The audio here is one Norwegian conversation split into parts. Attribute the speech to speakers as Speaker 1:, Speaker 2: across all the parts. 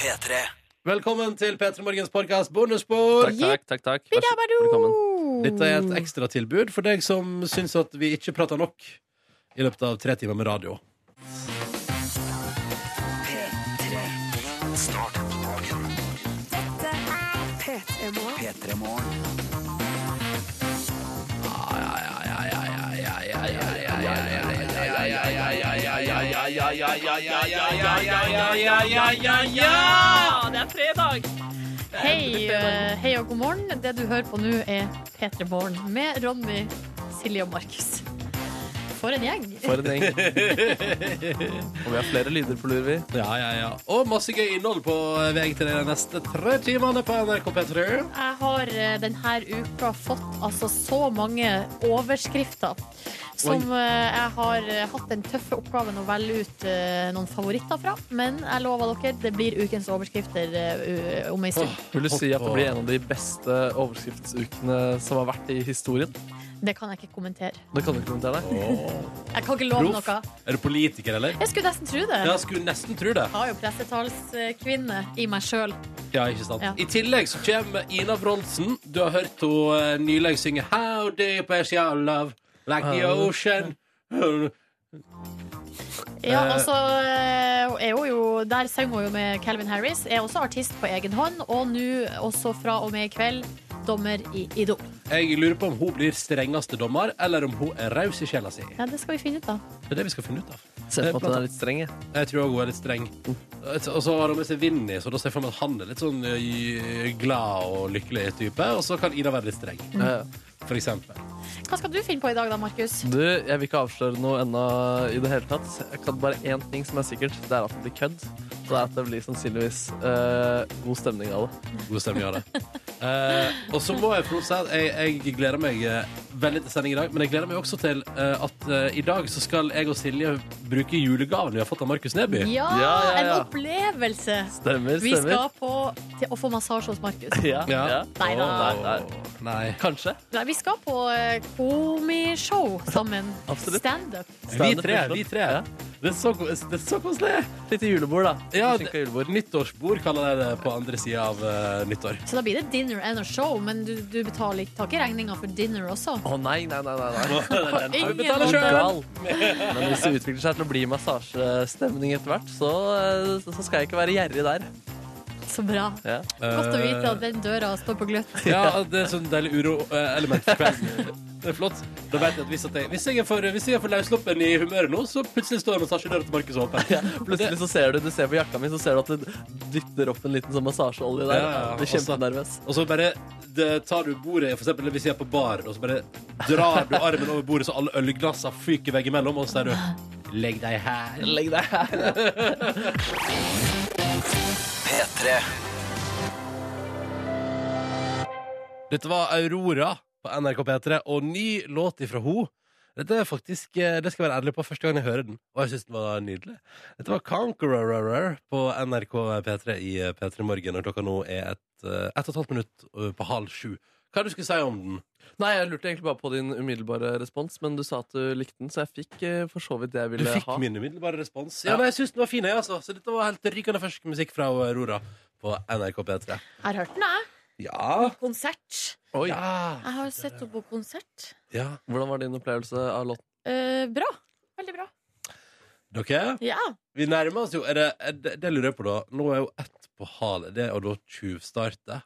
Speaker 1: P3.
Speaker 2: Velkommen til P3 Morgens podkast bonusbord.
Speaker 3: Takk, takk, takk. takk. Vær så-
Speaker 4: Bidabado!
Speaker 3: Velkommen.
Speaker 2: Dette er et ekstratilbud for deg som syns at vi ikke prater nok i løpet av tre timer med radio.
Speaker 1: P3. Start dagen. P3 Morgen.
Speaker 5: Ja, det er fredag!
Speaker 4: Hei, eh, hei og god morgen. Det du hører på nå, er P3 Morgen med Ronny, Silje og Markus. For en gjeng.
Speaker 3: For en gjeng. Og vi har flere lyder på lur, vi.
Speaker 2: Ja, ja, ja. Og masse gøy innhold på vei til deg de neste tre timene på NRK P3.
Speaker 4: Jeg har eh, denne uka fått altså så mange overskrifter som eh, jeg har eh, hatt den tøffe oppgaven å velge ut eh, noen favoritter fra. Men jeg lover dere, det blir ukens overskrifter eh, u- om ei stund.
Speaker 3: Vil du si at det blir en av de beste overskriftsukene som har vært i historien?
Speaker 4: Det kan jeg ikke kommentere.
Speaker 3: Det kan du ikke kommentere. deg.
Speaker 4: Jeg kan ikke love
Speaker 2: Proff.
Speaker 4: noe.
Speaker 2: Er du politiker, eller?
Speaker 4: Jeg skulle nesten tro det.
Speaker 2: Ja, skulle nesten tro det.
Speaker 4: Jeg har jo pressetalskvinne i meg sjøl.
Speaker 2: Ja, ikke sant?
Speaker 4: Ja.
Speaker 2: I tillegg så kommer Ina Bronsen. Du har hørt henne eh, nylig synge How do you pass your love like the ocean?
Speaker 4: Ja,
Speaker 2: Eh.
Speaker 4: altså, eh, er hun jo, der sang hun jo med Calvin Harris. Er også artist på egen hånd, og nå også fra og med i kveld dommer i Idol.
Speaker 2: Jeg lurer på om hun blir strengeste dommer, eller om hun er raus i sjela si.
Speaker 4: Ja, det skal vi finne ut, da.
Speaker 2: Det er det vi skal finne ut av.
Speaker 3: Ser på at den er litt streng. jeg.
Speaker 2: Jeg tror også hun er litt streng. Og så har hun med seg Vinny, så da ser jeg for meg at han er litt sånn eh, glad og lykkelig type. Og så kan Ida være litt streng,
Speaker 3: Eh,
Speaker 2: for eksempel.
Speaker 4: Hva skal du finne på i dag, da, Markus?
Speaker 3: Du, jeg vil ikke avsløre noe ennå i det hele tatt. Jeg kan bare én ting som er sikkert. Det er at det blir kødd. Og det er at det blir sannsynligvis eh, god stemning av det.
Speaker 2: God stemning av det. Eh, og så må jeg få lov til å si at jeg, jeg gleder meg eh, veldig til sending i dag. Men jeg gleder meg også til eh, at eh, i dag så skal jeg og Silje bruke julegaven vi har fått av Markus Neby.
Speaker 4: Ja,
Speaker 3: Ja, ja,
Speaker 4: en
Speaker 3: ja.
Speaker 4: opplevelse!
Speaker 3: Stemmer,
Speaker 4: Vi skal
Speaker 3: stemmer.
Speaker 4: på til å få massasje hos Markus.
Speaker 3: Ja,
Speaker 2: Ja.
Speaker 3: ja.
Speaker 4: Nei da.
Speaker 3: Nei, nei.
Speaker 2: Nei.
Speaker 3: Kanskje.
Speaker 4: Nei, vi skal på eh, komishow sammen.
Speaker 3: Absolutt.
Speaker 4: Standup.
Speaker 2: Vi tre. vi tre
Speaker 3: Ja.
Speaker 2: Det er så, ko- det er så koselig!
Speaker 3: Litt julebord, da.
Speaker 2: Ja,
Speaker 3: Skinka julebord.
Speaker 2: Nyttårsbord kaller jeg det på andre sida av eh, nyttår.
Speaker 4: Så da blir det dinner and a show, men du, du betaler ikke, tar ikke regninga for dinner også.
Speaker 3: Å nei, nei, nei, nei, nei.
Speaker 4: På ingen
Speaker 3: Du er
Speaker 4: måte.
Speaker 3: gal. Men hvis det utvikler seg til å bli massasjestemning etter hvert, så, eh, så skal jeg ikke være gjerrig der.
Speaker 4: Så bra.
Speaker 3: Ja.
Speaker 4: Godt å vite at den døra står på gløtt.
Speaker 2: Ja, det er sånn deilig uroelement for kvelden. Det er flott. Da vet jeg at hvis, at jeg, hvis jeg er for, hvis jeg er for løssluppen i humøret nå, så plutselig står massasjedøra til Markus åpen.
Speaker 3: Plutselig så ser du, du ser på jakka mi, så ser du at du dytter opp en liten sånn massasjeolje der.
Speaker 2: Ja, ja, ja.
Speaker 3: Du er kjempenervøs.
Speaker 2: Og så bare det, tar du bordet, for eksempel hvis jeg er på bar, og så bare drar du armen over bordet så alle ølglassene fyker veggimellom, og så er du Legg deg her.
Speaker 3: Legg deg her.
Speaker 1: P3.
Speaker 2: Dette var Aurora på NRK P3, og ny låt ifra ho. Dette er faktisk, eh, det skal jeg være ærlig på, første gang jeg hører den, og jeg synes den var nydelig. Dette var Conqueror på NRK P3 i eh, P3 Morgen, og klokka nå er et, eh, ett og et halvt minutt eh, på halv sju. Hva er det du skulle si om den?
Speaker 3: Nei, jeg lurte egentlig bare på din umiddelbare respons, men du sa at du likte den, så jeg fikk eh, for så vidt det jeg
Speaker 2: Du
Speaker 3: ville
Speaker 2: fikk
Speaker 3: ha.
Speaker 2: min umiddelbare respons. Ja, nei, jeg synes den var fin, jeg, altså. Så dette var helt rykende fersk musikk fra Aurora på NRK P3.
Speaker 4: Her hørte den jeg.
Speaker 2: Ja.
Speaker 4: Konsert.
Speaker 3: Oi,
Speaker 2: Ja.
Speaker 4: Jeg har sett henne på konsert.
Speaker 2: ja.
Speaker 3: Hvordan var din opplevelse av låten?
Speaker 4: Eh, bra. Veldig bra.
Speaker 2: Dere,
Speaker 4: Ja.
Speaker 2: vi nærmer oss jo. Er det, er det, det lurer jeg på da. Nå er jo ett på halet. Det er jo da tjuvstarte.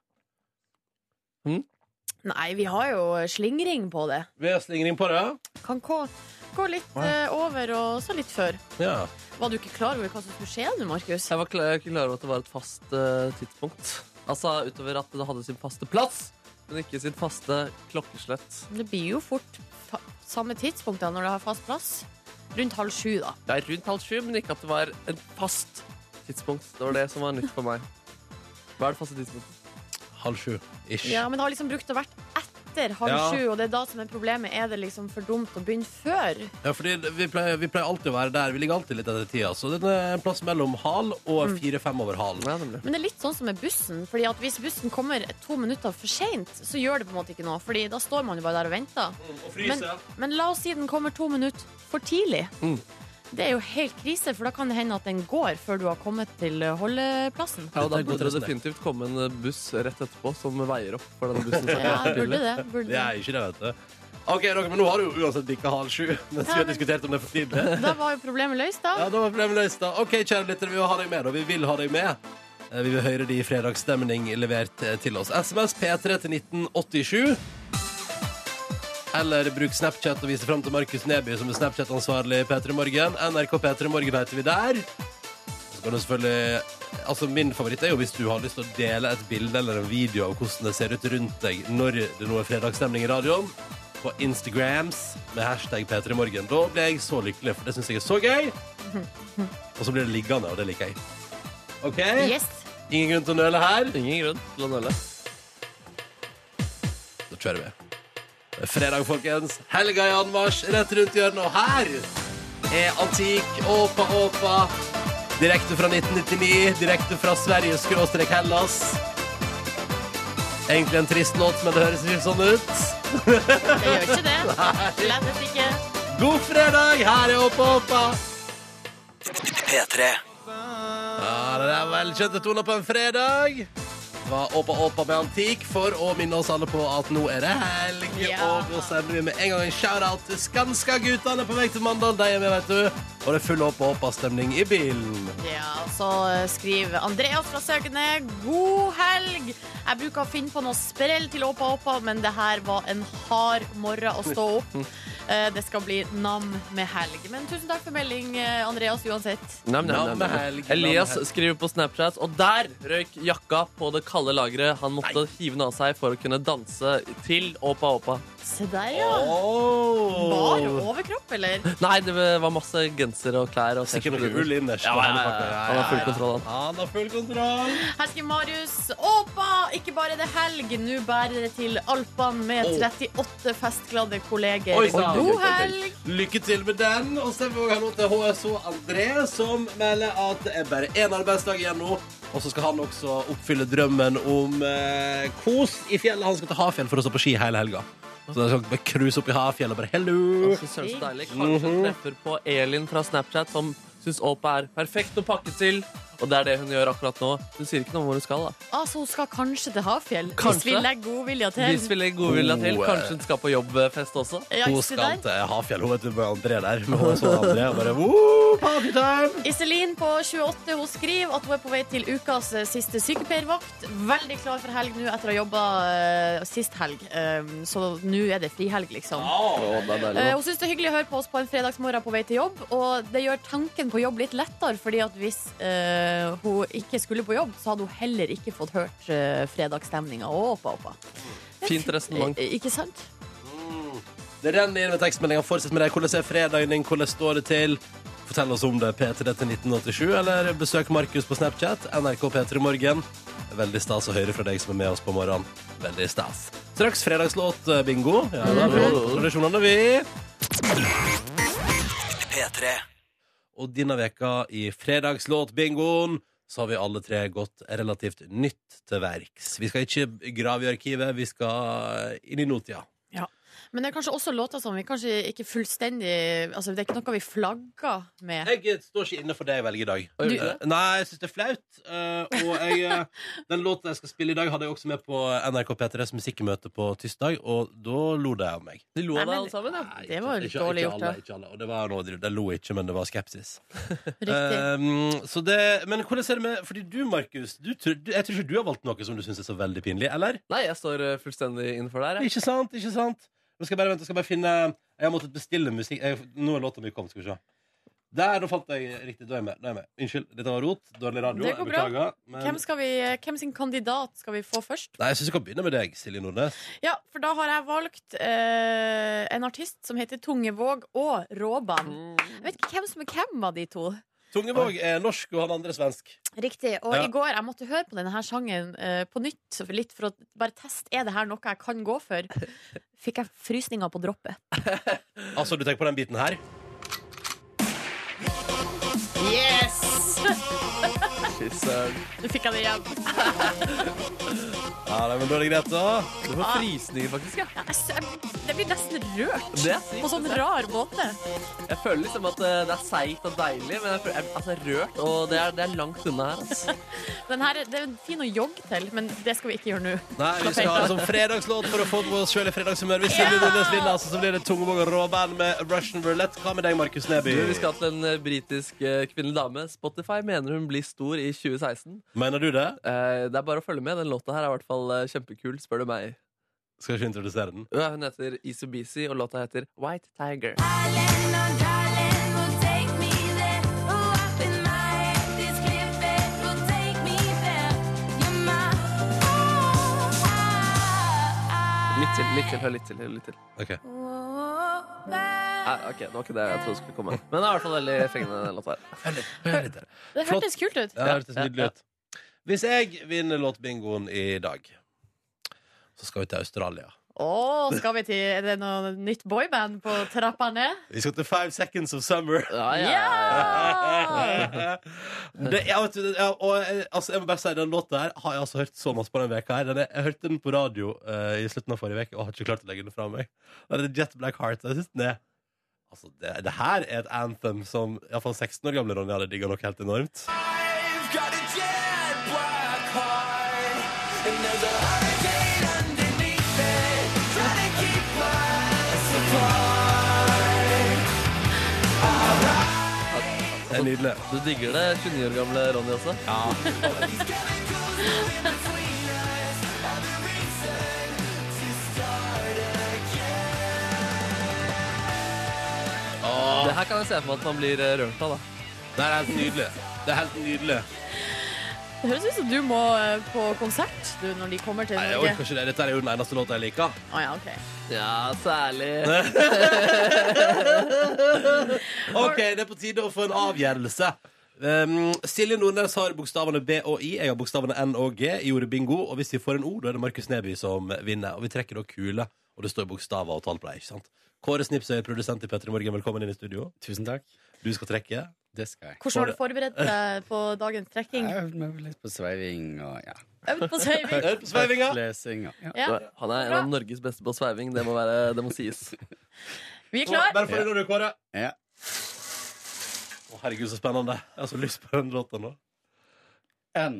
Speaker 4: Nei, vi har jo slingring på det.
Speaker 2: Ved å slingre inn på det?
Speaker 4: Kan gå, gå litt eh, over og så litt før.
Speaker 2: Ja.
Speaker 4: Var du ikke klar over hva som skulle skje nå, Markus?
Speaker 3: Jeg var klar, jeg var ikke klar over at det var et fast eh, tidspunkt. Altså utover at det hadde sin faste plass, men ikke sin faste klokkeslett.
Speaker 4: Det blir jo fort fa samme tidspunkt da når det har fast plass. Rundt halv sju, da.
Speaker 3: Det er rundt halv sju, men ikke at det var et fast tidspunkt. Det var det som var nytt for meg. Hva er det faste tidspunktet?
Speaker 2: Halv sju. Ish.
Speaker 4: Ja, men det har liksom brukt å vært etter halv
Speaker 2: Ja.
Speaker 4: sju, og det er da som er problemet. Er det liksom for dumt å begynne før?
Speaker 2: Ja, fordi vi pleier, vi pleier alltid å være der. Vi ligger alltid litt etter tida. Så det er en plass mellom hal og fire-fem over halen.
Speaker 3: Ja, nemlig.
Speaker 4: Men det er litt sånn som med bussen. Fordi at Hvis bussen kommer to minutter for seint, så gjør det på en måte ikke noe. Fordi da står man jo bare der og venter.
Speaker 2: Og Mm.
Speaker 4: Men, men la oss si den kommer to minutter for tidlig. Det er jo helt krise, for da kan det hende at den går før du har kommet til holdeplassen.
Speaker 3: Ja,
Speaker 2: Dette
Speaker 3: og da
Speaker 2: er god
Speaker 3: burde det
Speaker 2: trøst, det.
Speaker 3: definitivt komme en eh, buss rett etterpå som veier opp for den bussen. som
Speaker 4: Ja,
Speaker 3: er på
Speaker 4: burde
Speaker 3: bildet.
Speaker 4: det. Burde
Speaker 2: Det
Speaker 4: det.
Speaker 2: er ikke det, vet du. OK, dere, men nå har du jo uansett bikka halv sju. Mens vi har diskutert om det for tidlig.
Speaker 4: Da var jo problemet løst,
Speaker 2: Ja,
Speaker 4: da.
Speaker 2: da var problemet løst, da. OK, kjære lyttere, vi vil ha deg med, og vi vil ha deg med. Eh, Vi vil høre de fredagsstemning levert eh, til oss. SMS P3 til 1987. Eller bruk Snapchat og vise fram til Markus Neby, som er Snapchat-ansvarlig i P3 Morgen. NRK P3 Morgen heter vi der. Så kan du selvfølgelig Altså, min favoritt er jo hvis du har lyst til å dele et bilde eller en video av hvordan det ser ut rundt deg når det nå er fredagsstemning i radioen. På Instagrams med hashtag P3morgen. Da blir jeg så lykkelig, for det syns jeg er så gøy. Og så blir det liggende, og det liker jeg. OK?
Speaker 4: Yes.
Speaker 2: Ingen grunn til å nøle her.
Speaker 3: Ingen grunn til å nøle.
Speaker 2: Da kjører vi. Det er fredag, folkens. Helga i anmarsj rett rundt hjørnet. Og her er Antik Åpa Åpa. Direkte fra 1999, direkte fra Sverige, skråstrek Hellas. Egentlig en trist låt, men det høres litt sånn ut.
Speaker 4: Det gjør ikke det. Slettes ikke.
Speaker 2: God fredag! Her er Åpa Åpa.
Speaker 1: P3.
Speaker 2: Ja, det er velkjente toner på en fredag. Var Åpa Åpa med Antik for å minne oss alle på at nå er det helg.
Speaker 4: Ja.
Speaker 2: Og da sender vi med en gang en shout-out til Skanska-guttene på vei til Mandal. De er med, vet du. Og det er full Åpa Åpa-stemning i bilen.
Speaker 4: Ja, så eh, skriver Andreas fra Søkene God helg! Jeg bruker å finne på noe sprell til Åpa Åpa, men det her var en hard morgen å stå opp. Eh, Det skal bli nam med helg. Men tusen takk for melding, eh, Andreas, uansett.
Speaker 3: Nam, nam, nam, nam.
Speaker 2: Nammehelg,
Speaker 3: Elias
Speaker 2: nammehelg.
Speaker 3: skriver på Snapchat, og der røyk jakka på det kalde lageret. Han måtte hive den av seg for å kunne danse til Åpa Åpa.
Speaker 4: Se der, ja. Bar
Speaker 2: Oh.
Speaker 4: overkropp, eller?
Speaker 3: Nei, det var masse gensere og klær. Og
Speaker 2: Sikkert noe
Speaker 3: T-skjorter.
Speaker 2: ull innerst.
Speaker 3: Ja, ja, ja, ja. Han har full kontroll, han.
Speaker 2: Han har full kontroll.
Speaker 4: Her skriver Marius Åpa! Ikke bare er det helg, nå bærer det til Alpene
Speaker 2: Å.
Speaker 4: med 38 festglade kolleger.
Speaker 2: Oi, sant.
Speaker 4: God
Speaker 3: Oi, oi, oi, oi.
Speaker 4: helg!
Speaker 2: Lykke til med den. Og så er vi også her nå til HSH André, som melder at det er bare én arbeidsdag igjen nå. Og så skal han også oppfylle drømmen om eh, kos i fjellet. Han skal til Hafjell for å stå på ski hele helga. Så det er sånn bare cruise opp i Hafjell og bare hello.
Speaker 3: Fy søren, så deilig. Kanskje treffer på Elin fra Snapchat, som syns Åpa er perfekt å pakke til. Og det er det hun gjør akkurat nå. Hun sier ikke noe om hvor hun skal. da
Speaker 4: Altså, hun skal kanskje til Hafjell,
Speaker 3: Kanskje.
Speaker 4: hvis vi legger godvilja til.
Speaker 3: Hvis vi legger godvilja til,
Speaker 2: Oh, eh.
Speaker 3: kanskje hun skal på jobbfest også.
Speaker 4: Ja,
Speaker 2: Hun
Speaker 4: ikke se
Speaker 2: skal
Speaker 4: der.
Speaker 2: til Hafjell. Hun vet du med André der. Med HSH André. Og bare woo, party time!
Speaker 4: Iselin på 28 hun skriver at hun er på vei til ukas eh, siste sykepleiervakt. Veldig klar for helg nå etter å ha jobba eh, sist helg. Um, så nå er det frihelg, liksom. Eh, hun syns det er hyggelig å høre på oss på en fredagsmorgen på vei til jobb. Og det gjør tanken på jobb litt lettere, fordi at hvis eh, hun ikke skulle på jobb, så hadde hun heller ikke fått hørt uh, fredagsstemninga og Åpa Åpa.
Speaker 3: Fint resonnement.
Speaker 4: Eh, Ikke sant?
Speaker 2: Det renner inn med tekstmeldinger. Fortsett med det. Hvordan er fredagen din? Hvordan står det til? Fortell oss om det. P3 til 1987, eller besøk Markus på Snapchat. NRK P3 Morgen. Veldig stas å høre fra deg som er med oss på morgenen. Veldig stas. Straks fredagslåt-bingo. Ja, da er det tradisjonene, vi.
Speaker 1: P3.
Speaker 2: Og denne veka i fredagslåt-bingoen så har vi alle tre gått relativt nytt til verks. Vi skal ikke grave i arkivet, vi skal inn i nåtida.
Speaker 4: Men det er kanskje også låter som vi kanskje ikke fullstendig Altså, det er ikke noe vi flagger med.
Speaker 2: Jeg står ikke inne for det jeg velger i dag.
Speaker 3: Oi, gjør du
Speaker 2: Eh, Nei, jeg syns det er flaut. eh, og jeg, eh, den låten jeg skal spille i dag, hadde jeg også med på NRK P3s musikkmøte på tirsdag, og da lo de av meg.
Speaker 3: De lo
Speaker 4: Nei,
Speaker 3: av deg
Speaker 4: men-
Speaker 3: alle sammen, ja.
Speaker 2: Nei,
Speaker 4: Det var jo
Speaker 2: ikke- ikke alle,
Speaker 4: dårlig gjort, da.
Speaker 2: Ikke alle, og det var noe, de lo ikke, men det var skepsis.
Speaker 4: Riktig.
Speaker 2: Eh, så det, men hvordan er det med Fordi du, Markus, du, tror- du, jeg tror ikke du har valgt noe som du syns er så veldig pinlig, eller?
Speaker 3: Nei, jeg står eh, fullstendig innenfor der. Jeg.
Speaker 2: Ikke sant? ikke sant Nå skal jeg bare vente, jeg skal bare finne Jeg har måttet bestille musikk jeg, Nå er låta mi kommet, skal vi se Der, nå fant jeg riktig, da er jeg med, da er jeg med. Unnskyld, dette var rot, dårlig radio
Speaker 4: Det går
Speaker 2: jeg
Speaker 4: bra.
Speaker 2: beklager, men...
Speaker 4: Hvem, skal vi, eh, hvem sin kandidat skal vi få først?
Speaker 2: Nei, jeg synes vi kan begynne med deg, Silje Nordnes
Speaker 4: Ja, for da har jeg valgt eh, en artist som heter Tungevåg og Råban.
Speaker 2: Mm.
Speaker 4: Jeg vet ikke hvem som er hvem av de to.
Speaker 2: Tungevåg er norsk, og han andre er svensk
Speaker 4: Riktig. Og
Speaker 2: Ja.
Speaker 4: i går jeg måtte høre på denne her sangen eh, på nytt, så for litt for å bare teste er det her noe jeg kan gå for. Fikk jeg frysninger på droppet.
Speaker 2: Altså, du tenker på den biten her
Speaker 4: Yes!
Speaker 3: Fy søren.
Speaker 6: Nå fikk jeg det igjen.
Speaker 2: Ja, nei, men da er det greit, da.
Speaker 3: Du får frysninger, faktisk. Ja.
Speaker 6: Ja, jeg sø- jeg- Jeg blir nesten rørt
Speaker 3: Det er sykt.
Speaker 6: på sånn
Speaker 3: det er-
Speaker 6: rar måte.
Speaker 3: Jeg føler liksom at eh, det er seigt og deilig, men jeg føler, jeg, altså, jeg er rørt, og det er, det er langt unna her. Altså.
Speaker 6: Den her, det er fin å jogge til, men det skal vi ikke gjøre nå.
Speaker 2: Nei, vi skal ha det som fredagslåt for å få på oss sjøl i fredagshumør. Hvis det blir Nordnes Lillas, så blir det Tungevåg og Råband med Russian Roulette. Hva med deg, Markus Neby?
Speaker 3: Du, vi skal til en eh, britisk eh, kvinnelig dame. Spotify mener hun blir stor i 2016.
Speaker 2: Mener du det?
Speaker 3: Eh, det er bare å følge med. Den låta her er i hvert fall eh, kjempekul, spør du meg.
Speaker 2: Skal ikke introdusere den.
Speaker 3: Ja, Hun heter Isubisi, og låta heter White Tiger. Litt til, litt til, hør litt til. Hør litt til.
Speaker 2: Ok.
Speaker 3: Nei, ok, det var ikke det jeg trodde skulle komme. Men det er i hvert fall veldig fengende, den låta her.
Speaker 6: Det
Speaker 2: Flott.
Speaker 6: hørtes kult
Speaker 2: Ja,
Speaker 6: ut.
Speaker 2: det hørtes
Speaker 3: Ja, ja,
Speaker 2: nydelig ut. Hvis jeg vinner låtbingoen i dag, så skal vi til Australia.
Speaker 6: Å, skal vi til Er det noe nytt boyband på trappa ned?
Speaker 2: Vi skal til Five Seconds of Summer.
Speaker 3: Ja, ja, ja, ja.
Speaker 6: Ja!
Speaker 2: det, ja, vet du, det- ja, og, eh, altså, jeg må bare si, Den låta her har jeg altså hørt så masse på den veka her. Den er, jeg hørte den på radio eh, i slutten av forrige uke og har ikke klart å legge den fra meg. Den er Jet Black Heart. Jeg synes den er Altså, det, det her er et anthem som iallfall 16 år gamle Ronny hadde digga nok helt enormt. Det er nydelig.
Speaker 3: Du digger det 29 år gamle Ronny også? Det her kan jeg se for meg at man blir eh, rørt av, da.
Speaker 2: Det er helt nydelig. Det er helt nydelig.
Speaker 6: Det høres ut som du må eh, på konsert du, når de kommer til
Speaker 2: Nei, jeg
Speaker 6: Norge.
Speaker 2: orker ikke det. Dette er jo den eneste låta jeg liker.
Speaker 6: Å ja, ok.
Speaker 3: Ja, særlig.
Speaker 2: Ok, det er på tide å få en avgjørelse. Um, Silje Nordnes har bokstavene B og I. Jeg har bokstavene N og G. Jeg gjorde bingo. Og hvis vi får en O, da er det Markus Neby som vinner. Og vi trekker da kule, og det står bokstaver og tall på dem. ikke sant? Kåre Snipsøy, produsent i Petter i Morgen, velkommen inn i studio.
Speaker 1: Tusen takk.
Speaker 2: Du skal trekke.
Speaker 1: Det skal jeg.
Speaker 6: Hvordan har du forberedt deg på dagens trekking?
Speaker 1: Jeg øvde meg litt på sveiving og ja.
Speaker 6: Øvd på saving?
Speaker 2: Øvd på sveivinga.
Speaker 1: Lesing og ja.
Speaker 6: Ja.
Speaker 3: Han er en av Norges beste på sveiving, det må, være, det må sies.
Speaker 6: Vi er
Speaker 2: Bare
Speaker 6: klar.
Speaker 2: få det når du, Kåre.
Speaker 1: ja.
Speaker 2: Å, herregud, så spennende. Jeg har så lyst på den låta nå.
Speaker 1: N.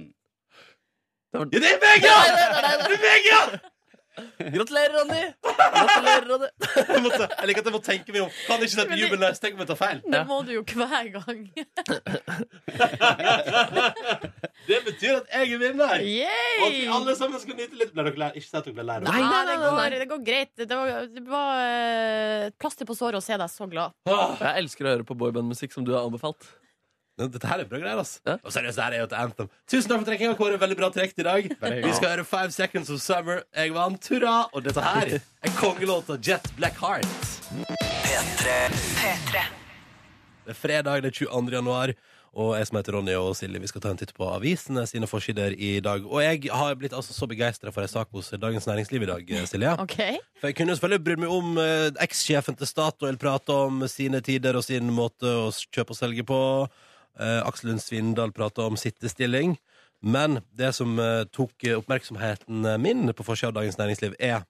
Speaker 2: Ja, det er meg, ja! Det er meg, ja!
Speaker 3: Gratulerer, Ronny! Gratulerer, Ronny!
Speaker 2: Jeg, måtte, jeg liker at jeg må tenke meg om. Kan ikke dette jubelen der? Tenk om jeg tar feil.
Speaker 6: Det må du jo hver gang.
Speaker 2: Det betyr at jeg er vinner. Og at vi
Speaker 6: Yay!
Speaker 2: alle sammen skal nyte litt. Ble dere lei? Ikke si at dere ble lei. dere.
Speaker 3: Nei,
Speaker 6: Ja,
Speaker 3: nei,
Speaker 6: det,
Speaker 3: nei, nei,
Speaker 6: går,
Speaker 3: nei.
Speaker 6: det går greit. Det var, det var eh, et plaster på såret å se deg så glad.
Speaker 2: Åh.
Speaker 3: Jeg elsker å høre på boybandmusikk som du har anbefalt.
Speaker 2: Dette her er bra greier, altså.
Speaker 3: Ja.
Speaker 2: Og seriøst, det her er jo et anthem. Tusen takk for trekkinga, Kåre. Veldig bra trekt i dag.
Speaker 1: hyggelig.
Speaker 2: Vi skal høre Five Seconds of Summer. Jeg vant. Hurra! Og dette her er kongelåta Jet Black Heart.
Speaker 7: P3.
Speaker 2: Det er fredag, det er 22. januar. Og jeg som heter Ronny og Silje, vi skal ta en titt på avisene sine forsider i dag. Og jeg har blitt altså så begeistra for ei sak hos Dagens Næringsliv i dag, Silje.
Speaker 6: OK?
Speaker 2: For jeg kunne jo selvfølgelig brydd meg om eh, ekssjefen til Statoil prate om sine tider og sin måte å s- kjøpe og selge på. Eh, Aksel Lund Svindal prate om sittestilling. Men det som eh, tok eh, oppmerksomheten min på forsida av Dagens Næringsliv, er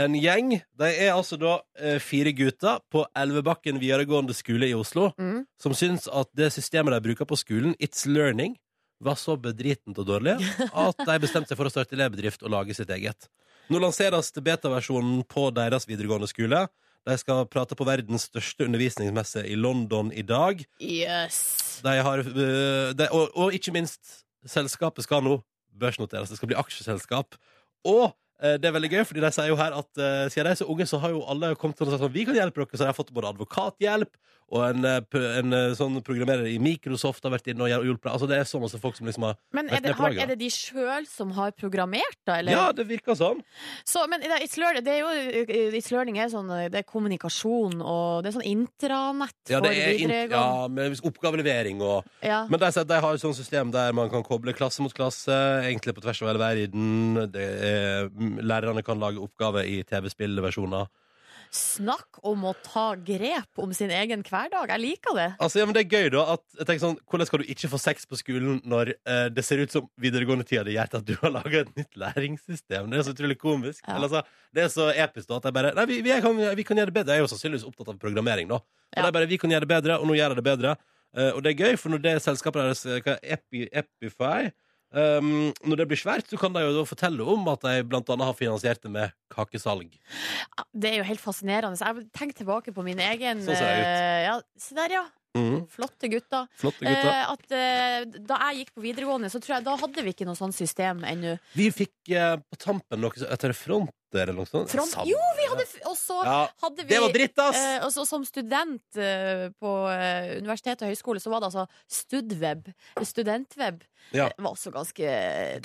Speaker 2: en gjeng. De er altså da eh, fire gutter på Elvebakken videregående skole i Oslo
Speaker 6: Mm.
Speaker 2: som syns at det systemet de bruker på skolen, It's Learning, var så bedritent og dårlig at de bestemte seg for å starte elevbedrift og lage sitt eget. Nå lanseres beta-versjonen på deres videregående skole. De skal prate på verdens største undervisningsmesse i London i dag.
Speaker 6: Yes.
Speaker 2: De har, øh, de, og, og ikke minst, selskapet skal nå børsnoteres. Det skal bli aksjeselskap. Og eh, det er veldig gøy, fordi de sier jo her at eh, siden de er så unge, så har jo alle kommet til å si sånn, vi kan hjelpe dere. Så de har fått både advokathjelp og en, eh, p- en eh, sånn programmerer i Microsoft har vært inne og hjel- hjulpet. Altså, det er så masse folk som liksom har
Speaker 6: Men
Speaker 2: Vet
Speaker 6: er det,
Speaker 2: ned på
Speaker 6: har,
Speaker 2: laget.
Speaker 6: er det de sjøl som har programmert, da? Eller?
Speaker 2: Ja, det virker sånn.
Speaker 6: Så, men det- it's learning, det er jo,
Speaker 4: eh,
Speaker 6: it's learning er sånn Det er kommunikasjon og Det er sånn intranett
Speaker 2: Ja, det
Speaker 6: for
Speaker 2: er int-
Speaker 6: videregående.
Speaker 2: ja, med oppgavelevering og
Speaker 6: Ja.
Speaker 2: Men de, sier at de har et sånt system der man kan koble klasse mot klasse, egentlig på tvers av hele mm, verden. Det er- Lærerne kan lage oppgaver i TV-spillversjoner.
Speaker 4: Snakk om å ta grep om sin egen hverdag. Jeg liker det.
Speaker 2: Altså, ja, men det er gøy, da. At, jeg tenker sånn, hvordan skal du ikke få sex på skolen når eh, det ser ut som videregående tida di gjør at du har laga et nytt læringssystem? Det er så utrolig komisk.
Speaker 4: Ja.
Speaker 2: Eller, altså, det er så episk da, at jeg bare Nei, vi, vi, jeg kan, vi kan gjøre det bedre. Jeg er jo sannsynligvis opptatt av programmering, da. Og
Speaker 4: Ja.
Speaker 2: det er bare, vi kan gjøre det bedre, og nå gjør jeg det bedre. Eh, og det er gøy, for når det selskapet deres eh, hva, Epi, Epify ehm, Når det blir svært, så kan de jo da fortelle om at de blant annet har finansiert det med kakesalg.
Speaker 4: Det er jo helt fascinerende. Jeg tenker tilbake på min egen
Speaker 2: Sånn ser jeg ut.
Speaker 4: eh, ja, Se der, ja.
Speaker 2: Mhm,
Speaker 4: Flotte gutter.
Speaker 2: flotte gutter.
Speaker 4: Eh, at, eh, da jeg gikk på videregående, så tror jeg da hadde vi ikke noe sånt system ennå.
Speaker 2: Vi fikk eh, på tampen noe som heter front eller noe sånt.
Speaker 4: Front-
Speaker 2: Sam-
Speaker 4: Jo, vi hadde f- Og så
Speaker 2: ja.
Speaker 4: hadde vi
Speaker 2: Det var dritt, ass!
Speaker 4: Eh, og så som student eh, på eh, universitet og høyskole så var det altså studweb. Studentweb.
Speaker 2: Ja.
Speaker 4: Det var også ganske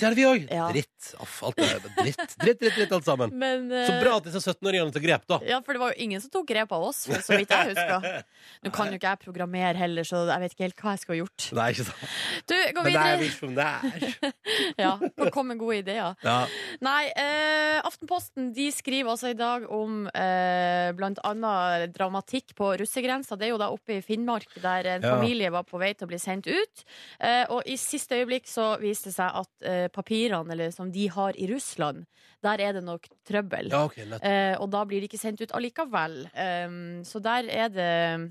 Speaker 2: det hadde vi òg.
Speaker 4: ja.
Speaker 2: Dritt. Aff, alt er dritt. dritt, dritt, dritt, alt sammen.
Speaker 4: Men eh,
Speaker 2: Så bra at disse 17-åringene tar grep, da.
Speaker 4: Ja, for det var jo ingen som tok grep av oss, for så vidt jeg husker. Nå kan jo ikke jeg programmere heller, så jeg vet ikke helt hva jeg skulle ha gjort.
Speaker 2: Nei, ikke sant.
Speaker 4: Du, gå
Speaker 2: Men det er
Speaker 4: videre.
Speaker 2: visjonær.
Speaker 4: Ja, for å komme med gode ideer.
Speaker 2: Ja.
Speaker 4: Nei, eh, Aftenposten de skriver altså i dag om eh, blant annet dramatikk på russegrensa. Det er jo da oppe i Finnmark, der en
Speaker 2: Ja.
Speaker 4: familie var på vei til å bli sendt ut. Eh, og i siste øyeblikk så viste det seg at eh, papirene eller, som de har i Russland, der er det nok trøbbel.
Speaker 2: ja, ok, nett.
Speaker 4: Eh, og da blir de ikke sendt ut allikevel. Um, så der er det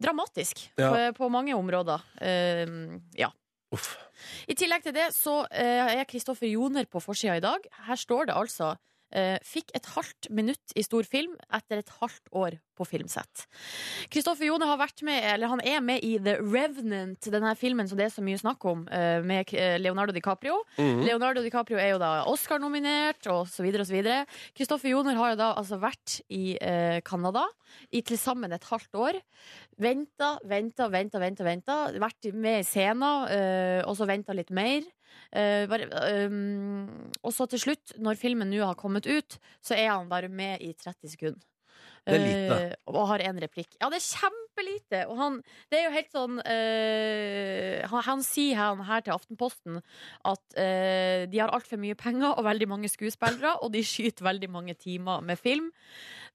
Speaker 4: dramatisk
Speaker 2: Ja.
Speaker 4: på, på mange områder. Um, ja.
Speaker 2: Uff.
Speaker 4: I tillegg til det så eh, er Kristoffer Joner på forsida i dag. Her står det altså eh, Fikk et halvt minutt i stor film etter et halvt år på filmsett. Kristoffer Joner har vært med, eller han er med i The Revenant, denne filmen som det er så mye snakk om, eh, med eh, Leonardo DiCaprio.
Speaker 3: Mm.
Speaker 2: Mhm.
Speaker 4: Leonardo DiCaprio er jo da Oscar-nominert, og så videre og så videre. Kristoffer Joner har jo da altså vært i eh, Canada i til sammen et halvt år. Venta, venta, venta, venta. venta. Vært med i scenen, eh, og så venta litt mer. Eh, bare, ehm, og så til slutt, når filmen nå har kommet ut, så er han bare med i 30 sekunder.
Speaker 2: Det er lite.
Speaker 4: Eh, og har én replikk. Ja, det er kjempelite! Og han Det er jo helt sånn eh, han, han sier han her til Aftenposten at eh, de har altfor mye penger og veldig mange skuespillere, og de skyter veldig mange timer med film.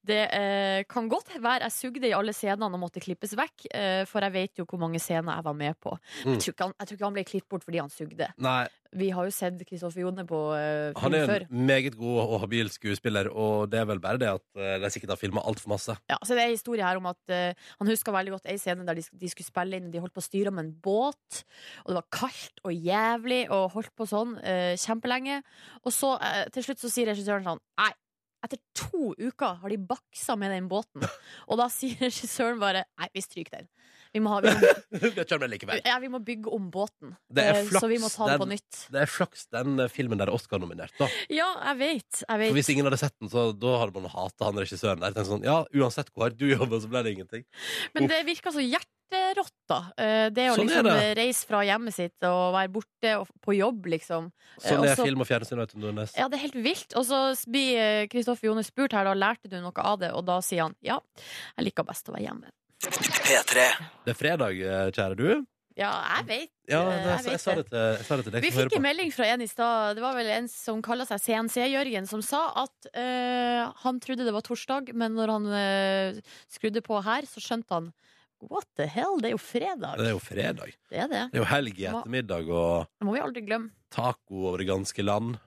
Speaker 4: Det eh, kan godt være jeg sugde i alle scenene og måtte klippes vekk, eh, for jeg vet jo hvor mange scener jeg var med på.
Speaker 2: Mm.
Speaker 4: Jeg, tror ikke han, jeg tror ikke han ble klippet bort fordi han sugde.
Speaker 2: Nei,
Speaker 4: Vi har jo sett Kristoffer Jone på eh,
Speaker 2: han
Speaker 4: film
Speaker 2: er
Speaker 4: før.
Speaker 2: en meget god og habil skuespiller, og det er vel bare det at eh, de sikkert har filma altfor masse.
Speaker 4: Ja, så det er en historie her om at eh, han husker veldig godt en scene der de, sk- de skulle spille inn, de holdt på å styre med en båt, og det var kaldt og jævlig, og holdt på sånn eh, kjempelenge. Og så eh, til slutt så sier regissøren sånn, nei, etter to uker har de baksa med den båten. Og da sier regissøren bare, nei, vi stryker den. Vi må, ha, vi, må,
Speaker 2: det kommer likevel.
Speaker 4: ja, vi må bygge om båten.
Speaker 2: Det er
Speaker 4: Eh,
Speaker 2: flaks,
Speaker 4: så vi må ta den på
Speaker 2: den-
Speaker 4: nytt.
Speaker 2: Det er flaks den eh, filmen der er Oscar-nominert, da.
Speaker 4: Ja, jeg vet, jeg
Speaker 2: For
Speaker 4: vet.
Speaker 2: hvis ingen hadde sett den, så da hadde man hata han regissøren der. Tenkt sånn, ja, uansett hvor hardt du jobber, så ble det ingenting.
Speaker 4: Men det virker så hjerterått, da. Eh, Det å
Speaker 2: Sånn er
Speaker 4: liksom
Speaker 2: det.
Speaker 4: eh, reise fra hjemmet sitt og være borte og f- på jobb, liksom. Eh,
Speaker 2: Sånn
Speaker 4: og
Speaker 2: er
Speaker 4: så-
Speaker 2: film og fjernsyn, vet du, Nordnes.
Speaker 4: Ja, det er helt vilt. Og så s- blir eh, Kristoffer Joner spurt her, da lærte du noe av det? Og da sier han ja, jeg liker best å være hjemme.
Speaker 8: P3.
Speaker 2: Det er fredag, eh, kjære du.
Speaker 4: Ja, jeg vet.
Speaker 2: Ja,
Speaker 4: Eh,
Speaker 2: det,
Speaker 4: jeg
Speaker 2: jeg,
Speaker 4: vet
Speaker 2: sa det
Speaker 4: det.
Speaker 2: til, jeg sa det til deg
Speaker 4: Vi
Speaker 2: som hører
Speaker 4: fikk en
Speaker 2: på.
Speaker 4: melding fra en i stad, det var vel en som kaller seg CNC-Jørgen, som sa at eh, han trodde det var torsdag, men når han eh, skrudde på her, så skjønte han What the hell, det er jo fredag.
Speaker 2: Det er jo fredag.
Speaker 4: Det er det.
Speaker 2: Det er jo helg i ettermiddag og
Speaker 4: Det må vi aldri glemme.
Speaker 2: taco over det ganske land.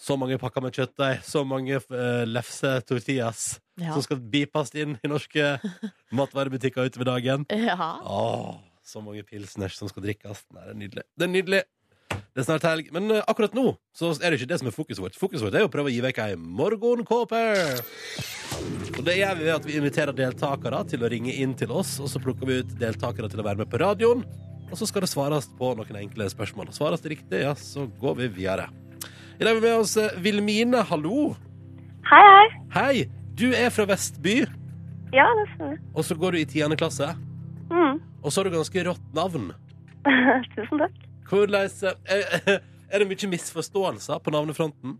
Speaker 2: Så mange pakker med kjøttdeig, så mange eh, lefse-tortillas
Speaker 4: Ja.
Speaker 2: som skal bipast inn i norske matvarebutikker utover dagen.
Speaker 4: ja.
Speaker 2: Åh, så mange pilsners som skal drikkes. Nei, det er nydelig. Det er nydelig. Det er snart helg. Men eh, akkurat nå så er det ikke det som er fokuset vårt. Fokuset vårt er jo å prøve å gi vekk ei morgenkåper. Og det gjør vi ved at vi inviterer deltakere til å ringe inn til oss, og så plukker vi ut deltakere til å være med på radioen. Og så skal det svares på noen enkle spørsmål. Og Svares det riktig, ja, så går vi videre. I dag har vi med oss eh, Vilmine, hallo.
Speaker 9: Hei, hei.
Speaker 2: Hei, du er fra Vestby,
Speaker 9: Ja, det stemmer.
Speaker 2: og så går du i tiende klasse.
Speaker 9: Mm.
Speaker 2: Og så har du ganske rått navn.
Speaker 9: Tusen takk.
Speaker 2: Hvordan eh, Er det mye misforståelser på navnefronten?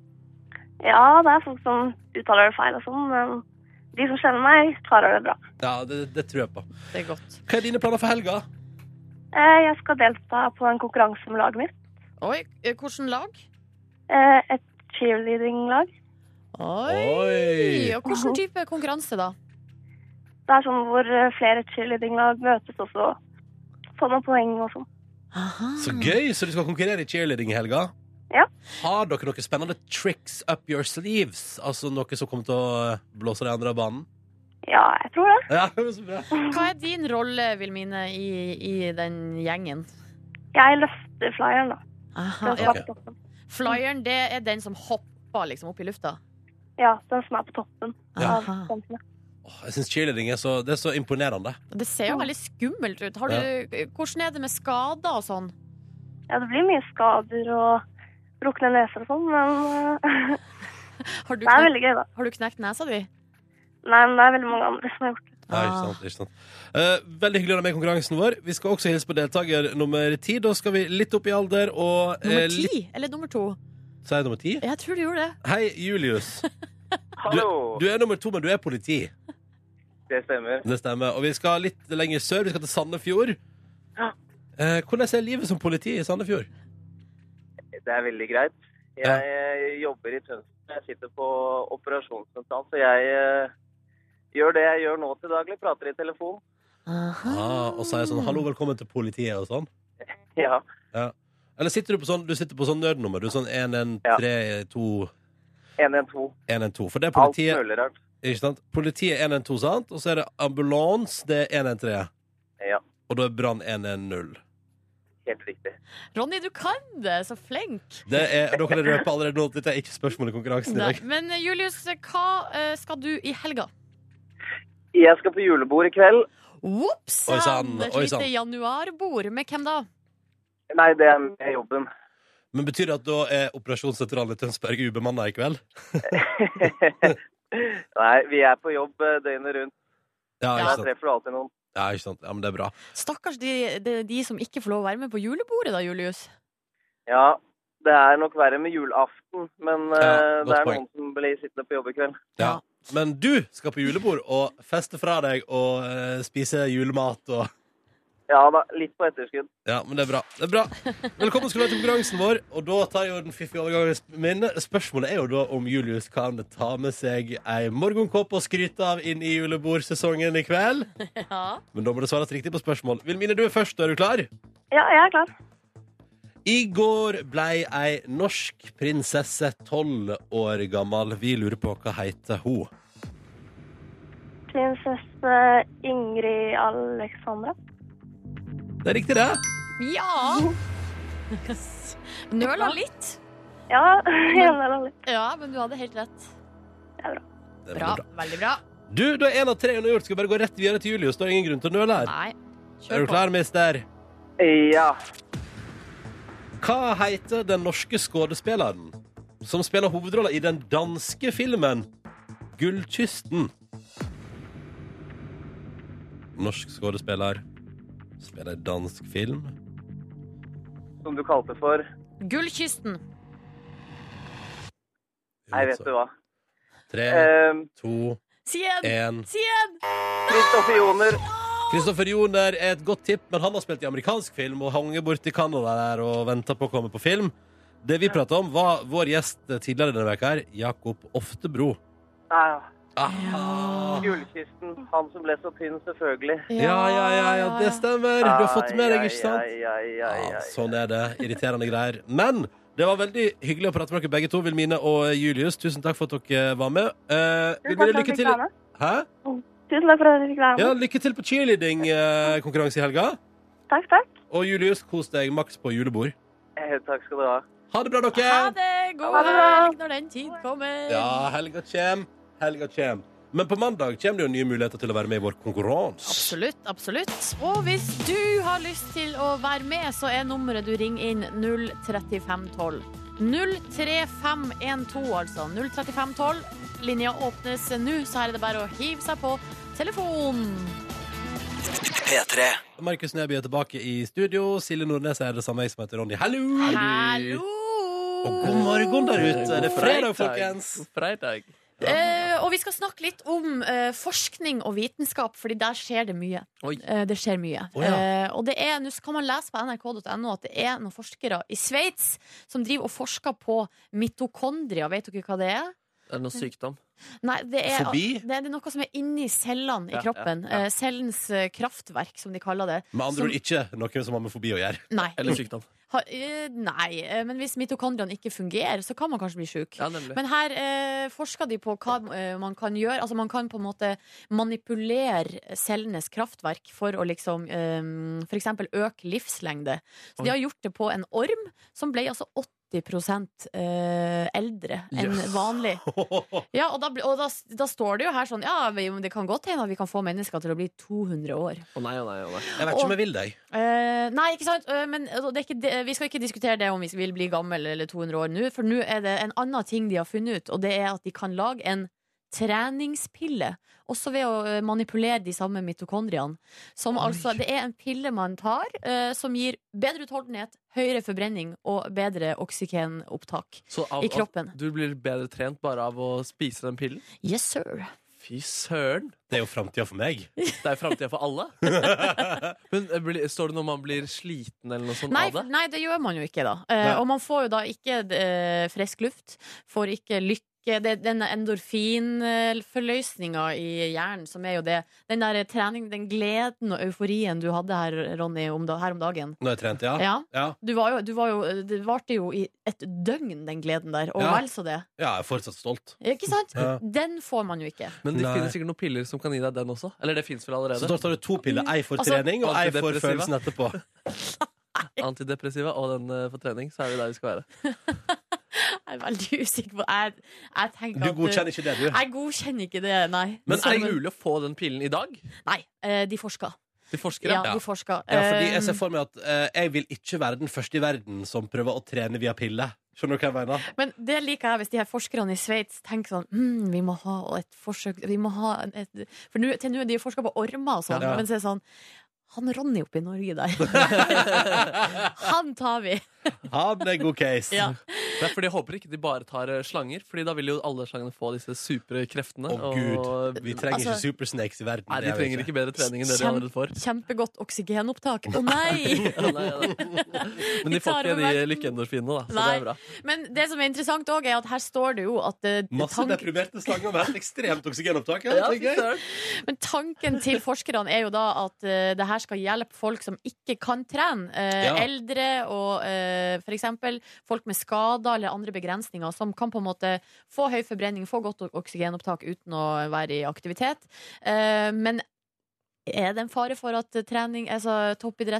Speaker 9: Ja, det er folk som uttaler det feil og sånn, men de som kjenner meg, klarer det bra.
Speaker 2: Ja, det, det tror jeg på.
Speaker 4: Det er godt.
Speaker 2: Hva er dine planer for helga?
Speaker 9: Eh, Jeg skal delta på en konkurranse med laget mitt.
Speaker 4: Oi, eh, hvordan lag?
Speaker 9: Eh, Et cheerleading-lag.
Speaker 4: Oi! Og hvilken type konkurranse, da?
Speaker 9: Det er sånn hvor eh, flere cheerleadinglag møtes, og så får man poeng og sånn.
Speaker 2: Så gøy! Så du skal konkurrere i cheerleading i helga?
Speaker 9: Ja.
Speaker 2: Har dere noen spennende tricks up your sleeves? Altså noe som kommer til å blåse de andre av banen?
Speaker 9: Ja, jeg tror det.
Speaker 2: Ja, så bra.
Speaker 4: Hva er din rolle, Vilmine, i, i den gjengen?
Speaker 9: Jeg løfter flyeren, da.
Speaker 4: Aha,
Speaker 9: Den som
Speaker 4: Ah, ja.
Speaker 9: er på toppen.
Speaker 4: Flyeren, det er den som hopper liksom opp i lufta?
Speaker 9: Ja, den som er på toppen
Speaker 2: Ja.
Speaker 9: av jentene.
Speaker 2: Åh, Jeg syns cheerleading er så, det er så imponerende.
Speaker 4: Det ser jo veldig skummelt ut. Har du, eh, hvordan er det med skader og sånn?
Speaker 9: Ja, det blir mye skader og brukne neser og sånn, men eh,
Speaker 4: Har du,
Speaker 9: det er
Speaker 4: knekt,
Speaker 9: veldig gøy, da.
Speaker 4: har du knekt nesa di?
Speaker 9: Nei, men det er veldig mange andre som har gjort det.
Speaker 2: Ja, ikke
Speaker 9: Ah.
Speaker 2: sant, ikke sant. Eh, veldig hyggelig å ha deg med i konkurransen vår. Vi skal også hilse på deltaker nummer ti. Da skal vi litt opp i alder og eh,
Speaker 4: Nummer
Speaker 2: litt-
Speaker 4: ti? Eller nummer to?
Speaker 2: Sa jeg nummer ti?
Speaker 4: Jeg tror du gjorde det.
Speaker 2: Hei, Julius.
Speaker 10: Hallo!
Speaker 2: Du er nummer to, men du er politi.
Speaker 10: Det stemmer.
Speaker 2: Det stemmer. Og vi skal litt lenger sør. Vi skal til Sandefjord. Eh, hvordan er livet som politi i Sandefjord?
Speaker 10: Det er veldig greit. Jeg
Speaker 2: Ja.
Speaker 10: eh, jobber i Tønsberg. Jeg sitter på operasjonssentral, så jeg eh, gjør det jeg gjør nå til daglig. Prater i telefon.
Speaker 2: Ah, og sier sånn 'hallo, velkommen til politiet' og sånn?
Speaker 10: Ja.
Speaker 2: Eller sitter du på sånn, du sitter på sånn nødnummer? Du er sånn 1132
Speaker 10: 112.
Speaker 2: 112. For det er
Speaker 10: Alt
Speaker 2: politiet,
Speaker 10: mulig rart.
Speaker 2: ikke sant? Politiet 112, sant? Og så er det ambulans, det er 113.
Speaker 10: Ja,
Speaker 2: Og da er brann 110.
Speaker 10: helt riktig.
Speaker 4: Ronny, du kan det! Så flink!
Speaker 2: Det er, da kan jeg røpe allerede nå at dette er ikke spørsmålet i konkurransen i
Speaker 4: Nei.
Speaker 2: dag.
Speaker 4: Men eh, Julius, hva eh, skal du i helga?
Speaker 10: Jeg skal på julebord i kveld.
Speaker 4: Ops!
Speaker 2: Oi sann,
Speaker 4: Et
Speaker 2: oi sann.
Speaker 4: lite januarbord. Med hvem da?
Speaker 10: Nei, det er med jobben.
Speaker 2: Men betyr det at da er operasjonssentralen i Tønsberg ubemanna i kveld?
Speaker 10: Nei, vi er på jobb eh, døgnet rundt.
Speaker 2: Ja,
Speaker 10: Der
Speaker 2: ikke sant?
Speaker 10: treffer du alltid noen.
Speaker 2: Ja, ikke sant? ja, men det er bra.
Speaker 4: Stakkars de, de, de som ikke får lov å være med på julebordet, da, Julius.
Speaker 10: Ja, det er nok verre med julaften, men eh,
Speaker 2: Ja, godt
Speaker 10: det er
Speaker 2: poeng.
Speaker 10: noen som blir sittende på jobb i kveld.
Speaker 2: Ja. Men du skal på julebord og feste fra deg og eh, spise julemat og
Speaker 10: Ja da, litt på etterskudd.
Speaker 2: Ja, men det er bra. Det er bra. Velkommen skal du være til konkurransen vår. Og da tar jeg jo den fiffige overgangen min. Spørsmålet er jo da om Julius kan ta med seg ei morgenkåpe og skryte av inn i julebordsesongen i kveld.
Speaker 4: Ja.
Speaker 2: Men da må det svares riktig på spørsmål. Vilmine, du er først. Er du klar?
Speaker 9: Ja, jeg er klar.
Speaker 2: I går blei ei norsk prinsesse tolv år gammel. Vi lurer på hva heter hun.
Speaker 9: Prinsesse Ingrid Alexandra.
Speaker 2: Det er riktig, det.
Speaker 4: Ja! Nøla litt.
Speaker 9: Ja, jeg er veldig.
Speaker 4: Ja, men du hadde helt rett.
Speaker 2: det er
Speaker 4: Bra.
Speaker 2: veldig bra.
Speaker 4: Veldig bra.
Speaker 2: Du, du er én av tre undergjort. Skal vi bare gå rett videre til Julius. Det er ingen grunn til å nøle her.
Speaker 4: Nei.
Speaker 2: Er
Speaker 4: Kjør
Speaker 2: du
Speaker 4: på.
Speaker 2: klar, mister?
Speaker 10: Ja.
Speaker 2: Hva heter den norske skuespilleren som spiller hovedrollen i den danske filmen Gullkysten? Norsk skuespiller spiller dansk film.
Speaker 10: som du kalte for
Speaker 4: Gullkysten.
Speaker 10: Nei, vet du hva.
Speaker 2: Tre,
Speaker 10: Eh,
Speaker 2: to,
Speaker 4: Si en!
Speaker 2: én
Speaker 4: Si en!
Speaker 10: Kristoffer Joner.
Speaker 2: Kristoffer Joner er et godt tipp, men han har spilt i amerikansk film og hang bort i Canada der og venta på å komme på film. Det vi prata om, var vår gjest tidligere denne veka her, Jakob Oftebro.
Speaker 10: Ah,
Speaker 2: Aha.
Speaker 10: Gullkisten. Han som ble så tynn, selvfølgelig.
Speaker 2: Ja, ja, ja, ja, det stemmer. Du har fått det med deg, ikke sant?
Speaker 10: Ai, ai, ai, ai,
Speaker 2: Ja,
Speaker 10: ai.
Speaker 2: sånn er det. Irriterende greier. Men det var veldig hyggelig å prate med dere begge to, Vilmine og Julius. Tusen takk for at dere var med. Eh,
Speaker 9: Tusen takk
Speaker 2: Vilmine,
Speaker 9: for at
Speaker 2: lykke
Speaker 9: jeg fikk
Speaker 2: til.
Speaker 9: være med.
Speaker 2: Hæ?
Speaker 9: Tusen takk for at jeg fikk være
Speaker 2: Ja,
Speaker 9: med.
Speaker 2: lykke til på cheerleading-konkurranse i helga.
Speaker 9: Takk, takk.
Speaker 2: Og Julius, kos deg maks på julebord.
Speaker 10: Eh, Takk skal du ha.
Speaker 2: Ha det bra, dere.
Speaker 4: Ha det! God
Speaker 9: Ha det bra.
Speaker 4: helg når den tid kommer.
Speaker 2: Ja, helga kjem. Helga kjem. Men på mandag kommer det jo nye muligheter til å være med i vår konkurranse.
Speaker 4: Absolutt, absolutt. Og hvis du har lyst til å være med, så er nummeret du ringer inn 03512. 03512, altså. 03512. Linja åpnes nå, så her er det bare å hive seg på telefonen.
Speaker 11: P3.
Speaker 2: Markus Neby er tilbake i studio. Silje Nordnes er det samme jeg som heter Ronny. Hallo!
Speaker 4: Hallo!
Speaker 2: Og god morgen der
Speaker 3: eh,
Speaker 2: ute. Det er fredag, folkens.
Speaker 3: God Fredag.
Speaker 4: Eh, og vi skal snakke litt om eh, forskning og vitenskap, Fordi der skjer det mye.
Speaker 3: Oi.
Speaker 4: Eh, det skjer mye.
Speaker 2: Å, ja.
Speaker 4: Eh, og det er, nå kan man lese på nrk.no at det er noen forskere i Sveits som driver og forsker på mitokondria. Vet dere hva det er?
Speaker 3: Er det noe sykdom?
Speaker 4: Nei, det er,
Speaker 2: Fobi?
Speaker 4: det er noe som er inni cellene i
Speaker 3: Ja, ja,
Speaker 4: kroppen.
Speaker 3: ja.
Speaker 4: Eh, Cellens eh, kraftverk, som de kaller det.
Speaker 2: Med andre
Speaker 4: Som-
Speaker 2: ord ikke noe som har med fobi å gjøre.
Speaker 4: Nei.
Speaker 3: Eller sykdom?
Speaker 4: Ha, eh, nei, eh, men hvis mitokondriene ikke fungerer, så kan man kanskje bli sjuk.
Speaker 3: Ja, nemlig.
Speaker 4: Men her eh, forsker de på hva eh, man kan gjøre. Altså Man kan på en måte manipulere cellenes kraftverk for å liksom eh, f.eks. øke livslengde. Så
Speaker 3: Oi.
Speaker 4: de har gjort det på en orm som ble altså 80 eh, eldre enn
Speaker 3: Jøss.
Speaker 4: vanlig. Ja, Og, da, bli- og da, da står det jo her sånn Ja, men det kan godt hende at vi kan få mennesker til å bli 200 år.
Speaker 3: Å nei, å nei, å nei.
Speaker 2: Jeg vet ikke om jeg vil deg.
Speaker 4: Eh, nei, ikke sant? Eh, men altså, det er ikke det, vi skal ikke diskutere det om vi vil bli gammel eller 200 år nå, for nå er det en annen ting de har funnet ut, og det er at de kan lage en treningspille, også ved å eh, manipulere de samme mitokondriene. Som altså, det er en pille man tar eh, som gir bedre utholdenhet, høyere forbrenning og bedre oksygenopptak
Speaker 3: Så av,
Speaker 4: i kroppen.
Speaker 3: av- du blir bedre trent bare av å spise den pillen?
Speaker 4: Yes, sir.
Speaker 3: Fy søren!
Speaker 2: Det er jo framtida for meg.
Speaker 3: Det er jo framtida for alle. Men eh, blir- står det når man blir sliten eller noe sånt
Speaker 4: Nei,
Speaker 3: av det?
Speaker 4: nei, det gjør man jo ikke, da. Eh,
Speaker 3: Nei.
Speaker 4: og man får jo da ikke eh, frisk luft, får ikke lykke. Det, den endorfinforløsninga i hjernen, som er jo det Den der trening, den gleden og euforien du hadde her, Ronny, om da, her om dagen.
Speaker 2: Når jeg trente, ja.
Speaker 4: Ja.
Speaker 2: Ja,
Speaker 4: Du var jo, du var jo, det varte jo i et døgn, den gleden der. Og
Speaker 2: Ja.
Speaker 4: vel så det.
Speaker 2: ja jeg er fortsatt stolt.
Speaker 4: Ikke sant?
Speaker 2: Ja.
Speaker 4: Den får man jo ikke.
Speaker 3: Men det
Speaker 2: Nei.
Speaker 3: finnes sikkert noen piller som kan gi deg den også? Eller det finnes vel
Speaker 2: Så
Speaker 3: allerede?
Speaker 2: da tar du to piller. Ei for
Speaker 4: Altså,
Speaker 2: trening, og ei for følelsen
Speaker 3: antidepressiva.
Speaker 2: etterpå.
Speaker 3: Antidepressiva og den eh, for trening, så er vi der vi skal være.
Speaker 4: Jeg er veldig usikker på Jeg, jeg tenker
Speaker 2: Du
Speaker 4: at
Speaker 2: godkjenner ikke det, du.
Speaker 4: Jeg godkjenner ikke det, nei.
Speaker 3: Men er
Speaker 4: Som-
Speaker 3: det mulig å få den pillen i dag?
Speaker 4: Nei, eh, de forsker.
Speaker 3: De forskere?
Speaker 4: Ja,
Speaker 2: Ja.
Speaker 4: de forsker.
Speaker 2: Ja, fordi
Speaker 4: Eh,
Speaker 2: jeg ser for meg at eh, jeg vil ikke være den første i verden som prøver å trene via pille. Skjønner du hva jeg mener?
Speaker 4: Men det liker jeg hvis de her forskerne i Sveits tenker sånn mm, Vi må ha et forsøk vi må ha en- et, For nå- til nå er de jo forska på ormer og sånn,
Speaker 2: Ja.
Speaker 4: men så er det sånn Han Ronny oppe i Norge der, han tar vi!
Speaker 2: Ha det er god case.
Speaker 4: Ja.
Speaker 3: Nei, for de håper ikke de bare tar eh, slanger, Fordi da vil jo alle slangene få disse supre kreftene.
Speaker 2: Å
Speaker 3: og-
Speaker 2: gud, vi trenger
Speaker 4: Altså-
Speaker 2: ikke supersnakes i verden.
Speaker 3: Nei, de
Speaker 2: det er vi
Speaker 3: trenger ikke bedre trening enn det de
Speaker 4: Kjem-
Speaker 3: allerede får.
Speaker 4: Kjempegodt oksygenopptak. Å nei!
Speaker 3: Ja, nei, ja, nei. Men
Speaker 4: Vi
Speaker 3: de får
Speaker 4: tar
Speaker 3: ikke
Speaker 4: over
Speaker 3: de
Speaker 4: verden.
Speaker 3: lykkeendorfinene, da. Så det
Speaker 4: Nei.
Speaker 3: er bra.
Speaker 4: Men det som er interessant òg, er at her står det jo at eh,
Speaker 2: Masse
Speaker 4: tank,
Speaker 2: deprimerte slanger med et ekstremt oksygenopptak. Ja,
Speaker 3: Ja,
Speaker 2: det
Speaker 3: fy
Speaker 2: er gøy.
Speaker 3: søren.
Speaker 4: Men tanken til forskerne er jo da at eh, det her skal hjelpe folk som ikke kan trene. Eh,
Speaker 2: Ja.
Speaker 4: Eldre og eh, for eksempel folk med skader eller andre begrensninger som kan på en måte få høy forbrenning, få godt ok- oksygenopptak uten å være i aktivitet. Eh, men er det en fare for at trening, altså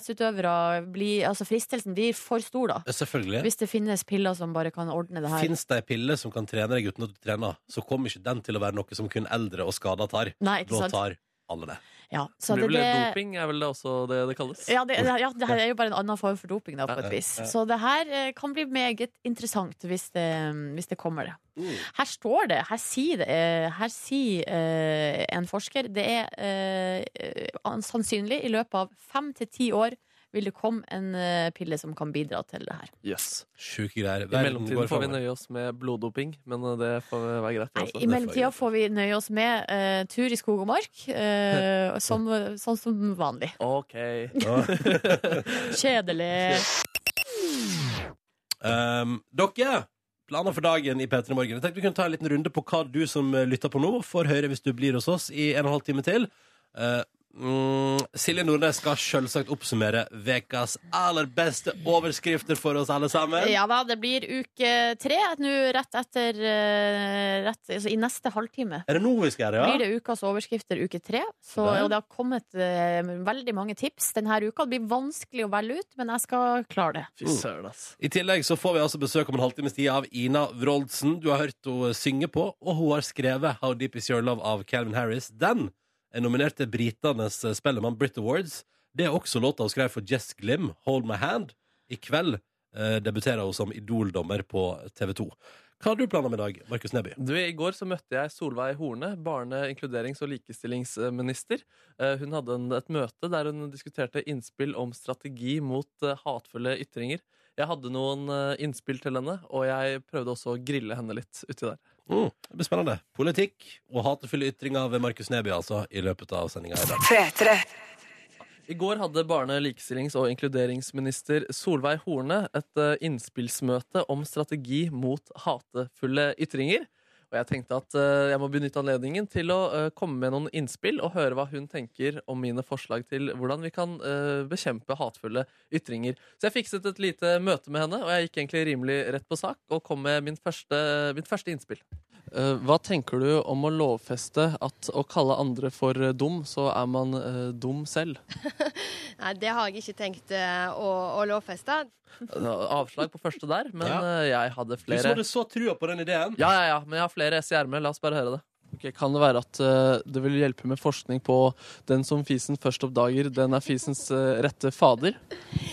Speaker 4: toppidrettsutøvere blir, altså fristelsen blir for stor, da?
Speaker 2: Selvfølgelig.
Speaker 4: Hvis det finnes piller som bare kan ordne det her.
Speaker 2: Fins det ei pille som kan trene deg uten at du trener, så kommer ikke den til å være noe som kun eldre og skada tar.
Speaker 4: Nei, ikke
Speaker 2: Da
Speaker 4: sant?
Speaker 2: tar alle det.
Speaker 4: Ja,
Speaker 3: Så
Speaker 4: så
Speaker 3: blir
Speaker 4: det,
Speaker 3: det vel
Speaker 4: det,
Speaker 3: doping, er vel det også det det kalles?
Speaker 4: Ja, det, ja, det her er jo bare en annen form for doping, da, på
Speaker 3: Ja,
Speaker 4: et
Speaker 2: ja,
Speaker 4: vis.
Speaker 2: ja.
Speaker 4: Så det her eh, kan bli meget interessant hvis det, hvis det kommer, det.
Speaker 3: Mm.
Speaker 4: Her står det, her sier, det, eh, her sier eh, en forsker det er eh, an- sannsynlig i løpet av fem til ti år vil det komme en eh, pille som kan bidra til det her.
Speaker 3: Yes.
Speaker 2: Sjuke greier.
Speaker 3: I
Speaker 2: Verden
Speaker 3: mellomtiden
Speaker 2: går
Speaker 3: får vi
Speaker 2: framover.
Speaker 3: nøye oss med bloddoping, men eh, det får være greit. det
Speaker 4: Nei,
Speaker 3: også.
Speaker 4: I mellomtida får vi nøye oss med eh, tur i skog og mark, eh, som, sånn som vanlig.
Speaker 3: Ok.
Speaker 4: Kjedelig.
Speaker 2: Um, dere, planer for dagen i P3 Morgen. Jeg tenkte vi kunne ta en liten runde på hva du som eh, lytter på nå, får høre hvis du blir hos oss i en og en halv time til. Eh, mm, Silje Nordnes skal selvsagt oppsummere vekas aller beste overskrifter for oss alle sammen.
Speaker 4: Ja da, det blir uke tre nå rett etter eh, rett, altså I neste halvtime
Speaker 2: Er det nå vi skal gjøre
Speaker 4: blir
Speaker 2: det?
Speaker 4: det ukas overskrifter uke tre. Så,
Speaker 2: Der.
Speaker 4: og det har kommet eh, veldig mange tips denne uka. Det blir vanskelig å velge ut, men jeg skal klare det.
Speaker 1: Uh.
Speaker 3: Fy søren, ass.
Speaker 2: I tillegg så får vi altså besøk om en halvtimes tid av Ina Wroldsen. Du har hørt henne synge på, og hun har skrevet How Deep Is Your Love av Calvin Harris. Den er nominert til britenes Spellemann Brit Awards. Det er også låta hun skrev for Jess Glim, Hold My Hand. I kveld eh, debuterer hun som idoldommer på TV 2. Hva har du planer med i dag, Markus Neby?
Speaker 3: Du, I går så møtte jeg Solveig Horne, barne-, inkluderings- og likestillingsminister. Eh, Hun hadde en, et møte der hun diskuterte innspill om strategi mot eh, hatefulle ytringer. Jeg hadde noen eh, innspill til henne, og jeg prøvde også å grille henne litt uti der.
Speaker 2: Mm, det blir spennende. Politikk og hatefulle ytringer ved Markus Neby, altså, i løpet av sendinga i dag.
Speaker 3: I går hadde barne-, likestillings- og inkluderingsminister Solveig Horne et eh, innspillsmøte om strategi mot hatefulle ytringer. Og jeg tenkte at eh, jeg må benytte anledningen til å eh, komme med noen innspill og høre hva hun tenker om mine forslag til hvordan vi kan eh, bekjempe hatefulle ytringer. Så jeg fikset et lite møte med henne, og jeg gikk egentlig rimelig rett på sak og kom med min første, mitt første innspill. Eh, Hva tenker du om å lovfeste at å kalle andre for eh, dum, så er man eh, dum selv?
Speaker 12: Nei, det har jeg ikke tenkt eh, å, å lovfeste.
Speaker 3: Eh, Avslag på første der, men
Speaker 2: Ja.
Speaker 3: eh, jeg hadde
Speaker 2: Du
Speaker 3: flere.
Speaker 2: som hadde så trua på den ideen.
Speaker 3: Ja, ja, ja, men jeg har flere S i ermet. La oss bare høre det. kan det være at eh, det vil hjelpe med forskning på den som fisen først oppdager, den er fisens eh, rette fader?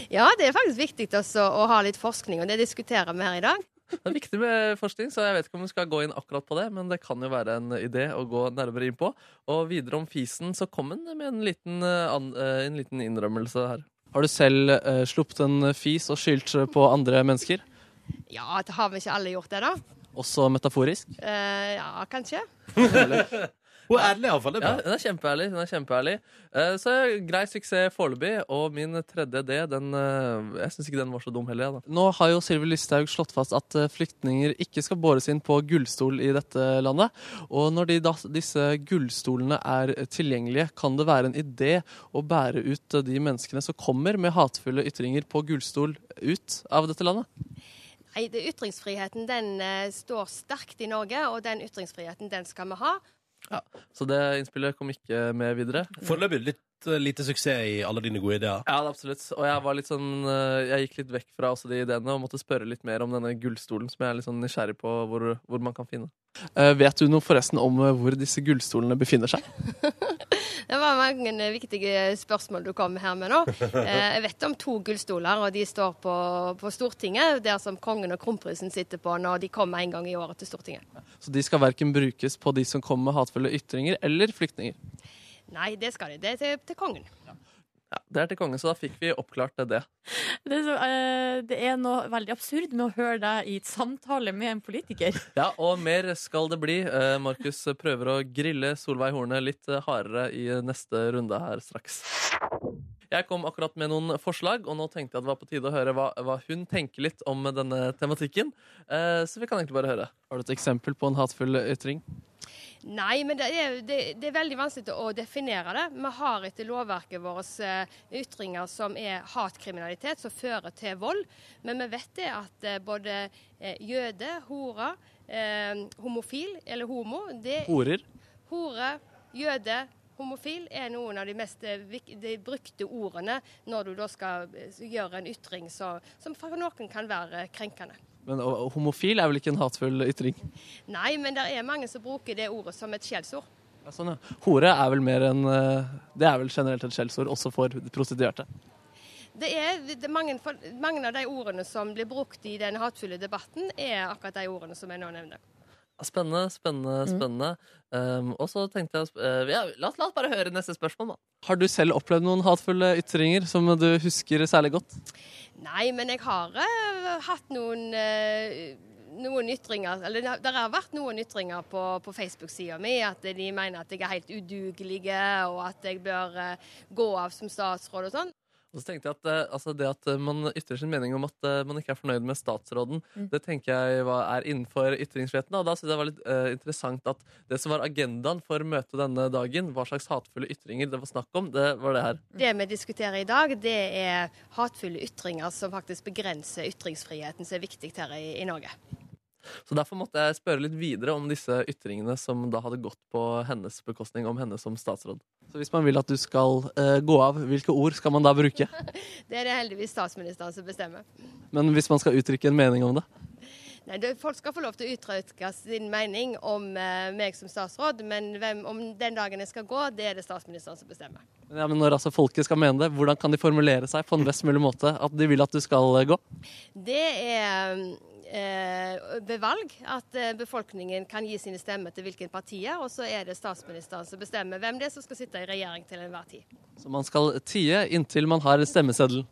Speaker 12: Ja, det er faktisk viktig også å ha litt forskning, og det diskuterer vi her i dag.
Speaker 3: Det er viktig med forskning, så jeg vet ikke om vi skal gå inn akkurat på det, men det kan jo være en idé å gå nærmere inn på. Og videre om fisen, så kom han med en liten, eh, an, eh, en liten innrømmelse her. Har du selv eh, sluppet en fis og skyldt på andre mennesker?
Speaker 12: Ja, det har vi ikke alle gjort det, da?
Speaker 3: Også metaforisk?
Speaker 12: Eh, ja, kanskje.
Speaker 2: Hun er ærlig, iallfall. Det er
Speaker 3: Ja,
Speaker 2: bra.
Speaker 3: hun er kjempeærlig. Hun er kjempeærlig. Eh, Så grei suksess foreløpig. Og min tredje D, den eh, Jeg syns ikke den var så dum heller, jeg, da. Nå har jo Sylvi Listhaug slått fast at eh, flyktninger ikke skal båres inn på gullstol i dette landet. Og når de da, disse gullstolene er tilgjengelige, kan det være en idé å bære ut eh, de menneskene som kommer med hatefulle ytringer på gullstol, ut av dette landet?
Speaker 12: Nei, det, ytringsfriheten den eh, står sterkt i Norge, og den ytringsfriheten den skal vi ha.
Speaker 3: Så det innspillet kom ikke med videre.
Speaker 2: Foreløpig litt eh, lite suksess i alle dine gode ideer.
Speaker 3: Ja, det er absolutt. Og jeg, var litt sånn, eh, jeg gikk litt vekk fra også de ideene og måtte spørre litt mer om denne gullstolen, som jeg er litt sånn nysgjerrig på hvor, hvor man kan finne. Eh, vet du noe forresten om eh, hvor disse gullstolene befinner seg?
Speaker 12: Det var mange eh, viktige spørsmål du kom her med nå. Eh, jeg vet om to gullstoler, og de står på, på Stortinget, der som kongen og kronprinsen sitter på når de kommer en gang i året til Stortinget.
Speaker 3: Så de skal verken brukes på de som kommer med hatefulle ytringer, eller flyktninger.
Speaker 12: Nei, det skal de. Det er til, til kongen.
Speaker 3: Ja, Det er til kongen, så da fikk vi oppklart det.
Speaker 6: Det er, så, eh, det er noe veldig absurd med å høre deg i et samtale med en politiker.
Speaker 3: Ja, og mer skal det bli. Eh, Markus prøver å grille Solveig Horne litt eh, hardere i neste runde her straks. Jeg kom akkurat med noen forslag, og nå tenkte jeg at det var på tide å høre hva, hva hun tenker litt om denne tematikken. Eh, så vi kan egentlig bare høre. Har du et eksempel på en hatefull ytring?
Speaker 12: Nei, men det er, det, det er veldig vanskelig å definere det. Vi har etter lovverket vårt eh, ytringer som er hatkriminalitet, som fører til vold. Men vi vet det at eh, både eh, jøde, hore, eh, homofil eller homo det,
Speaker 3: Horer?
Speaker 12: Hore, jøde, homofil er noen av de mest eh, vik- de brukte ordene når du da skal eh, gjøre en ytring som- som for noen kan være eh, krenkende.
Speaker 3: Men og- og homofil er vel ikke en hatefull ytring?
Speaker 12: Nei, men det er mange som bruker det ordet som et skjellsord.
Speaker 3: Ja, sånn, ja. Hore er vel mer en eh, Det er vel generelt et skjellsord, også for prostituerte.
Speaker 12: Det er, det er mange, for, mange av de ordene som blir brukt i den hatefulle debatten, er akkurat de ordene som jeg nå nevner.
Speaker 3: Spennende, spennende, spennende. Um, og så tenkte jeg å sp- eh, ja, la, oss- la oss bare høre neste spørsmål, da. Har du selv opplevd noen hatefulle ytringer som du husker særlig godt?
Speaker 12: Nei, men jeg har eh, hatt noen, eh, noen ytringer Eller det har- det har vært noen ytringer på, på Facebook-sida mi at de mener at jeg er helt udugelig, og at jeg bør eh, gå av som statsråd og sånn.
Speaker 3: Og så tenkte jeg at eh, altså Det at eh, man ytrer sin mening om at eh, man ikke er fornøyd med statsråden, det tenker jeg var, er innenfor ytringsfriheten. da. Og da synes jeg det var litt eh, interessant at det som var agendaen for møtet denne dagen, hva slags hatefulle ytringer det var snakk om, det var det her.
Speaker 12: Det vi diskuterer i dag, det er hatefulle ytringer som faktisk begrenser ytringsfriheten, som er viktig her i, i Norge.
Speaker 3: Så derfor måtte jeg spørre litt videre om disse ytringene som da hadde gått på hennes bekostning, om henne som statsråd. Så hvis man vil at du skal eh, gå av, hvilke ord skal man da bruke?
Speaker 12: Det er det heldigvis statsministeren som bestemmer.
Speaker 3: Men hvis man skal uttrykke en mening om det?
Speaker 12: Nei, det, Folk skal få lov til å uttrykke sin mening om eh, meg som statsråd, men hvem, om den dagen jeg skal gå, det er det statsministeren som bestemmer.
Speaker 3: Ja, men når altså folket skal mene det, hvordan kan de formulere seg på en best mulig måte at de vil at du skal eh, gå?
Speaker 12: Det er eh, ved valg at eh, befolkningen kan gi sine stemmer til hvilken partier, og så er det statsministeren som bestemmer hvem det er som skal sitte i regjering til enhver tid.
Speaker 3: Så man skal tie inntil man har stemmeseddelen.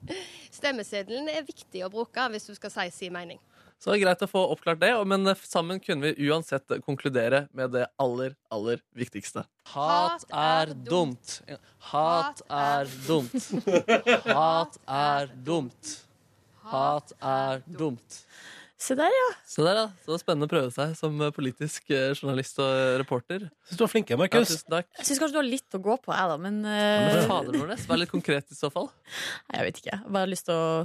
Speaker 12: Stemmeseddelen er viktig å bruke hvis du skal si sin mening.
Speaker 3: Så det er greit å få oppklart det, og- men eh, sammen kunne vi uansett konkludere med det aller, aller viktigste. Hat er dumt. Hat er dumt. Hat er dumt. Hat er dumt.
Speaker 6: Se der, ja.
Speaker 3: Så der, ja. Så det er spennende å prøve seg som eh, politisk eh, journalist og reporter.
Speaker 2: Syns du var flink, jeg, Markus.
Speaker 3: Ja, tusen takk.
Speaker 6: Jeg syns kanskje du har litt å gå på, jeg, da, men
Speaker 3: Men
Speaker 6: eh,
Speaker 3: fader, Nordnes, vær litt konkret i så fall.
Speaker 6: Nei, jeg vet ikke. Jeg har bare lyst til å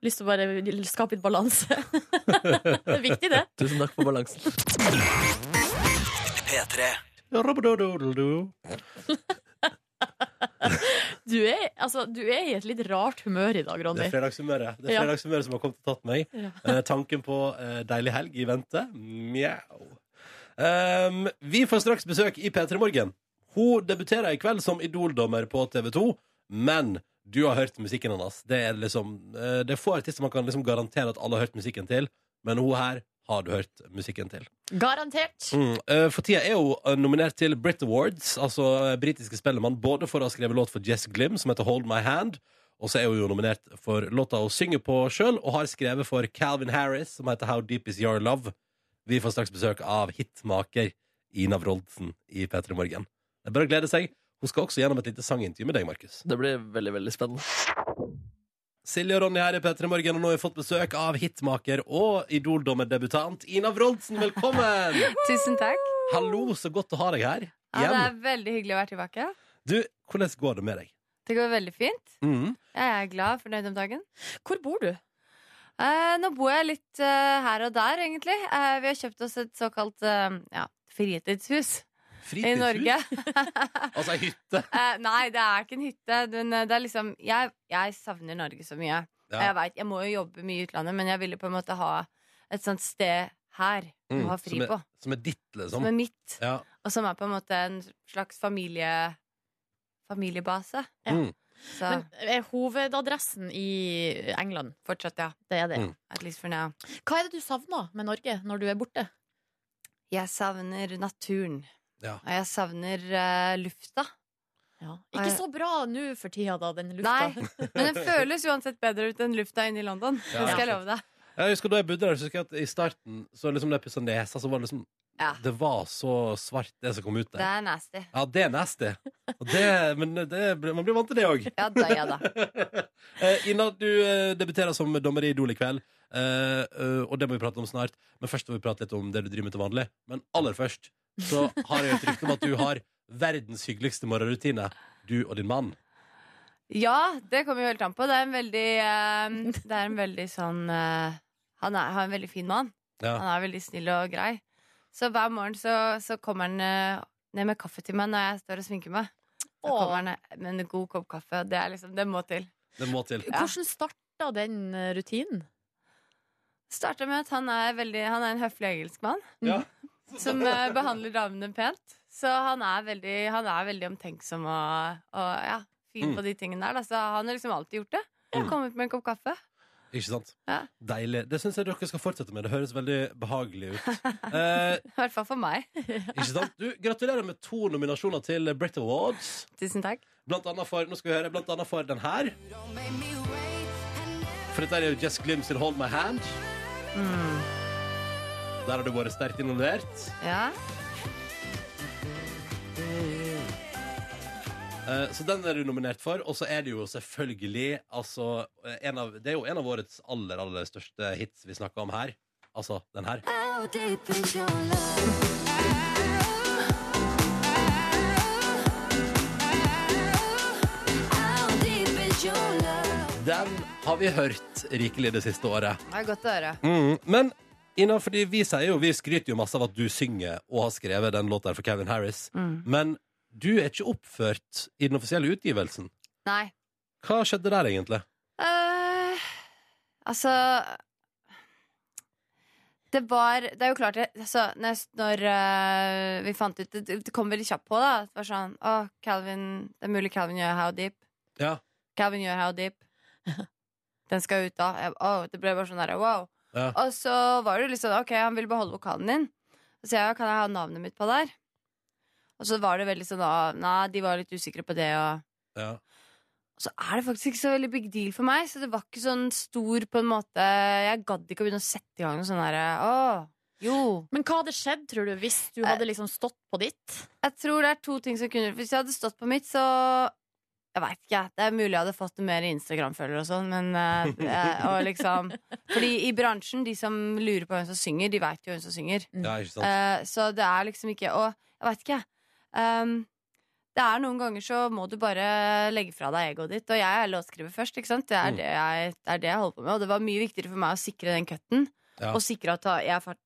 Speaker 6: Lyst til å bare skape litt balanse. det er viktig, det.
Speaker 3: Tusen takk for balansen.
Speaker 7: P3.
Speaker 2: Robbedodododo.
Speaker 6: Du er, altså, du er i et litt rart humør i dag,
Speaker 2: Det
Speaker 6: Ronny.
Speaker 2: er fredagshumøret Det er
Speaker 6: Ja.
Speaker 2: fredagshumøret som har kommet og tatt meg.
Speaker 6: Ja.
Speaker 2: Eh, tanken på eh, deilig helg i vente. Mjau. Ehm, vi får straks besøk i P3 Morgen. Hun debuterer i kveld som Idol-dommer på TV2, men du har hørt musikken hennes. Det er liksom eh, Det er få artister man kan liksom garantere at alle har hørt musikken til, men hun her har du hørt musikken til.
Speaker 6: Garantert.
Speaker 2: Mm. eh, For tida er hun eh, nominert til Brit Awards, altså eh, britiske Spellemann, både for å ha skrevet låt for Jess Glim, som heter Hold My Hand, og så er hun jo nominert for låta hun synger på sjøl, og har skrevet for Calvin Harris, som heter How Deep Is Your Love. Vi får straks besøk av hitmaker Ina Wroldsen i P3 Morgen. Det er bare å glede seg. Hun skal også gjennom et lite sangintervju med deg, Markus.
Speaker 3: Det blir veldig, veldig spennende.
Speaker 2: Silje og Ronny her i P3 Morgen, og nå har vi fått besøk av hitmaker og idoldommerdebutant Ina Wroldsen. Velkommen!
Speaker 4: Tusen takk.
Speaker 2: Hallo, så godt å ha deg her.
Speaker 4: Ja, det
Speaker 2: Igjen.
Speaker 4: er veldig hyggelig å være tilbake.
Speaker 2: Du, hvordan går det med deg?
Speaker 4: Det går veldig fint.
Speaker 2: Mm.
Speaker 4: Jeg er glad og fornøyd om dagen.
Speaker 6: Hvor bor du?
Speaker 4: Eh, nå bor jeg litt eh, her og der, egentlig. Eh, vi har kjøpt oss et såkalt eh, ja, fritidshus i
Speaker 2: Fritidshus?
Speaker 4: Norge.
Speaker 2: Altså ei hytte.
Speaker 4: Eh, nei, det er ikke en hytte. Men eh, det er liksom Jeg, jeg savner Norge så mye.
Speaker 2: Ja.
Speaker 4: Jeg vet, jeg må jo jobbe mye i utlandet, men jeg ville på en måte ha et sånt sted her
Speaker 2: Mm,
Speaker 4: å ha fri
Speaker 2: som, er,
Speaker 4: på.
Speaker 2: som er ditt,
Speaker 4: Som
Speaker 2: liksom.
Speaker 4: er mitt,
Speaker 2: ja.
Speaker 4: og som er på en måte en slags familie, familiebase.
Speaker 6: Ja.
Speaker 2: Mm.
Speaker 4: Så
Speaker 6: Men er hovedadressen i England?
Speaker 4: fortsatt, ja.
Speaker 6: Det er det.
Speaker 2: Mm.
Speaker 4: At least for now.
Speaker 6: Hva er det du savner med Norge når du er borte?
Speaker 4: Jeg savner naturen.
Speaker 2: Ja.
Speaker 4: Og jeg savner eh, lufta.
Speaker 6: Ikke så bra nå for tida, da, den lufta.
Speaker 4: Nei, men den føles uansett bedre ut enn lufta inne i London.
Speaker 2: Ja,
Speaker 4: Det skal jeg love deg.
Speaker 2: Jeg husker da jeg bodde der, så husker jeg at i starten, så liksom da jeg pussa nesa, så var det liksom
Speaker 4: Ja.
Speaker 2: Det var så svart, det som kom ut
Speaker 4: Det
Speaker 2: der.
Speaker 4: er nasty.
Speaker 2: Ja, det er nasty. Og det, men det, man blir vant til det òg.
Speaker 4: Ja da, ja da.
Speaker 2: Eh, Ina, du eh, debuterer som dommer i Idol i kveld, eh, eh, og det må vi prate om snart. Men først må vi prate litt om det du driver med til vanlig. Men aller først så har jeg et rykte om at du har verdens hyggeligste morgenrutine. Du og din mann.
Speaker 4: Ja, det kommer jo helt an på. Det er en veldig, eh, det er en veldig sånn eh, Han er, har en veldig fin mann.
Speaker 2: Ja.
Speaker 4: Han er veldig snill og grei. Så hver morgen så, så kommer han eh, ned med kaffe til meg når jeg står og sminker meg. Så
Speaker 6: Åh.
Speaker 4: kommer han ned med en god kopp kaffe. og Det, er liksom, det må til.
Speaker 2: Det må til.
Speaker 4: Ja.
Speaker 6: Hvordan starta den eh, rutinen?
Speaker 4: Starta med at han er, veldig, han er en høflig engelskmann
Speaker 2: Ja.
Speaker 4: som eh, behandler damene pent. Så han er veldig, han er veldig omtenksom og, og ja, fin
Speaker 2: Mm.
Speaker 4: på de tingene der. Da. Så han har liksom alltid gjort det.
Speaker 2: Mm.
Speaker 4: Kommet med en kopp kaffe.
Speaker 2: Ikke sant?
Speaker 4: Ja.
Speaker 2: Deilig. Det syns jeg dere skal fortsette med. Det høres veldig behagelig ut. Eh,
Speaker 4: I hvert fall for meg.
Speaker 2: ikke sant? Du, gratulerer med to nominasjoner til Brit Awards.
Speaker 4: Tusen takk.
Speaker 2: Blant annet for, nå skal vi høre, blant annet for den her. For dette er jo Jess Glim sin Hold My Hand. Der har du vært sterkt involvert.
Speaker 4: Ja.
Speaker 2: Eh, Så den er du nominert for. Og så er det jo selvfølgelig altså, eh, en av, Det er jo en av årets aller, aller største hits vi snakker om her. Altså den her. Den har vi hørt rikelig det siste året.
Speaker 4: Det er godt å høre.
Speaker 2: Mm. Men Ina, fordi vi, sier jo, vi skryter jo masse av at du synger og har skrevet den låta her for Calvin Harris.
Speaker 4: Mm.
Speaker 2: Men du er ikke oppført i den offisielle utgivelsen.
Speaker 4: Nei.
Speaker 2: Hva skjedde der, egentlig?
Speaker 4: Eh, altså Det var Det er jo klart det, altså, Når, jeg- når eh, vi fant ut det, det kom veldig kjapt på, da. Det var sånn Å, Calvin Det er mulig Calvin gjør How Deep.
Speaker 2: Ja.
Speaker 4: Calvin gjør How Deep. Den skal ut, da. Jeg, «Åh», det ble bare sånn der, wow.
Speaker 2: Ja.
Speaker 4: Og så var det litt sånn OK, han vil beholde vokalen din. Og så jeg, kan jeg ha navnet mitt på der? Og så var det veldig sånn «Åh, Nei, de var litt usikre på det, og
Speaker 2: Ja.
Speaker 4: og så er det faktisk ikke så veldig big deal for meg, så det var ikke sånn stor på en måte Jeg gadd ikke å begynne å sette i gang noe sånn derre Å, jo. Eh,
Speaker 6: Men hva hadde skjedd, tror du, hvis du hadde liksom stått på ditt?
Speaker 4: Jeg tror det er to ting som kunne Hvis jeg hadde stått på mitt, så Jeg veit ikke. jeg. Det er mulig jeg hadde fått mer Instagram-følgere og sånn, men eh, det er- Og liksom Fordi i bransjen, de som lurer på hvem som synger, de veit jo hvem som synger.
Speaker 2: Ja, ikke sant?
Speaker 4: Eh, så det er liksom ikke Og jeg veit ikke, jeg. Ehm, det er noen ganger så må du bare legge fra deg egoet ditt. Og jeg er låtskriver først, ikke sant. Det er,
Speaker 13: Mm.
Speaker 4: det, jeg, det er det jeg holder på med. Og det var mye viktigere for meg å sikre den cutten.
Speaker 13: Ja.
Speaker 4: Og sikre at jeg, fa-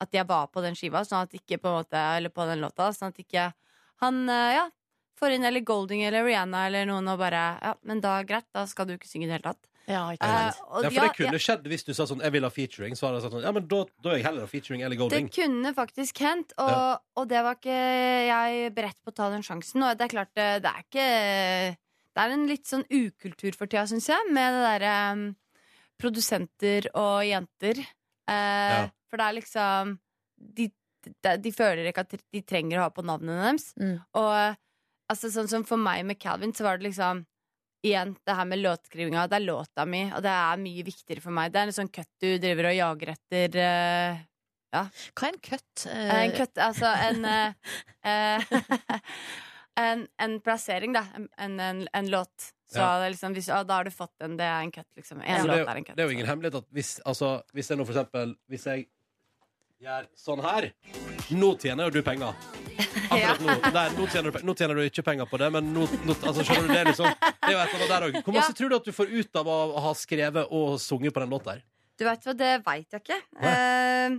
Speaker 4: at jeg var på den skiva, sånn at ikke på en måte Eller på den låta, sånn at ikke han eh, ja, får inn eller Golding eller Rihanna eller noen og bare Ja, men da greit, da skal du ikke synge i det hele tatt. Eh, og
Speaker 2: ja, for
Speaker 4: ja,
Speaker 2: det kunne
Speaker 4: ja.
Speaker 2: skjedd hvis du sa sånn 'jeg vil ha featuring'. Så hadde jeg sagt sånn, ja, men da, da er jeg heller featuring eller Golding.
Speaker 4: Det kunne faktisk hendt, og,
Speaker 2: Ja.
Speaker 4: og det var ikke jeg beredt på å ta den sjansen. Og det er klart, det, det er ikke Det er en litt sånn ukultur for tida, syns jeg, med det derre um, produsenter og jenter. Eh,
Speaker 13: Ja.
Speaker 4: For det er liksom de, de, de føler ikke at de trenger å ha på navnene deres. Og altså, sånn som for meg med Calvin, så var det liksom Igjen, det her med låtskrivinga. Det er låta mi, og det er mye viktigere for meg. Det er en sånn cut du driver og jager etter. eh, ja.
Speaker 6: Hva er en cut?
Speaker 4: En cut, altså en eh, eh, en, en plassering, da. En, en, en låt. Så
Speaker 2: Ja.
Speaker 4: det er liksom, hvis, ah, da har du fått den. Det er en cut, liksom. En
Speaker 2: Altså, det, er
Speaker 4: låt
Speaker 2: jo-
Speaker 4: er en cut.
Speaker 2: det er jo ingen hemmelighet at hvis, altså, hvis jeg nå for eksempel Hvis jeg gjør sånn her Nå tjener jo du penger. Akkurat nå. Nei, nå, tjener du, pe- nå tjener du ikke penger på det, men nå, nå altså, skjønner du det, er liksom. Det er jo et eller annet der også. Hvor masse tror du at du får ut av å ha skrevet og sunget på den låta her?
Speaker 4: Du vet hva, det veit jeg ikke. Eh,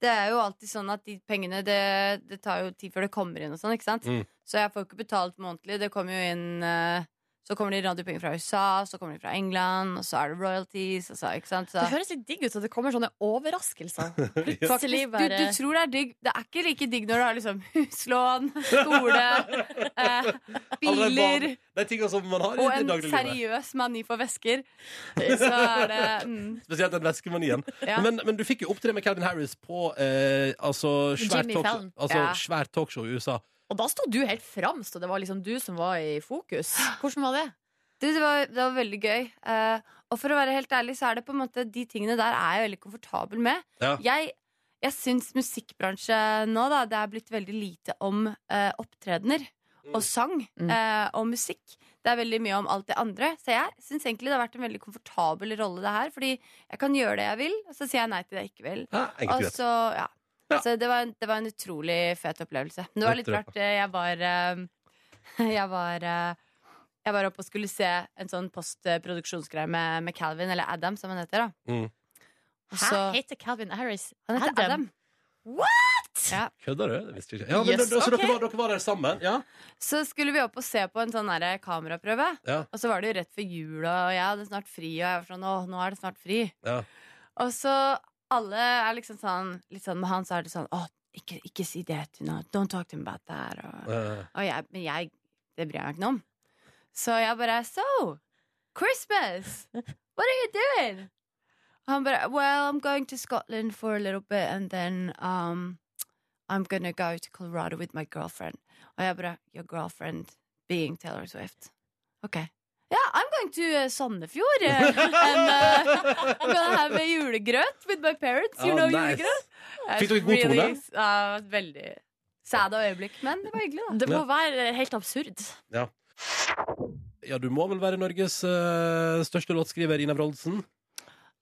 Speaker 4: det er jo alltid sånn at de pengene Det, det tar jo tid før det kommer inn og sånn, ikke sant?
Speaker 13: Mm.
Speaker 4: Så jeg får ikke betalt månedlig. Det kommer jo inn eh, Så kommer det radiopenger fra USA, så kommer de fra England, og så er det royalties, og så, ikke sant? Så.
Speaker 6: Det høres litt digg ut at det kommer sånne overraskelser. Plutselig
Speaker 4: Faktisk, du,
Speaker 6: bare
Speaker 4: du tror det er digg. Det er ikke like digg når du har liksom huslån, skole, eh, biler
Speaker 2: Alle De tingene som man har
Speaker 4: og
Speaker 2: i det
Speaker 4: en
Speaker 2: daglige livet.
Speaker 4: seriøs mani for vesker. Så er det mm.
Speaker 2: Spesielt den væskemanien.
Speaker 4: Ja.
Speaker 2: Men, men du fikk jo opptre med Calvin Harris på eh, altså, svært
Speaker 6: Jimmy
Speaker 2: talkshow
Speaker 6: Fallon.
Speaker 2: altså,
Speaker 6: Ja.
Speaker 2: svært talkshow i USA.
Speaker 6: Og da sto du helt fremst, og det var liksom du som var i fokus. Hvordan var det?
Speaker 4: Du, det, var, det var veldig gøy. Eh, og for å være helt ærlig, så er det på en måte de tingene der er jeg veldig komfortabel med.
Speaker 13: Ja.
Speaker 4: Jeg, jeg syns musikkbransje nå, da, det er blitt veldig lite om eh, opptredener og sang eh, og musikk. Det er veldig mye om alt det andre. Så jeg syns egentlig det har vært en veldig komfortabel rolle, det her. Fordi jeg kan gjøre det jeg vil, og så sier jeg nei til det jeg ikke vil.
Speaker 13: Ja, enkelt
Speaker 4: og
Speaker 13: greit.
Speaker 4: så, ja. så det var, en, det var en utrolig fet opplevelse. Men det var litt
Speaker 13: Dette-
Speaker 4: rart. eh, Jeg var eh, Jeg var eh, jeg var oppe og skulle se en sånn postproduksjonsgreie med, med Calvin, eller Adam, som han heter. da Og
Speaker 6: Hæ?
Speaker 4: så-
Speaker 6: Heter Calvin Harris
Speaker 4: Han heter Adam.
Speaker 6: What?!
Speaker 2: Kødder du? Det visste jeg ikke. Ja, men,
Speaker 4: Yes,
Speaker 2: da- så
Speaker 4: ok.
Speaker 2: dere, var, dere var der sammen? Ja.
Speaker 4: Så skulle vi opp og se på en sånn derre kameraprøve,
Speaker 2: Ja.
Speaker 4: og så var det jo rett før jula, og jeg hadde snart fri, og jeg var sånn åh, nå er det snart fri.
Speaker 2: ja.
Speaker 4: Og så alle er liksom sånn Litt sånn med han, så er det sånn åh, ikke, ikke si det til noen, don't talk to him about that, og
Speaker 2: Eh,
Speaker 4: Og jeg, men jeg, det bryr jeg meg ikke noe om. Så jeg bare So, Christmas! What are you doing? Og han bare Well, I'm going to Scotland for a little bit, and then um, I'm gonna go to Colorado with my girlfriend. Og jeg bare Your girlfriend being Taylor Swift. Ok. Yeah, I'm going to uh, Sandefjord. uh, and uh, I'm gonna have a julegrøt with my parents. You
Speaker 2: Ah,
Speaker 4: know
Speaker 2: nice.
Speaker 4: julegrøt?
Speaker 2: Fikk dere god
Speaker 4: Really,
Speaker 2: tone?
Speaker 4: ja, veldig sæd og øyeblikk, men det var hyggelig, da.
Speaker 2: Det må Ja.
Speaker 4: være helt absurd.
Speaker 2: Ja. ja, du må vel være Norges eh, største låtskriver, Ina Wroldsen?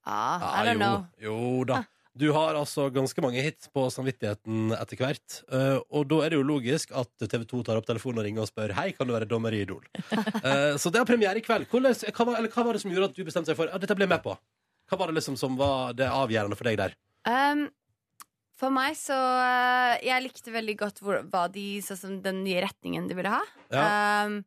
Speaker 4: Ah, I don't
Speaker 2: jo.
Speaker 4: know.
Speaker 2: Jo da. Du har altså ganske mange hits på samvittigheten etter hvert. eh, og da er det jo logisk at TV 2 tar opp telefonen og ringer og spør Hei, kan du være dommer i Idol. Eh, så det har premiere i kveld. Hvordan, hva, var, eller, hva var det som gjorde at du bestemte deg for at dette ble jeg med på? Hva var det liksom som var det avgjørende for deg der?
Speaker 4: Um, for meg så eh, Jeg likte veldig godt hvor, hva de, sånn som den nye retningen de ville ha.
Speaker 6: Ja.
Speaker 4: Um,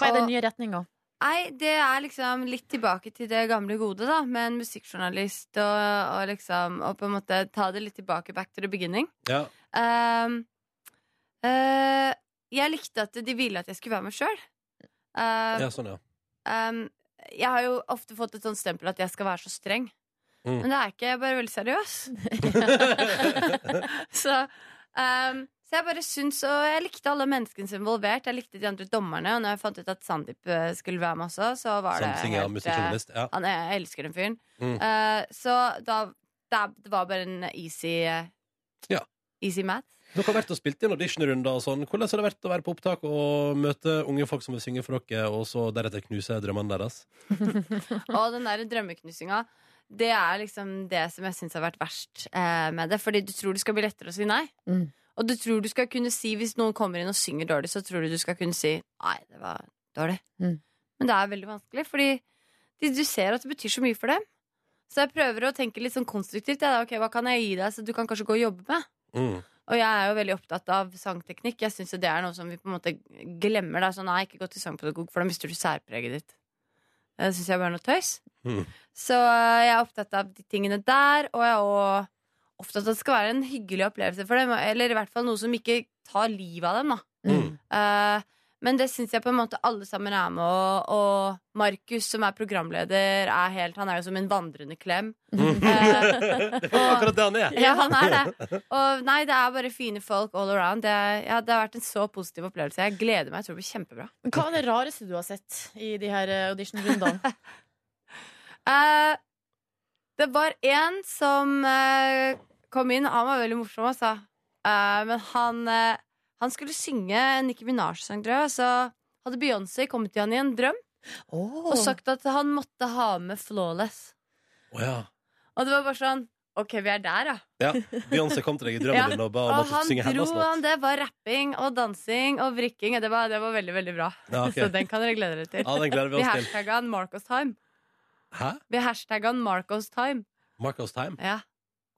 Speaker 6: Hva er
Speaker 4: og-
Speaker 6: den nye retninga?
Speaker 4: Nei, det er liksom litt tilbake til det gamle gode, da. Med en musikkjournalist og, og liksom Og på en måte ta det litt tilbake, back to the beginning.
Speaker 2: Ja.
Speaker 4: Um, eh, jeg likte at de ville at jeg skulle være med sjøl.
Speaker 2: ja, sånn, ja.
Speaker 4: Um, jeg har jo ofte fått et sånt stempel at jeg skal være så streng.
Speaker 2: Mm.
Speaker 4: Men det er ikke. Jeg er bare veldig seriøs. så, um, så jeg bare syns Og jeg likte alle menneskene som er involvert. Jeg likte de andre dommerne. Og når jeg fant ut at Sandeep eh, skulle være med også, så var det eh,
Speaker 2: Samtidig, ja, musikkjournalist, ja.
Speaker 4: han, er- Jeg elsker den fyren.
Speaker 2: Mm.
Speaker 4: Eh, så da, da Det var bare en easy eh,
Speaker 2: Ja.
Speaker 4: Easy math.
Speaker 2: Dere har vært og spilt inn auditionrunder og sånn. Hvordan har det vært å være på opptak og møte unge folk som vil synge for dere, og så deretter knuse drømmene deres?
Speaker 4: Og den der drømmeknusinga, det er liksom det som jeg syns har vært verst eh, med det. Fordi du tror det skal bli lettere å si nei.
Speaker 6: Mm.
Speaker 4: Og du tror du skal kunne si, hvis noen kommer inn og synger dårlig, så tror du du skal kunne si nei, det var dårlig.
Speaker 6: Mm.
Speaker 4: Men det er veldig vanskelig, fordi de, du ser at det betyr så mye for dem. Så jeg prøver å tenke litt sånn konstruktivt. Ja, da, ok, hva kan jeg gi deg, så du kan kanskje gå og jobbe med?
Speaker 2: Mm.
Speaker 4: Og jeg er jo veldig opptatt av sangteknikk. Jeg syns det er noe som vi på en måte glemmer. Da. Sånn, nei, ikke gå til sangpedagog, for da mister du særpreget ditt. Det syns jeg bare er noe tøys.
Speaker 2: Mm.
Speaker 4: Så øh, jeg er opptatt av de tingene der, og jeg er også opptatt av at det skal være en hyggelig opplevelse for dem. Eller i hvert fall noe som ikke tar livet av dem, da.
Speaker 2: Mm.
Speaker 4: Eh, men det syns jeg på en måte alle sammen er med, og, og Markus, som er programleder, er helt Han er jo som en vandrende klem. Eh,
Speaker 2: Det var akkurat det han er.
Speaker 4: ja, han er det. Og nei, det er bare fine folk all around. Det, er- ja, det har vært en så positiv opplevelse. Jeg gleder meg. Jeg tror det blir kjempebra.
Speaker 6: Hva er det rareste du har sett i de her eh, auditionrundene?
Speaker 4: Eh, det var en som eh, kom inn. Han var veldig morsom, altså. Eh, men han, eh, han skulle synge en Nicki Minaj-sang, tror jeg. Så hadde Beyoncé kommet til han i en drøm og sagt at han måtte ha med 'Flawless'.
Speaker 2: Å ja.
Speaker 4: Og det var bare sånn OK, vi er der, ja.
Speaker 2: ja. Beyoncé kom til deg i drømmen
Speaker 4: Ja.
Speaker 2: din og ba om at du
Speaker 4: han
Speaker 2: skulle synge
Speaker 4: dro
Speaker 2: hennes låt.
Speaker 4: han, det var rapping og dansing og vrikking. og Det var, det var veldig, veldig bra.
Speaker 2: Ja, ok.
Speaker 4: Så den kan dere glede dere til.
Speaker 2: Ja, den gleder vi oss til.
Speaker 4: hashtagga han Marcos Time.
Speaker 2: Hæ?
Speaker 4: Vi hashtagga han Marcos Time.
Speaker 2: Marcos time?
Speaker 4: Ja.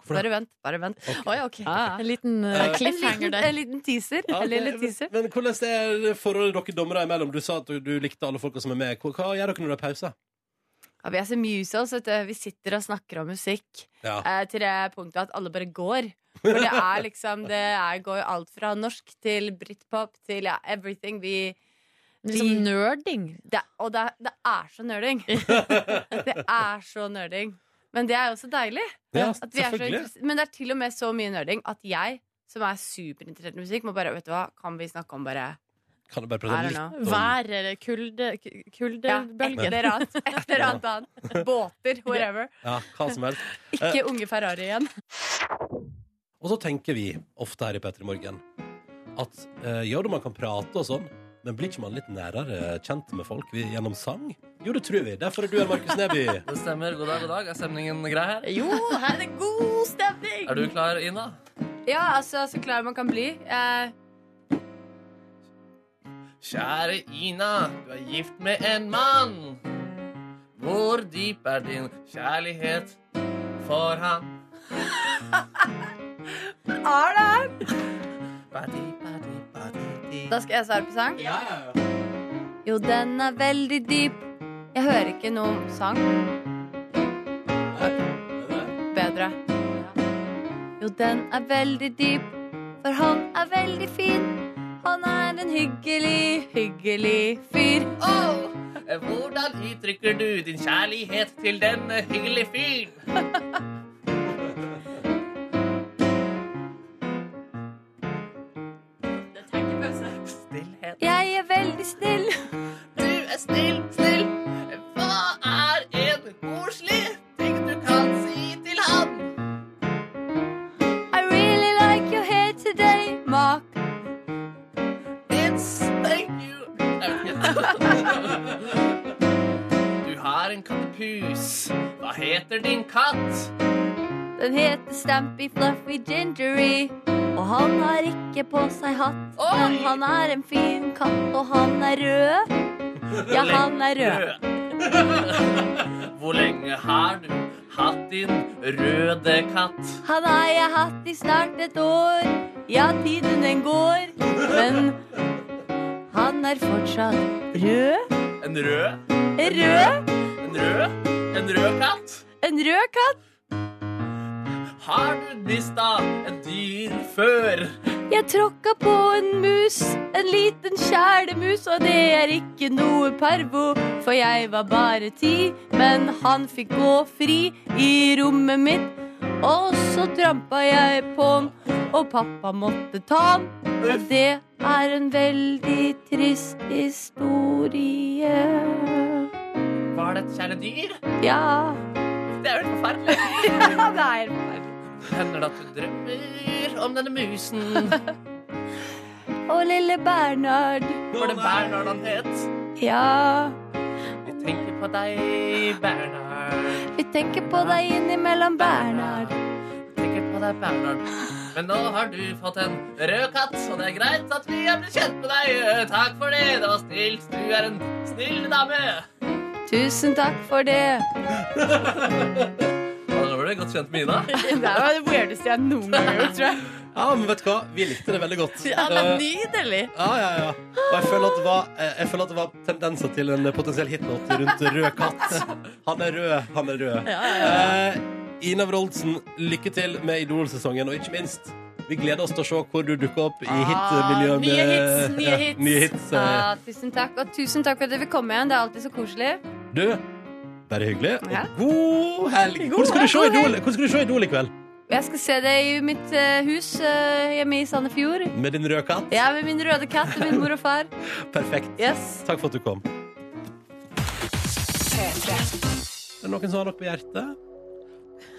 Speaker 2: Hvorfor det?
Speaker 4: Bare vent, bare vent.
Speaker 2: Ok.
Speaker 4: ja,
Speaker 6: En liten eh,
Speaker 2: Eh,
Speaker 4: En
Speaker 6: cliffhanger
Speaker 4: liten,
Speaker 6: der.
Speaker 4: en liten teaser.
Speaker 2: Ja,
Speaker 4: en lille
Speaker 2: ok,
Speaker 4: teaser.
Speaker 2: men, men hvordan er forholdet dere dommere imellom? Du sa at du, du likte alle folka som er med. Hva, hva gjør dere når det er pause?
Speaker 4: Ja, vi er så musicals, vet du. eh, Vi sitter og snakker om musikk
Speaker 2: Ja.
Speaker 4: eh, til det punktet at alle bare går. For det er liksom Det er, går alt fra norsk til britpop til ja, everything. Vi,
Speaker 6: Liksom
Speaker 4: vi
Speaker 6: nerding.
Speaker 4: det, Og det, det er så nerding. det er så nerding. Men det er jo også deilig.
Speaker 2: Ja,
Speaker 4: At vi er så
Speaker 2: selvfølgelig.
Speaker 4: interess- men det er til og med så mye nerding at jeg, som er superinteressert i musikk, må bare Vet du hva, kan vi snakke om bare
Speaker 2: Kan du bare
Speaker 4: I
Speaker 2: prate
Speaker 4: don't
Speaker 2: litt
Speaker 4: know.
Speaker 2: om
Speaker 6: Vær eller eh, kulde, k- kuldebølgen.
Speaker 4: Et eller annet. Et eller annet annet. Båter, whatever.
Speaker 2: ja, hva som helst?
Speaker 4: Ikke unge Ferrari igjen.
Speaker 2: Og så tenker vi ofte her i Petter i Morgen at eh, ja, da man kan prate og sånn, men blir ikke man litt nærere kjent med folk vi- gjennom sang? Jo, det tror vi. Derfor er du her, Markus Neby.
Speaker 3: Det stemmer. God dag, god dag. Er stemningen grei her?
Speaker 6: Jo, her er det god stemning!
Speaker 3: Er du klar, Ina?
Speaker 4: Ja, altså, så klar man kan bli. Eh,
Speaker 3: Kjære Ina, du er gift med en mann. Hvor dyp er din kjærlighet for ham?
Speaker 4: er det her?
Speaker 3: Badi, badi, badi, di.
Speaker 4: Da skal jeg svare på sang. Jo, den er veldig dyp. Jeg hører ikke noen sang. Bedre. Jo, den er veldig dyp, for han er veldig fin. Han er en hyggelig, hyggelig fyr.
Speaker 3: Oh, hvordan uttrykker du din kjærlighet til denne hyggelige fyren? Stillhet.
Speaker 4: Jeg er veldig snill.
Speaker 3: Du er snill, snill. Hva er en koselig ting du kan si til han?
Speaker 4: I really like your hair today, Mark.
Speaker 3: It's thank you. Du har en kattepus. Hva heter din katt?
Speaker 4: Den heter Stampy Fluffy Gingery. Og han har ikke på seg hatt, men
Speaker 3: Oi!
Speaker 4: han er en fin katt, og han er rød. Ja, han er rød.
Speaker 3: Hvor lenge har du hatt din røde katt?
Speaker 4: Han har jeg hatt i snart et år. Ja, tiden den går, men han er fortsatt rød.
Speaker 3: En rød?
Speaker 4: Rød?
Speaker 3: En rød? En rød katt?
Speaker 4: En rød katt?
Speaker 3: Har du mista et dyr før?
Speaker 4: Jeg tråkka på en mus, en liten kjælemus, og det er ikke noe parvo, for jeg var bare ti, men han fikk gå fri i rommet mitt, og så trampa jeg på'n, og pappa måtte ta'n, og det er en veldig trist historie.
Speaker 3: Var det et kjæledyr?
Speaker 4: Ja.
Speaker 3: Det er jo helt forferdelig.
Speaker 4: Ja, det er helt forferdelig.
Speaker 3: Hender det at du drømmer om denne musen?
Speaker 4: Og lille Bernhard.
Speaker 3: Var det Bernhard han het?
Speaker 4: Ja,
Speaker 3: Vi tenker på deg, Bernhard.
Speaker 4: vi tenker på deg innimellom, Bernhard.
Speaker 3: Tenker på deg, Bernhard. Men nå har du fått en rød katt, og det er greit at vi er blitt kjent med deg. Takk for det, det var snilt. Du er en snill dame.
Speaker 4: Tusen takk for det.
Speaker 3: Ja, Da ble du godt kjent med Ina.
Speaker 4: Det var det weirdeste jeg noen gang har gjort, tror jeg.
Speaker 2: Ja, men vet du hva? Vi likte det veldig godt.
Speaker 6: Ja, det
Speaker 2: Eh,
Speaker 6: er nydelig.
Speaker 2: Ja, ja, ja. Og jeg føler, at det var, eh, jeg føler at det var tendenser til en potensiell hitlåt rundt rød katt. Han er rød, han er rød.
Speaker 6: Ja, ja, ja.
Speaker 2: Eh, Ina Wroldsen, lykke til med Idol-sesongen, og ikke minst vi gleder oss til å se hvor du dukker opp i
Speaker 6: Ah,
Speaker 2: hitmiljøet.
Speaker 4: Ah, nye hits, nye
Speaker 2: Ja,
Speaker 4: hits. eh. Ah.
Speaker 2: nye hits. eh.
Speaker 4: Ja, tusen takk, og tusen takk for at du vil komme igjen. Det er alltid så koselig.
Speaker 2: Du, bare hyggelig.
Speaker 4: Ja.
Speaker 2: Og god helg!
Speaker 4: God
Speaker 2: Hvor skal du
Speaker 4: helg,
Speaker 2: se
Speaker 4: god
Speaker 2: Idol, hvor skal du se Idol i kveld?
Speaker 4: Jeg skal se deg i mitt eh, hus eh, hjemme i Sandefjord.
Speaker 2: Med din røde katt?
Speaker 4: Jeg er med min røde katt og min mor og far.
Speaker 2: Perfekt.
Speaker 4: Yes.
Speaker 2: Takk for at du kom. Er det noen som har noe på hjertet?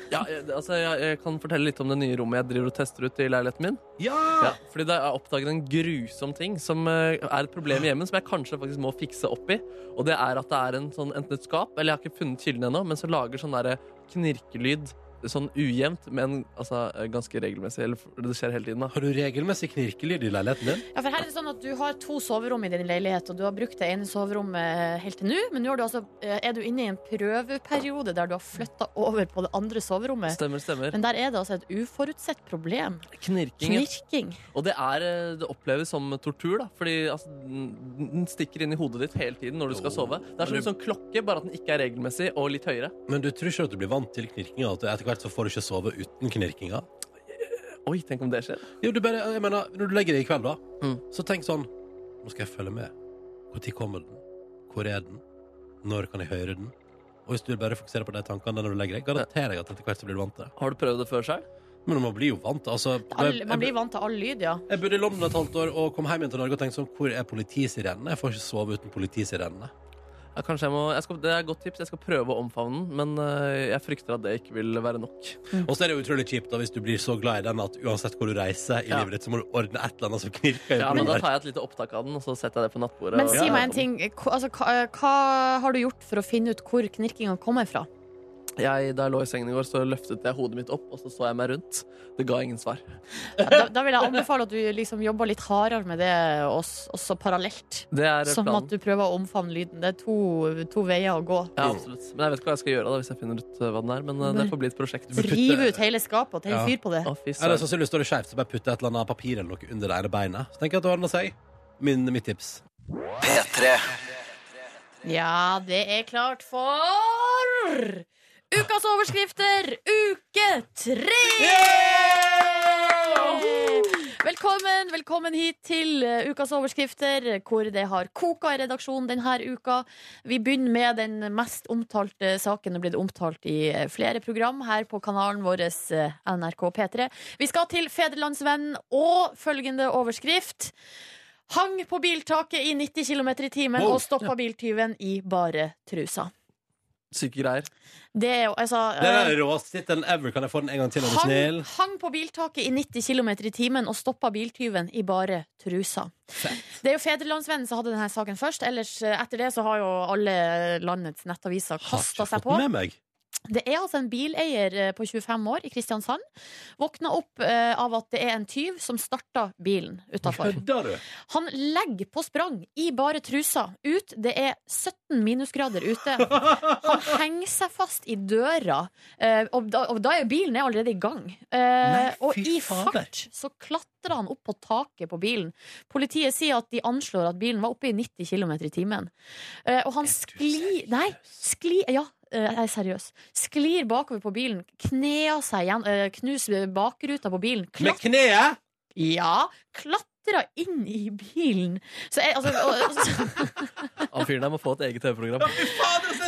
Speaker 3: Ja, jeg, altså, jeg, jeg kan fortelle litt om det nye rommet jeg driver og tester ut i leiligheten min. Ja, fordi da jeg oppdaget en grusom ting som eh, er et problem i hjemmet, som jeg kanskje faktisk må fikse opp i. Og det er at det er en sånn, enten et skap, eller jeg har ikke funnet kilden ennå, men som lager sånn derre knirkelyd sånn ujevnt, men altså, eh, ganske regelmessig. Eller f- det skjer hele tiden, da.
Speaker 2: Har du regelmessig knirkelyd i leiligheten din?
Speaker 6: Ja, for her er det sånn at Du har to soverom i din leilighet, og du har brukt det ene soverommet helt til nå. Men nå er du, altså, er du inne i en prøveperiode der du har flytta over på det andre soverommet.
Speaker 3: Stemmer, stemmer.
Speaker 6: Men der er det altså et uforutsett problem.
Speaker 3: Knirking. ja.
Speaker 6: Knirking.
Speaker 3: Og det, er, eh, det oppleves som tortur, da. Fordi altså, den den stikker inn i hodet ditt hele tiden når du skal sove. Det er som en sånn klokke, bare at den ikke er regelmessig og litt høyere.
Speaker 2: Men du tror ikke at du blir vant til knirkinga? At du etter hvert så får du ikke sove uten knirkinga?
Speaker 3: Oi, tenk om det skjer.
Speaker 2: Jo, du bare, jeg mener, når du legger deg i kveld, da,
Speaker 3: Mm.
Speaker 2: så tenk sånn Nå skal jeg følge med. Når kommer den? Hvor er den? Når kan jeg høre den? Og hvis du bare fokuserer på de tankene når du legger deg, garanterer jeg at etter hvert så blir du vant til det.
Speaker 3: Har du prøvd det før sjøl?
Speaker 2: Men man blir jo vant. Altså,
Speaker 6: All,
Speaker 2: jeg,
Speaker 6: man
Speaker 2: jeg,
Speaker 6: blir vant til all lyd, ja.
Speaker 2: jeg bodde i London et halvt år og kom hjem igjen til Norge og tenkte sånn Hvor er politisirenene? Jeg får ikke sove uten politisirenene.
Speaker 3: Ja, kanskje jeg må, jeg skal, det er et godt tips. Jeg skal prøve å omfavne den, men eh, jeg frykter at det ikke vil være nok.
Speaker 6: Mm.
Speaker 2: Og så er det jo utrolig kjipt da hvis du blir så glad i den at uansett hvor du reiser i
Speaker 3: Ja.
Speaker 2: livet ditt, så må du ordne et eller annet som knirker. i
Speaker 3: Ja, men Da
Speaker 2: blodet.
Speaker 3: tar jeg et lite opptak av den, og så setter jeg det på nattbordet.
Speaker 6: Men
Speaker 3: og-
Speaker 6: si meg en ting. Hva, altså, hva, hva har du gjort for å finne ut hvor knirkinga kommer fra?
Speaker 3: Jeg, da jeg lå i sengen i går, så løftet jeg hodet mitt opp, og så så jeg meg rundt. Det ga ingen svar.
Speaker 6: Ja, Da, da vil jeg anbefale at du liksom jobber litt hardere med det også, også parallelt.
Speaker 3: Det er
Speaker 6: Som at
Speaker 3: planen.
Speaker 6: du prøver å omfavne lyden. Det er to, to veier å gå.
Speaker 3: Ja, absolutt. Men jeg vet ikke hva jeg skal gjøre da, hvis jeg finner ut eh, hva den er. Men eh, det får bli et prosjekt.
Speaker 2: bør putte-
Speaker 6: Rive ut hele skapet og tenne
Speaker 2: Ja.
Speaker 6: fyr på det.
Speaker 3: Å, fy
Speaker 2: Eller
Speaker 3: søren.
Speaker 2: sannsynligvis står det skjevt, så bare putte et eller annet papir eller noe under det ene beinet. Så tenker jeg at det ordner seg. Min, mitt tips.
Speaker 7: P3.
Speaker 6: Ja, det er klart for Ukas overskrifter, uke tre! Velkommen, velkommen hit til eh, ukas overskrifter, hvor det har koka i redaksjonen denne uka. Vi begynner med den mest omtalte saken. Den er blitt omtalt i eh, flere program her på kanalen vår eh, NRK P3. Vi skal til Federlandsvennen og følgende overskrift. Hang på biltaket i 90 km i timen
Speaker 2: Wow.
Speaker 6: og stoppa biltyven i bare trusa.
Speaker 3: Syke greier.
Speaker 6: Det er jo altså
Speaker 2: Det er
Speaker 6: eh,
Speaker 2: den råeste tittelen ever. Kan jeg få den en gang til, er du
Speaker 6: hang,
Speaker 2: snill?
Speaker 6: hang på biltaket i 90 km i timen og stoppa biltyven i bare trusa. Det er jo Federlandsvennen som hadde denne saken først. Ellers, eh, etter det så har jo alle landets nettaviser
Speaker 2: Har
Speaker 6: kasta
Speaker 2: ikke
Speaker 6: seg
Speaker 2: fått
Speaker 6: på.
Speaker 2: med meg.
Speaker 6: Det er altså en bileier eh, på 25 år i Kristiansand. Våkna opp eh, av at det er en tyv som starta bilen utafor.
Speaker 2: Kødder du?
Speaker 6: Han legger på sprang i bare trusa ut. Det er 17 minusgrader ute. Han henger seg fast i døra, eh, og da, og da er bilen er allerede i gang. Eh,
Speaker 2: Nei, fy
Speaker 6: Og i
Speaker 2: fader.
Speaker 6: fart så klatrer han opp på taket på bilen. Politiet sier at de anslår at bilen var oppe i 90 km i timen. Eh, Og han sklir Nei, sklir Ja. eh, Jeg er seriøs. Sklir bakover på bilen, kneer seg igjen, eh, knuser bakruta på bilen.
Speaker 2: Med
Speaker 6: Klatt,
Speaker 2: kneet?
Speaker 6: ja, klatrer klatra inn i bilen. Så jeg, altså, og, og, så-
Speaker 3: Han fyren der må få et eget TV-program.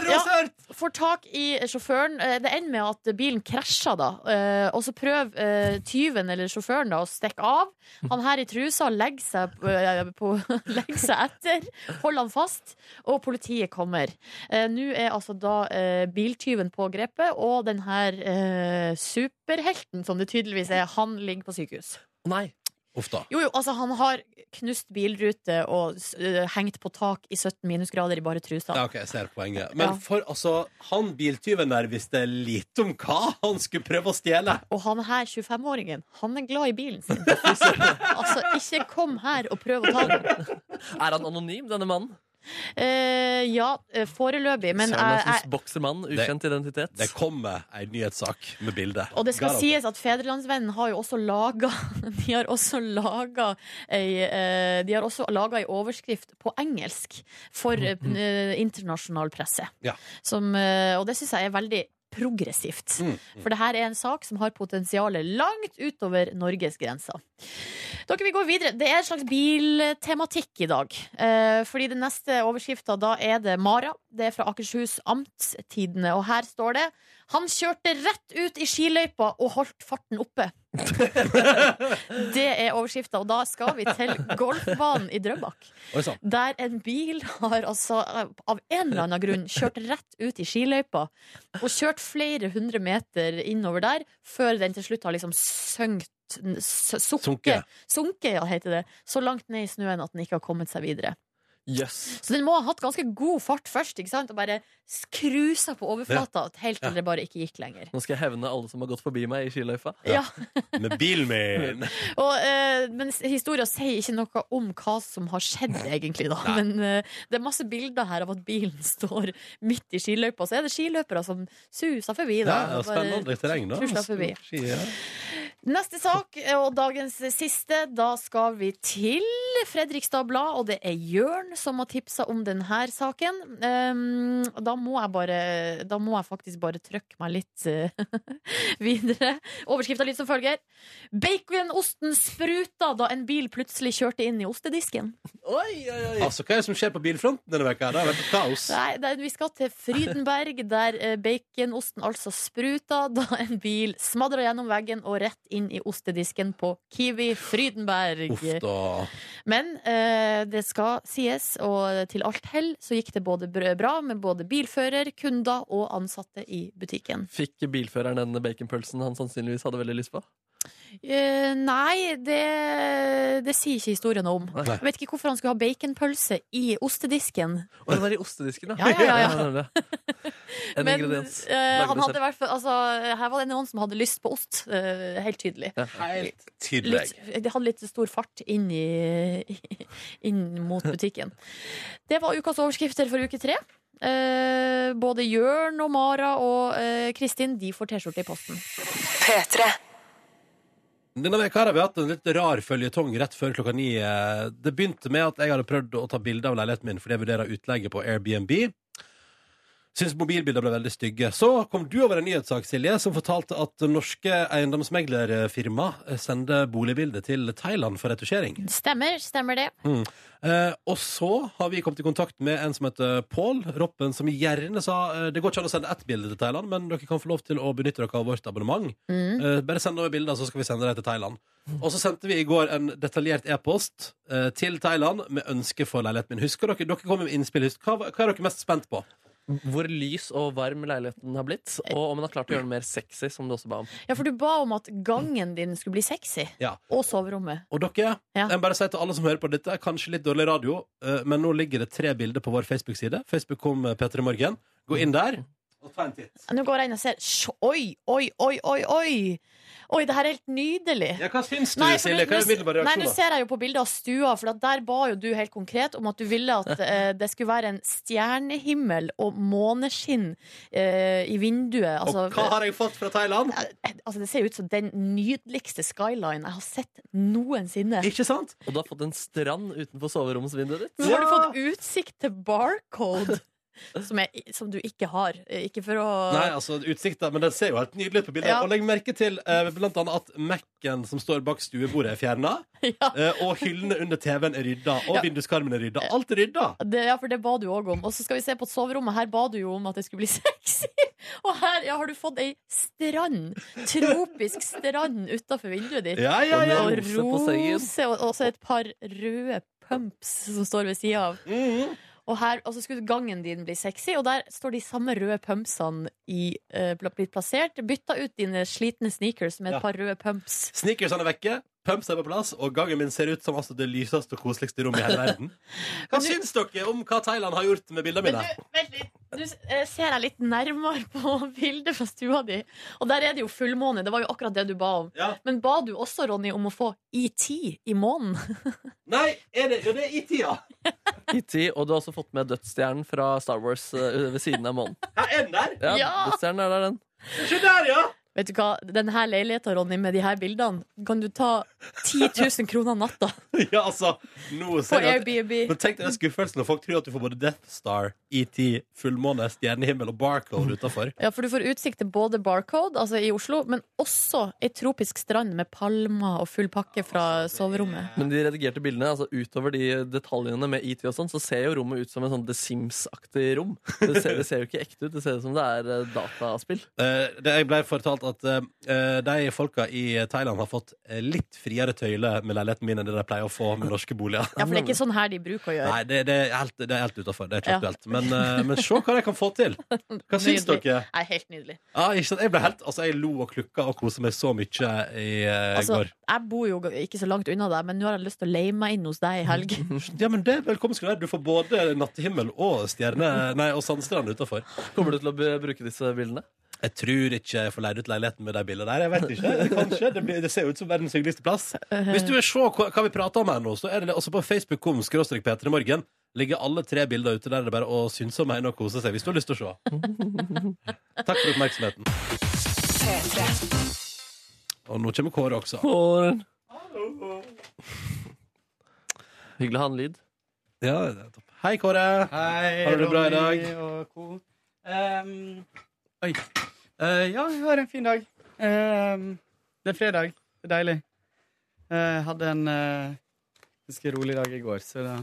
Speaker 6: ja, får tak i sjåføren. Eh, Det ender med at bilen krasjer, da. Eh, Og så prøver eh, tyven eller sjåføren da å stikke av. Han her i trusa legger seg, på, eh, på, legger seg etter, holder han fast, og politiet kommer. Eh, Nå er altså da eh, biltyven pågrepet, og den her eh, superhelten, som det tydeligvis er, han ligger på sykehus.
Speaker 3: Nei.
Speaker 2: Uff da.
Speaker 6: Jo, jo, altså han har knust bilrute og s- eh, hengt på tak i 17 minusgrader i bare trusa.
Speaker 2: Ja, ok, jeg ser poenget. Men
Speaker 6: Ja.
Speaker 2: for altså, han biltyven der visste lite om hva han skulle prøve å stjele.
Speaker 6: Og han her, 25-åringen, han er glad i bilen sin. altså, ikke kom her og prøv å ta den.
Speaker 3: Er han anonym, denne mannen?
Speaker 6: Eh, ja, eh, foreløpig, men
Speaker 3: Søren, altså,
Speaker 6: jeg,
Speaker 3: Lassens
Speaker 6: jeg
Speaker 3: boksemann, ukjent identitet.
Speaker 2: Det kommer ei nyhetssak med bilde.
Speaker 6: og det skal
Speaker 2: Garantert.
Speaker 6: sies at Fedrelandsvennen har jo også laga De har også laga ei, eh, de har også laget ei overskrift på engelsk for eh, eh, internasjonal presse.
Speaker 2: Ja.
Speaker 6: Som, eh, og det syns jeg er veldig progressivt. For det her er en sak som har potensial langt utover Norges grenser. Dere, vi går videre. Det er en slags biltematikk i dag. Eh, fordi den neste overskrifta, da er det Mara. Det er fra Akershus Amtstidene, og her står det Han kjørte rett ut i skiløypa og holdt farten oppe. det er overskrifta, og da skal vi til golfbanen i Drøbak.
Speaker 2: Oi sånn. sann.
Speaker 6: Der en bil har altså av en eller annen grunn kjørt rett ut i skiløypa og kjørt flere hundre meter innover der før den til slutt har liksom sønkt s- Sunket.
Speaker 2: Sunket.
Speaker 6: Sunket, ja, heter det. Så langt ned i snøen at den ikke har kommet seg videre.
Speaker 3: Jøss.
Speaker 6: Så den må ha hatt ganske god fart først, ikke sant? Og bare skrusa på overflata helt til det bare ikke gikk lenger.
Speaker 3: Nå skal jeg hevne alle som har gått forbi meg i skiløyfa.
Speaker 6: Ja.
Speaker 2: Med bilen min!
Speaker 6: Og, eh, men s- historia sier ikke noe om hva som har skjedd, egentlig. Da. Men eh, det er masse bilder her av at bilen står midt i skiløypa, så er det skiløpere som suser forbi.
Speaker 2: Ja,
Speaker 6: Da,
Speaker 2: ja,
Speaker 6: og bare
Speaker 2: spennende terreng, da.
Speaker 6: Tusler forbi.
Speaker 2: Ski, ja.
Speaker 6: Neste sak, eh, og dagens siste, da skal vi til Fredrikstad Blad, og det er Jørn som har tipsa om denne saken. Um, og da, må jeg bare, da må jeg faktisk bare trykke meg litt eh, videre. Overskrifta litt som følger. Baconosten spruta da en bil plutselig kjørte inn i ostedisken.
Speaker 3: Oi, oi, oi.
Speaker 2: Altså, hva er det som skjer på bilfronten denne veka? Det har vært kaos.
Speaker 6: Nei, det, er- vi skal til Frydenberg, der eh, baconosten altså spruta da en bil smadra gjennom veggen og rett inn i ostedisken på Kiwi Frydenberg.
Speaker 2: Uff da.
Speaker 6: Men eh, det skal sies, og til alt hell så gikk det både br- bra med både bilfører, kunder og ansatte i butikken.
Speaker 3: Fikk bilføreren den baconpølsen han sannsynligvis hadde veldig lyst på?
Speaker 6: Eh, nei, det, det sier ikke historien noe om.
Speaker 3: Nei.
Speaker 6: Jeg vet ikke hvorfor han skulle ha baconpølse i ostedisken.
Speaker 3: Og det var i ostedisken,
Speaker 6: Ja, ja, ja, ja.
Speaker 3: nemlig. En
Speaker 6: Men
Speaker 3: ingrediens.
Speaker 6: eh,
Speaker 3: Lager
Speaker 6: han
Speaker 3: du
Speaker 6: hadde
Speaker 3: selv.
Speaker 6: i hvert fall, altså, her var det noen som hadde lyst på ost. eh, helt tydelig.
Speaker 2: Helt
Speaker 6: Litt,
Speaker 2: tydelig.
Speaker 6: det hadde litt stor fart inn, i, inn mot butikken. Det var ukas overskrifter for uke tre. Eh, både Jørn og Mara og eh, Kristin de får T-skjorte i posten.
Speaker 2: Denne veka har vi hatt en litt rar føljetong rett før klokka ni. Eh, Det begynte med at jeg hadde prøvd å ta bilde av leiligheten min fordi jeg vurderer utleie på Airbnb. Syns mobilbilder ble veldig stygge. Så kom du over en nyhetssak, Silje, som fortalte at norske eiendomsmeglerfirma sender boligbilder til Thailand for retusjering.
Speaker 6: Stemmer, stemmer det.
Speaker 2: Eh, og så har vi kommet i kontakt med en som heter Pål Roppen, som gjerne sa eh, det går ikke an å sende ett bilde til Thailand, men dere kan få lov til å benytte dere av vårt abonnement.
Speaker 6: Mm.
Speaker 2: Eh, bare send over bilder, så skal vi sende dem til Thailand. Og så sendte vi i går en detaljert e-post eh, til Thailand med ønske for leiligheten min. Husker dere, dere kom med innspill. Husk, hva, hva er dere mest spent på?
Speaker 3: Hvor lys og varm leiligheten har blitt, og om han har klart å gjøre den mer sexy, som du også ba om.
Speaker 6: Ja, for du ba om at gangen din skulle bli sexy.
Speaker 2: Ja.
Speaker 6: Og soverommet.
Speaker 2: Og dere,
Speaker 6: Ja.
Speaker 2: jeg må bare si til alle som hører på dette, er kanskje litt dårlig radio, eh, men nå ligger det tre bilder på vår Facebook-side. Facebook kom eh, P3 Morgen. Gå inn der. Og ta en titt.
Speaker 6: Nå går jeg inn og ser. Sj- Oi, oi, oi, oi! Oi, Oi, det her er helt nydelig.
Speaker 2: Ja, hva syns du,
Speaker 6: Nei, for
Speaker 2: Silje?
Speaker 6: nå-
Speaker 2: Hva er
Speaker 6: nå-
Speaker 2: umiddelbar
Speaker 6: Nei,
Speaker 2: reaksjon?
Speaker 6: nå
Speaker 2: da?
Speaker 6: ser jeg jo på bildet av stua, for at der ba jo du helt konkret om at du ville at eh, det skulle være en stjernehimmel og måneskinn eh, i vinduet. Altså,
Speaker 2: Og hva har jeg fått fra Thailand?
Speaker 6: eh, altså, det ser jo ut som den nydeligste skyline jeg har sett noensinne.
Speaker 2: Ikke sant?
Speaker 3: Og du har fått en strand utenfor soveromsvinduet ditt.
Speaker 6: Nå har du fått utsikt til Barcode. som, er, som du ikke har. Eh, Ikke for å
Speaker 2: Nei, altså utsikta, men den ser jo helt nydelig ut på bildet.
Speaker 6: Ja.
Speaker 2: Og legg merke til eh, blant annet at Mac-en som står bak stuebordet, er fjerna. Eh, og hyllene under TV-en er rydda, og
Speaker 6: Ja.
Speaker 2: vinduskarmen er rydda. Alt er rydda!
Speaker 6: det, ja, for det ba du òg om. Og så skal vi se på soverommet. Her ba du jo om at det skulle bli sexy. Og her ja, har du fått ei strand. Tropisk strand utafor vinduet ditt.
Speaker 2: Ja, ja, ja. Og
Speaker 6: Og
Speaker 2: med rose på sengen.
Speaker 6: rose, og og så et par røde pumps som står ved sida av.
Speaker 2: Mhm.
Speaker 6: Og, her, og så skulle gangen din bli sexy, og der står de samme røde pumpsene i, eh, pla- blitt plassert. Bytta ut dine slitne sneakers med et
Speaker 2: Ja.
Speaker 6: par røde pumps.
Speaker 2: Sneakersene er vekke, pumps er på plass, og gangen min ser ut som altså det lyseste og koseligste rommet i hele verden. Hva syns dere om hva Thailand har gjort med bildene
Speaker 6: Men
Speaker 2: mine?
Speaker 6: du, vent litt. Du eh, ser jeg litt nærmere på bildet fra stua di. Og der er det jo fullmåne. Det var jo akkurat det du ba om. Men ba du også, Ronny, om å få ET i månen?
Speaker 2: Nei, er det, jo, det er i tida.
Speaker 3: IT, og du har også fått med dødsstjernen fra Star Wars eh, ved siden av månen.
Speaker 2: Er den der?
Speaker 3: Ja,
Speaker 6: Ja!
Speaker 3: Dødsstjernen er der, den.
Speaker 2: Se der, ja!
Speaker 6: Vet du hva, denne leiligheten, Ronny, med de her bildene, kan du ta 10 000 kroner natta
Speaker 2: Ja, altså, nå
Speaker 6: på
Speaker 2: ser jeg at-
Speaker 6: Airbnb?
Speaker 2: Men tenk deg den skuffelsen når folk tror at du får både Death Star, ET, fullmåne, stjernehimmel og barcode utafor.
Speaker 6: Ja, for du får utsikt til både Barcode, altså i Oslo, men også ei tropisk strand med palmer og full pakke fra soverommet.
Speaker 3: Men de redigerte bildene, altså utover de detaljene med IT og sånn, så ser jo rommet ut som en sånn The Sims-aktig rom. Det ser, det ser jo ikke ekte ut, det ser ut som det er eh, dataspill.
Speaker 2: Eh, det jeg ble fortalt at eh, de folka i Thailand har fått eh, litt friere tøyle med leiligheten min enn det de pleier å få med norske boliger.
Speaker 6: Ja, for det er ikke sånn her de bruker å gjøre.
Speaker 2: Nei, det, det er helt, det er helt utafor. Det er ikke
Speaker 6: Ja.
Speaker 2: aktuelt. Men, eh, men se hva de kan få til. Hva syns
Speaker 6: Nydelig.
Speaker 2: dere?
Speaker 6: Nei, helt nydelig.
Speaker 2: Ja, ikke sant? Jeg ble helt, altså jeg lo og klukka og koste meg så mye i eh,
Speaker 6: Altså,
Speaker 2: går.
Speaker 6: jeg bor jo ikke så langt unna deg, men nå har jeg lyst til å leie meg inn hos deg i helg.
Speaker 2: Ja, men det er Velkommen skal du være. Du får både nattehimmel og stjerne Nei, og sandstrand utafor.
Speaker 3: Kommer du til å be- bruke disse bildene?
Speaker 2: Jeg tror ikke jeg får leid ut leiligheten med de bildene der. Jeg vet ikke, kanskje Det, blir, det ser ut som verdens hyggeligste plass. Hvis du vil se hva, hva vi prater om her nå, så er det det også på facebook.com skråstrek Peter i morgen. Ligger alle tre bilder ute der det er bare å synse om henne og kose seg, hvis du har lyst til å se. Takk for oppmerksomheten. Og nå kommer Kåre også.
Speaker 3: Kåren. Hyggelig å ha en lyd.
Speaker 2: Ja, det er topp. Hei, Kåre.
Speaker 1: Hei,
Speaker 2: Har du det bra i
Speaker 1: Ronny
Speaker 2: dag?
Speaker 1: og co. Ehm, oi. Eh, ja, jeg har en fin dag. Ehm, det er fredag. Det er deilig. Eh, Jeg hadde en eh, ganske rolig dag i går, så da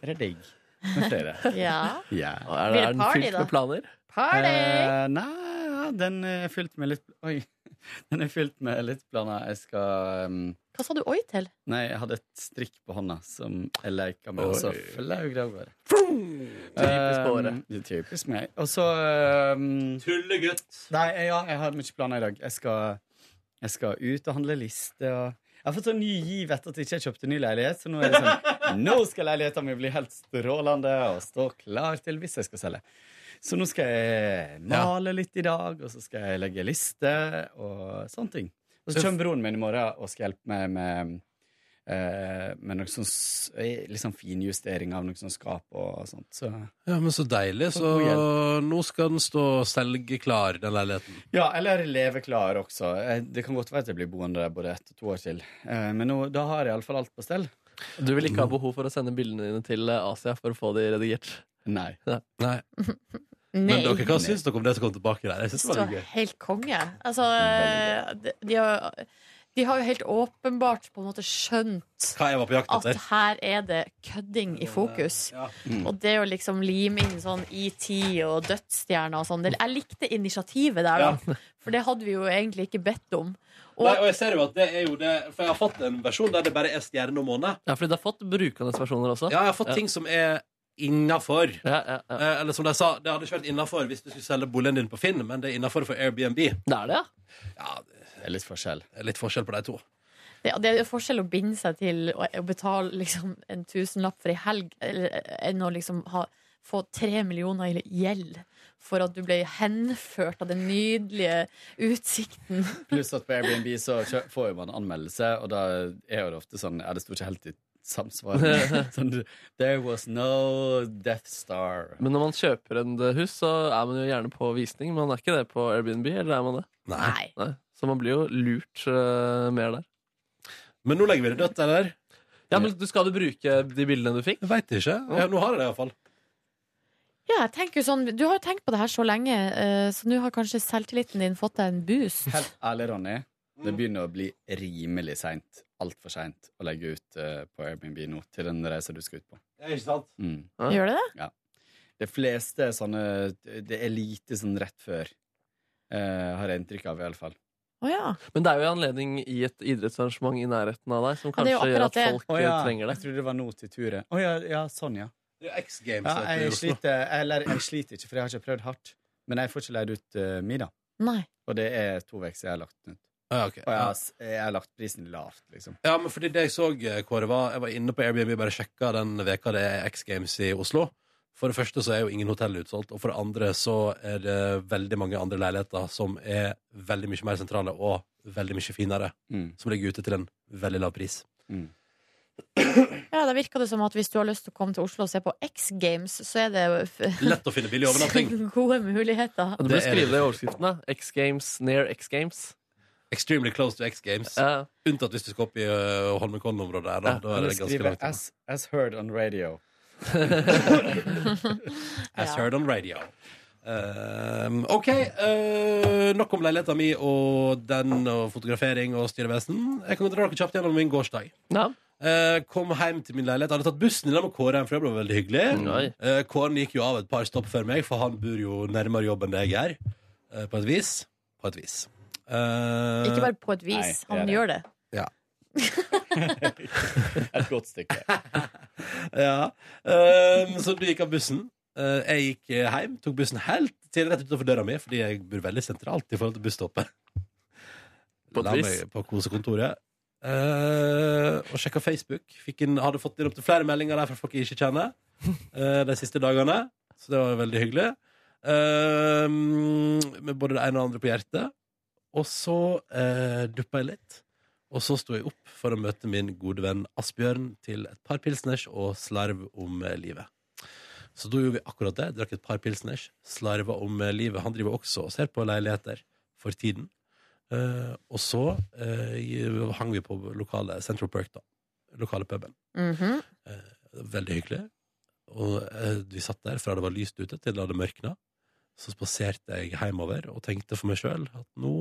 Speaker 1: er det digg med fredag.
Speaker 6: Ja.
Speaker 1: Ja.
Speaker 3: Er
Speaker 6: Blir
Speaker 3: det,
Speaker 6: det
Speaker 3: er den
Speaker 6: party,
Speaker 3: fylt
Speaker 6: da?
Speaker 3: med planer?
Speaker 1: Eh, nei, ja, den er fylt med litt Oi. Den er fylt med litt planer. Jeg skal ehm,
Speaker 6: Hva sa du oi til?
Speaker 1: Nei, jeg hadde et strikk på hånda som jeg leka med, og så
Speaker 2: Oi.
Speaker 1: flaug det av gårde.
Speaker 3: Typisk på året.
Speaker 1: Um, det er typisk meg. Og så um,
Speaker 2: Tullegutt.
Speaker 1: Nei, jeg- ja, jeg har mye planer i dag. Jeg skal, jeg skal ut og handle liste. Og jeg har fått sånn ny giv etter at jeg ikke kjøpte ny leilighet. Så nå er det sånn Nå skal leiligheten min bli helt strålende og stå klar til hvis jeg skal selge. Så nå skal jeg male litt i dag, og så skal jeg legge liste og sånne ting. Og så kommer broren min i morgen og skal hjelpe meg med eh, med noe sånn s- eh, litt sånn finjustering av noe sånn skap og sånt. Så
Speaker 2: Ja, men så deilig. Så
Speaker 1: God
Speaker 2: nå skal den stå selgeklar, den leiligheten.
Speaker 1: Ja, eller leve klar også. Eh, Det kan godt være at jeg blir boende der både ett og to år til. Eh, Men nå, da har jeg iallfall alt på stell.
Speaker 3: Du vil ikke ha behov for å sende bildene dine til eh, Asia for å få de redigert.
Speaker 1: Nei.
Speaker 2: Nei. Men dere, hva syns dere om det som kom tilbake der? Jeg synes det
Speaker 6: Så
Speaker 2: var litt gøy.
Speaker 6: helt konge. Altså, de, de, har, de har jo helt åpenbart på en måte skjønt
Speaker 2: Hva jeg var på jakt
Speaker 6: at
Speaker 2: etter.
Speaker 6: her er det kødding i fokus.
Speaker 2: Ja.
Speaker 6: Og det å liksom lime inn sånn ET og dødsstjerner og sånn det-
Speaker 2: Mm.
Speaker 6: Jeg likte initiativet der, da. For det hadde vi jo egentlig ikke bedt om. Og-
Speaker 2: Nei, og jeg ser jo at det er jo det For jeg har fått en versjon der det bare er stjerne og måne.
Speaker 3: Ja, fordi du har fått brukende versjoner også.
Speaker 2: Ja, jeg har fått ting som er innafor.
Speaker 3: Ja, ja, ja.
Speaker 2: Eh, eller som de sa, det hadde ikke vært innafor hvis du skulle selge boligen din på Finn, men det er innafor for Airbnb.
Speaker 3: Det er det, ja.
Speaker 2: Ja,
Speaker 1: Det er litt forskjell.
Speaker 2: det er litt forskjell på de to.
Speaker 6: Det, det er jo forskjell å binde seg til å, å betale liksom, en tusenlapp for ei helg eller, enn å liksom ha, få tre millioner i gjeld for at du ble henført av den nydelige utsikten.
Speaker 1: Pluss at på Airbnb så kjø- får jo man anmeldelse, og da er jo det ofte sånn Ja, det sto ikke helt i samsvar. med- Sånn, There was no Death Star.
Speaker 3: Men når man kjøper en eh, hus, så er man jo gjerne på visning. Man er ikke det på Airbnb, eller er man det?
Speaker 6: Nei.
Speaker 3: Nei. Så man blir jo lurt eh, mer der.
Speaker 2: Men nå legger vi det dødt, eller?
Speaker 3: Ja, men du Skal du bruke de bildene du fikk?
Speaker 2: Jeg veit ikke. Ja, nå har jeg det iallfall.
Speaker 6: Ja, jeg tenker jo sånn, Du har jo tenkt på det her så lenge, eh, så nå har kanskje selvtilliten din fått deg en boost.
Speaker 1: Helt ærlig, Ronny, det begynner å bli rimelig seint, altfor seint, å legge ut eh, på Airbnb nå til den reisa du skal ut på.
Speaker 2: Ja, ikke sant?
Speaker 1: Mm.
Speaker 6: Gjør det det?
Speaker 1: Ja. De fleste er sånne Det er lite sånn rett før, eh, har jeg inntrykk av, i alle fall.
Speaker 6: Å ja.
Speaker 3: Men det er jo en anledning i et idrettsarrangement i nærheten av deg som
Speaker 6: Ja, det er
Speaker 3: kanskje
Speaker 6: jo
Speaker 3: gjør
Speaker 6: akkurat
Speaker 3: at folk
Speaker 1: Å
Speaker 3: eh,
Speaker 1: ja,
Speaker 3: trenger det.
Speaker 1: jeg trodde det var nå til turet. Å ja, ja, sånn, ja.
Speaker 2: Det er jo X Games.
Speaker 1: ja
Speaker 2: vet du, i
Speaker 1: jeg,
Speaker 2: Oslo.
Speaker 1: sliter, eller, jeg sliter ikke, for jeg har ikke prøvd hardt. Men jeg får ikke leid ut eh, middag.
Speaker 6: Nei.
Speaker 1: Og det er to uker siden jeg har lagt den ut.
Speaker 2: Ja, ok.
Speaker 1: Og jeg har, s- jeg har lagt prisen lavt, liksom.
Speaker 2: Ja, men fordi det jeg så, eh, Kåre, var Jeg var inne på Airbnb bare sjekka den veka det er X Games i Oslo. For det første så er jo ingen hotell utsolgt, og for det andre så er det veldig mange andre leiligheter som er veldig mye mer sentrale og veldig mye finere,
Speaker 1: Mm.
Speaker 2: som ligger ute til en veldig lav pris.
Speaker 1: Mm.
Speaker 6: Ja, Da virker det som at hvis du har lyst til å komme til Oslo og se på X Games, så er det jo f-
Speaker 2: Lett å finne billig overnatting.
Speaker 6: gode muligheter.
Speaker 3: Og Du bør
Speaker 2: Det er det.
Speaker 3: skrive det i overskriften. da X Games, near X Games. Eh,
Speaker 2: Extremely close to X Games.
Speaker 3: Ja.
Speaker 2: Unntatt hvis du skal opp i eh, Holmenkollen-området her, da.
Speaker 3: Ja,
Speaker 2: Da er
Speaker 1: Eller
Speaker 2: det ganske
Speaker 1: skrive
Speaker 2: langt. unna.
Speaker 1: as, 'As heard on radio'.
Speaker 2: As
Speaker 6: Ja.
Speaker 2: heard on radio. Ehm, OK. eh, nok om leiligheta mi og den og fotografering og styrevesen. Jeg kan dra dere kjapt gjennom min gårsdag.
Speaker 3: Ja.
Speaker 2: Eh, kom hjem til min leilighet. Hadde tatt bussen i lag med Kåre hjem, for det ble veldig hyggelig.
Speaker 3: Oi.
Speaker 2: Eh, Kåren gikk jo av et par stopp før meg, for han bor jo nærmere jobb enn det jeg gjør. Eh, på et vis. På et vis. Eh,
Speaker 6: Ikke bare på et
Speaker 1: Nei,
Speaker 6: vis.
Speaker 1: det er
Speaker 6: Han
Speaker 1: det.
Speaker 6: gjør det.
Speaker 1: Et godt stykke.
Speaker 2: Ja. Ehm, så du gikk av bussen. Eh, jeg gikk eh, hjem, tok bussen helt til rett utenfor døra mi, fordi jeg bor veldig sentralt i forhold til busstoppet.
Speaker 3: På et
Speaker 2: La
Speaker 3: vis.
Speaker 2: meg på kosekontoret. Eh, og sjekka Facebook. Fikk inn, hadde fått inn opptil flere meldinger der fra folk jeg ikke kjenner eh, de siste dagene. Så det var veldig hyggelig. Eh, med både det ene og det andre på hjertet. Og så uh, duppa jeg litt. Og så sto jeg opp for å møte min gode venn Asbjørn til et par pilsners og slarv om eh, livet. Så da gjorde vi akkurat det. Drakk et par pilsners, slarva om eh, livet. Han driver også og ser på leiligheter for tiden. Eh, og så eh, gi- hang vi på lokale Central Perk, da. Lokale puben.
Speaker 6: Mhm.
Speaker 2: Veldig hyggelig. Og eh, vi satt der fra det var lyst ute til det hadde mørkna. Så spaserte jeg hjemover og tenkte for meg sjøl at nå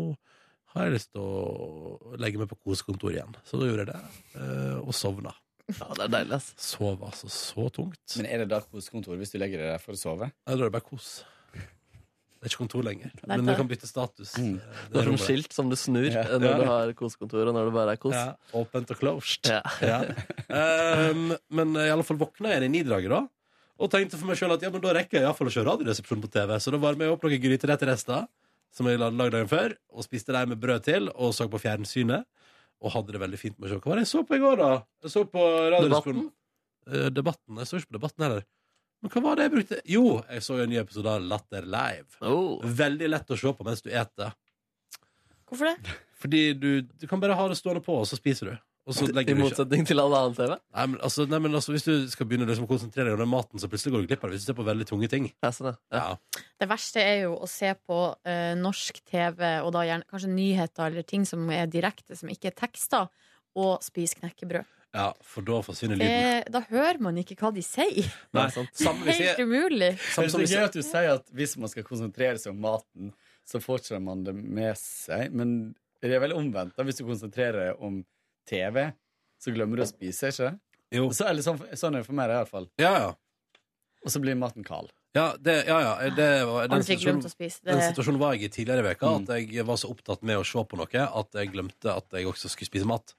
Speaker 2: har jeg lyst til å legge meg på kosekontoret igjen. Så da gjorde jeg det, eh, og sovna.
Speaker 3: ja, det er deilig, ass.
Speaker 2: Sov altså så tungt.
Speaker 1: Men er det da kosekontor hvis du legger deg der for å sove?
Speaker 2: Nei, da er det bare kos. Det er ikke kontor lenger,
Speaker 6: Nei,
Speaker 2: men
Speaker 6: da-
Speaker 2: du kan bytte status.
Speaker 1: Mm.
Speaker 2: eh, det
Speaker 3: Det er sånn som
Speaker 2: rommet.
Speaker 3: skilt som du snur
Speaker 1: Ja.
Speaker 3: eh,
Speaker 2: Ja.
Speaker 3: når du har kosekontor, og når det bare er kos.
Speaker 2: Ja, åpent og closed.
Speaker 3: Ja.
Speaker 2: Ja. Ehm, men i alle fall våkna jeg igjen i nidraget da, og tenkte for meg sjøl at ja, men da rekker jeg iallfall å se Radioresepsjonen på TV. Så da varma jeg opp noen gryterettrester som jeg hadde lagd dagen før, og spiste dem med brød til, og så på fjernsynet. Og hadde det veldig fint med å se. Hva var det jeg så på i går, da? Jeg så på Radioresepsjonen. Eh, debatten? Jeg så ikke på Debatten heller. Men hva var det jeg brukte? Jo, jeg så en ny episode av Latter Live.
Speaker 3: Oh.
Speaker 2: Veldig lett å se på mens du eter.
Speaker 6: Hvorfor det?
Speaker 2: Fordi du, du kan bare ha det stående på, og så spiser du. Og så
Speaker 3: Oh. I
Speaker 2: legger du ikke
Speaker 3: motsetning til all annen TV.
Speaker 2: Nei, men, altså, nei, men altså, Hvis du skal begynne liksom, å konsentrere deg om den maten, så plutselig går du glipp av det. Hvis du ser på veldig tunge ting.
Speaker 3: Ja, sånn, ja.
Speaker 2: Ja.
Speaker 6: Det verste er jo å se på eh, norsk TV, og da gjerne kanskje nyheter eller ting som er direkte, som ikke er tekster, og spise knekkebrød.
Speaker 2: Ja, for da forsvinner lyden.
Speaker 6: Det, da hører man ikke hva de sier.
Speaker 2: Nei,
Speaker 3: Det er sant.
Speaker 2: samme hvis
Speaker 6: Helt
Speaker 2: jeg,
Speaker 6: umulig.
Speaker 2: samme som
Speaker 1: det
Speaker 2: hvis
Speaker 1: er gøy
Speaker 2: jeg,
Speaker 1: at du sier at hvis man skal konsentrere seg om maten, så får ikke man det med seg. Men det er vel omvendt. da Hvis du konsentrerer deg om TV, så glemmer du å spise, ikke
Speaker 6: Eh.
Speaker 2: Jo.
Speaker 1: Så, eller sånn, sånn er det for meg, i hvert fall.
Speaker 2: ja, ja.
Speaker 1: Og så blir maten kald.
Speaker 2: Ja, det, ja, ja. Det var, den,
Speaker 6: Aldri glemt å
Speaker 2: situasjonen,
Speaker 6: spise
Speaker 2: den
Speaker 6: det.
Speaker 2: situasjonen var jeg i tidligere i veka At jeg var så opptatt med å se på noe at jeg glemte at jeg også skulle spise mat.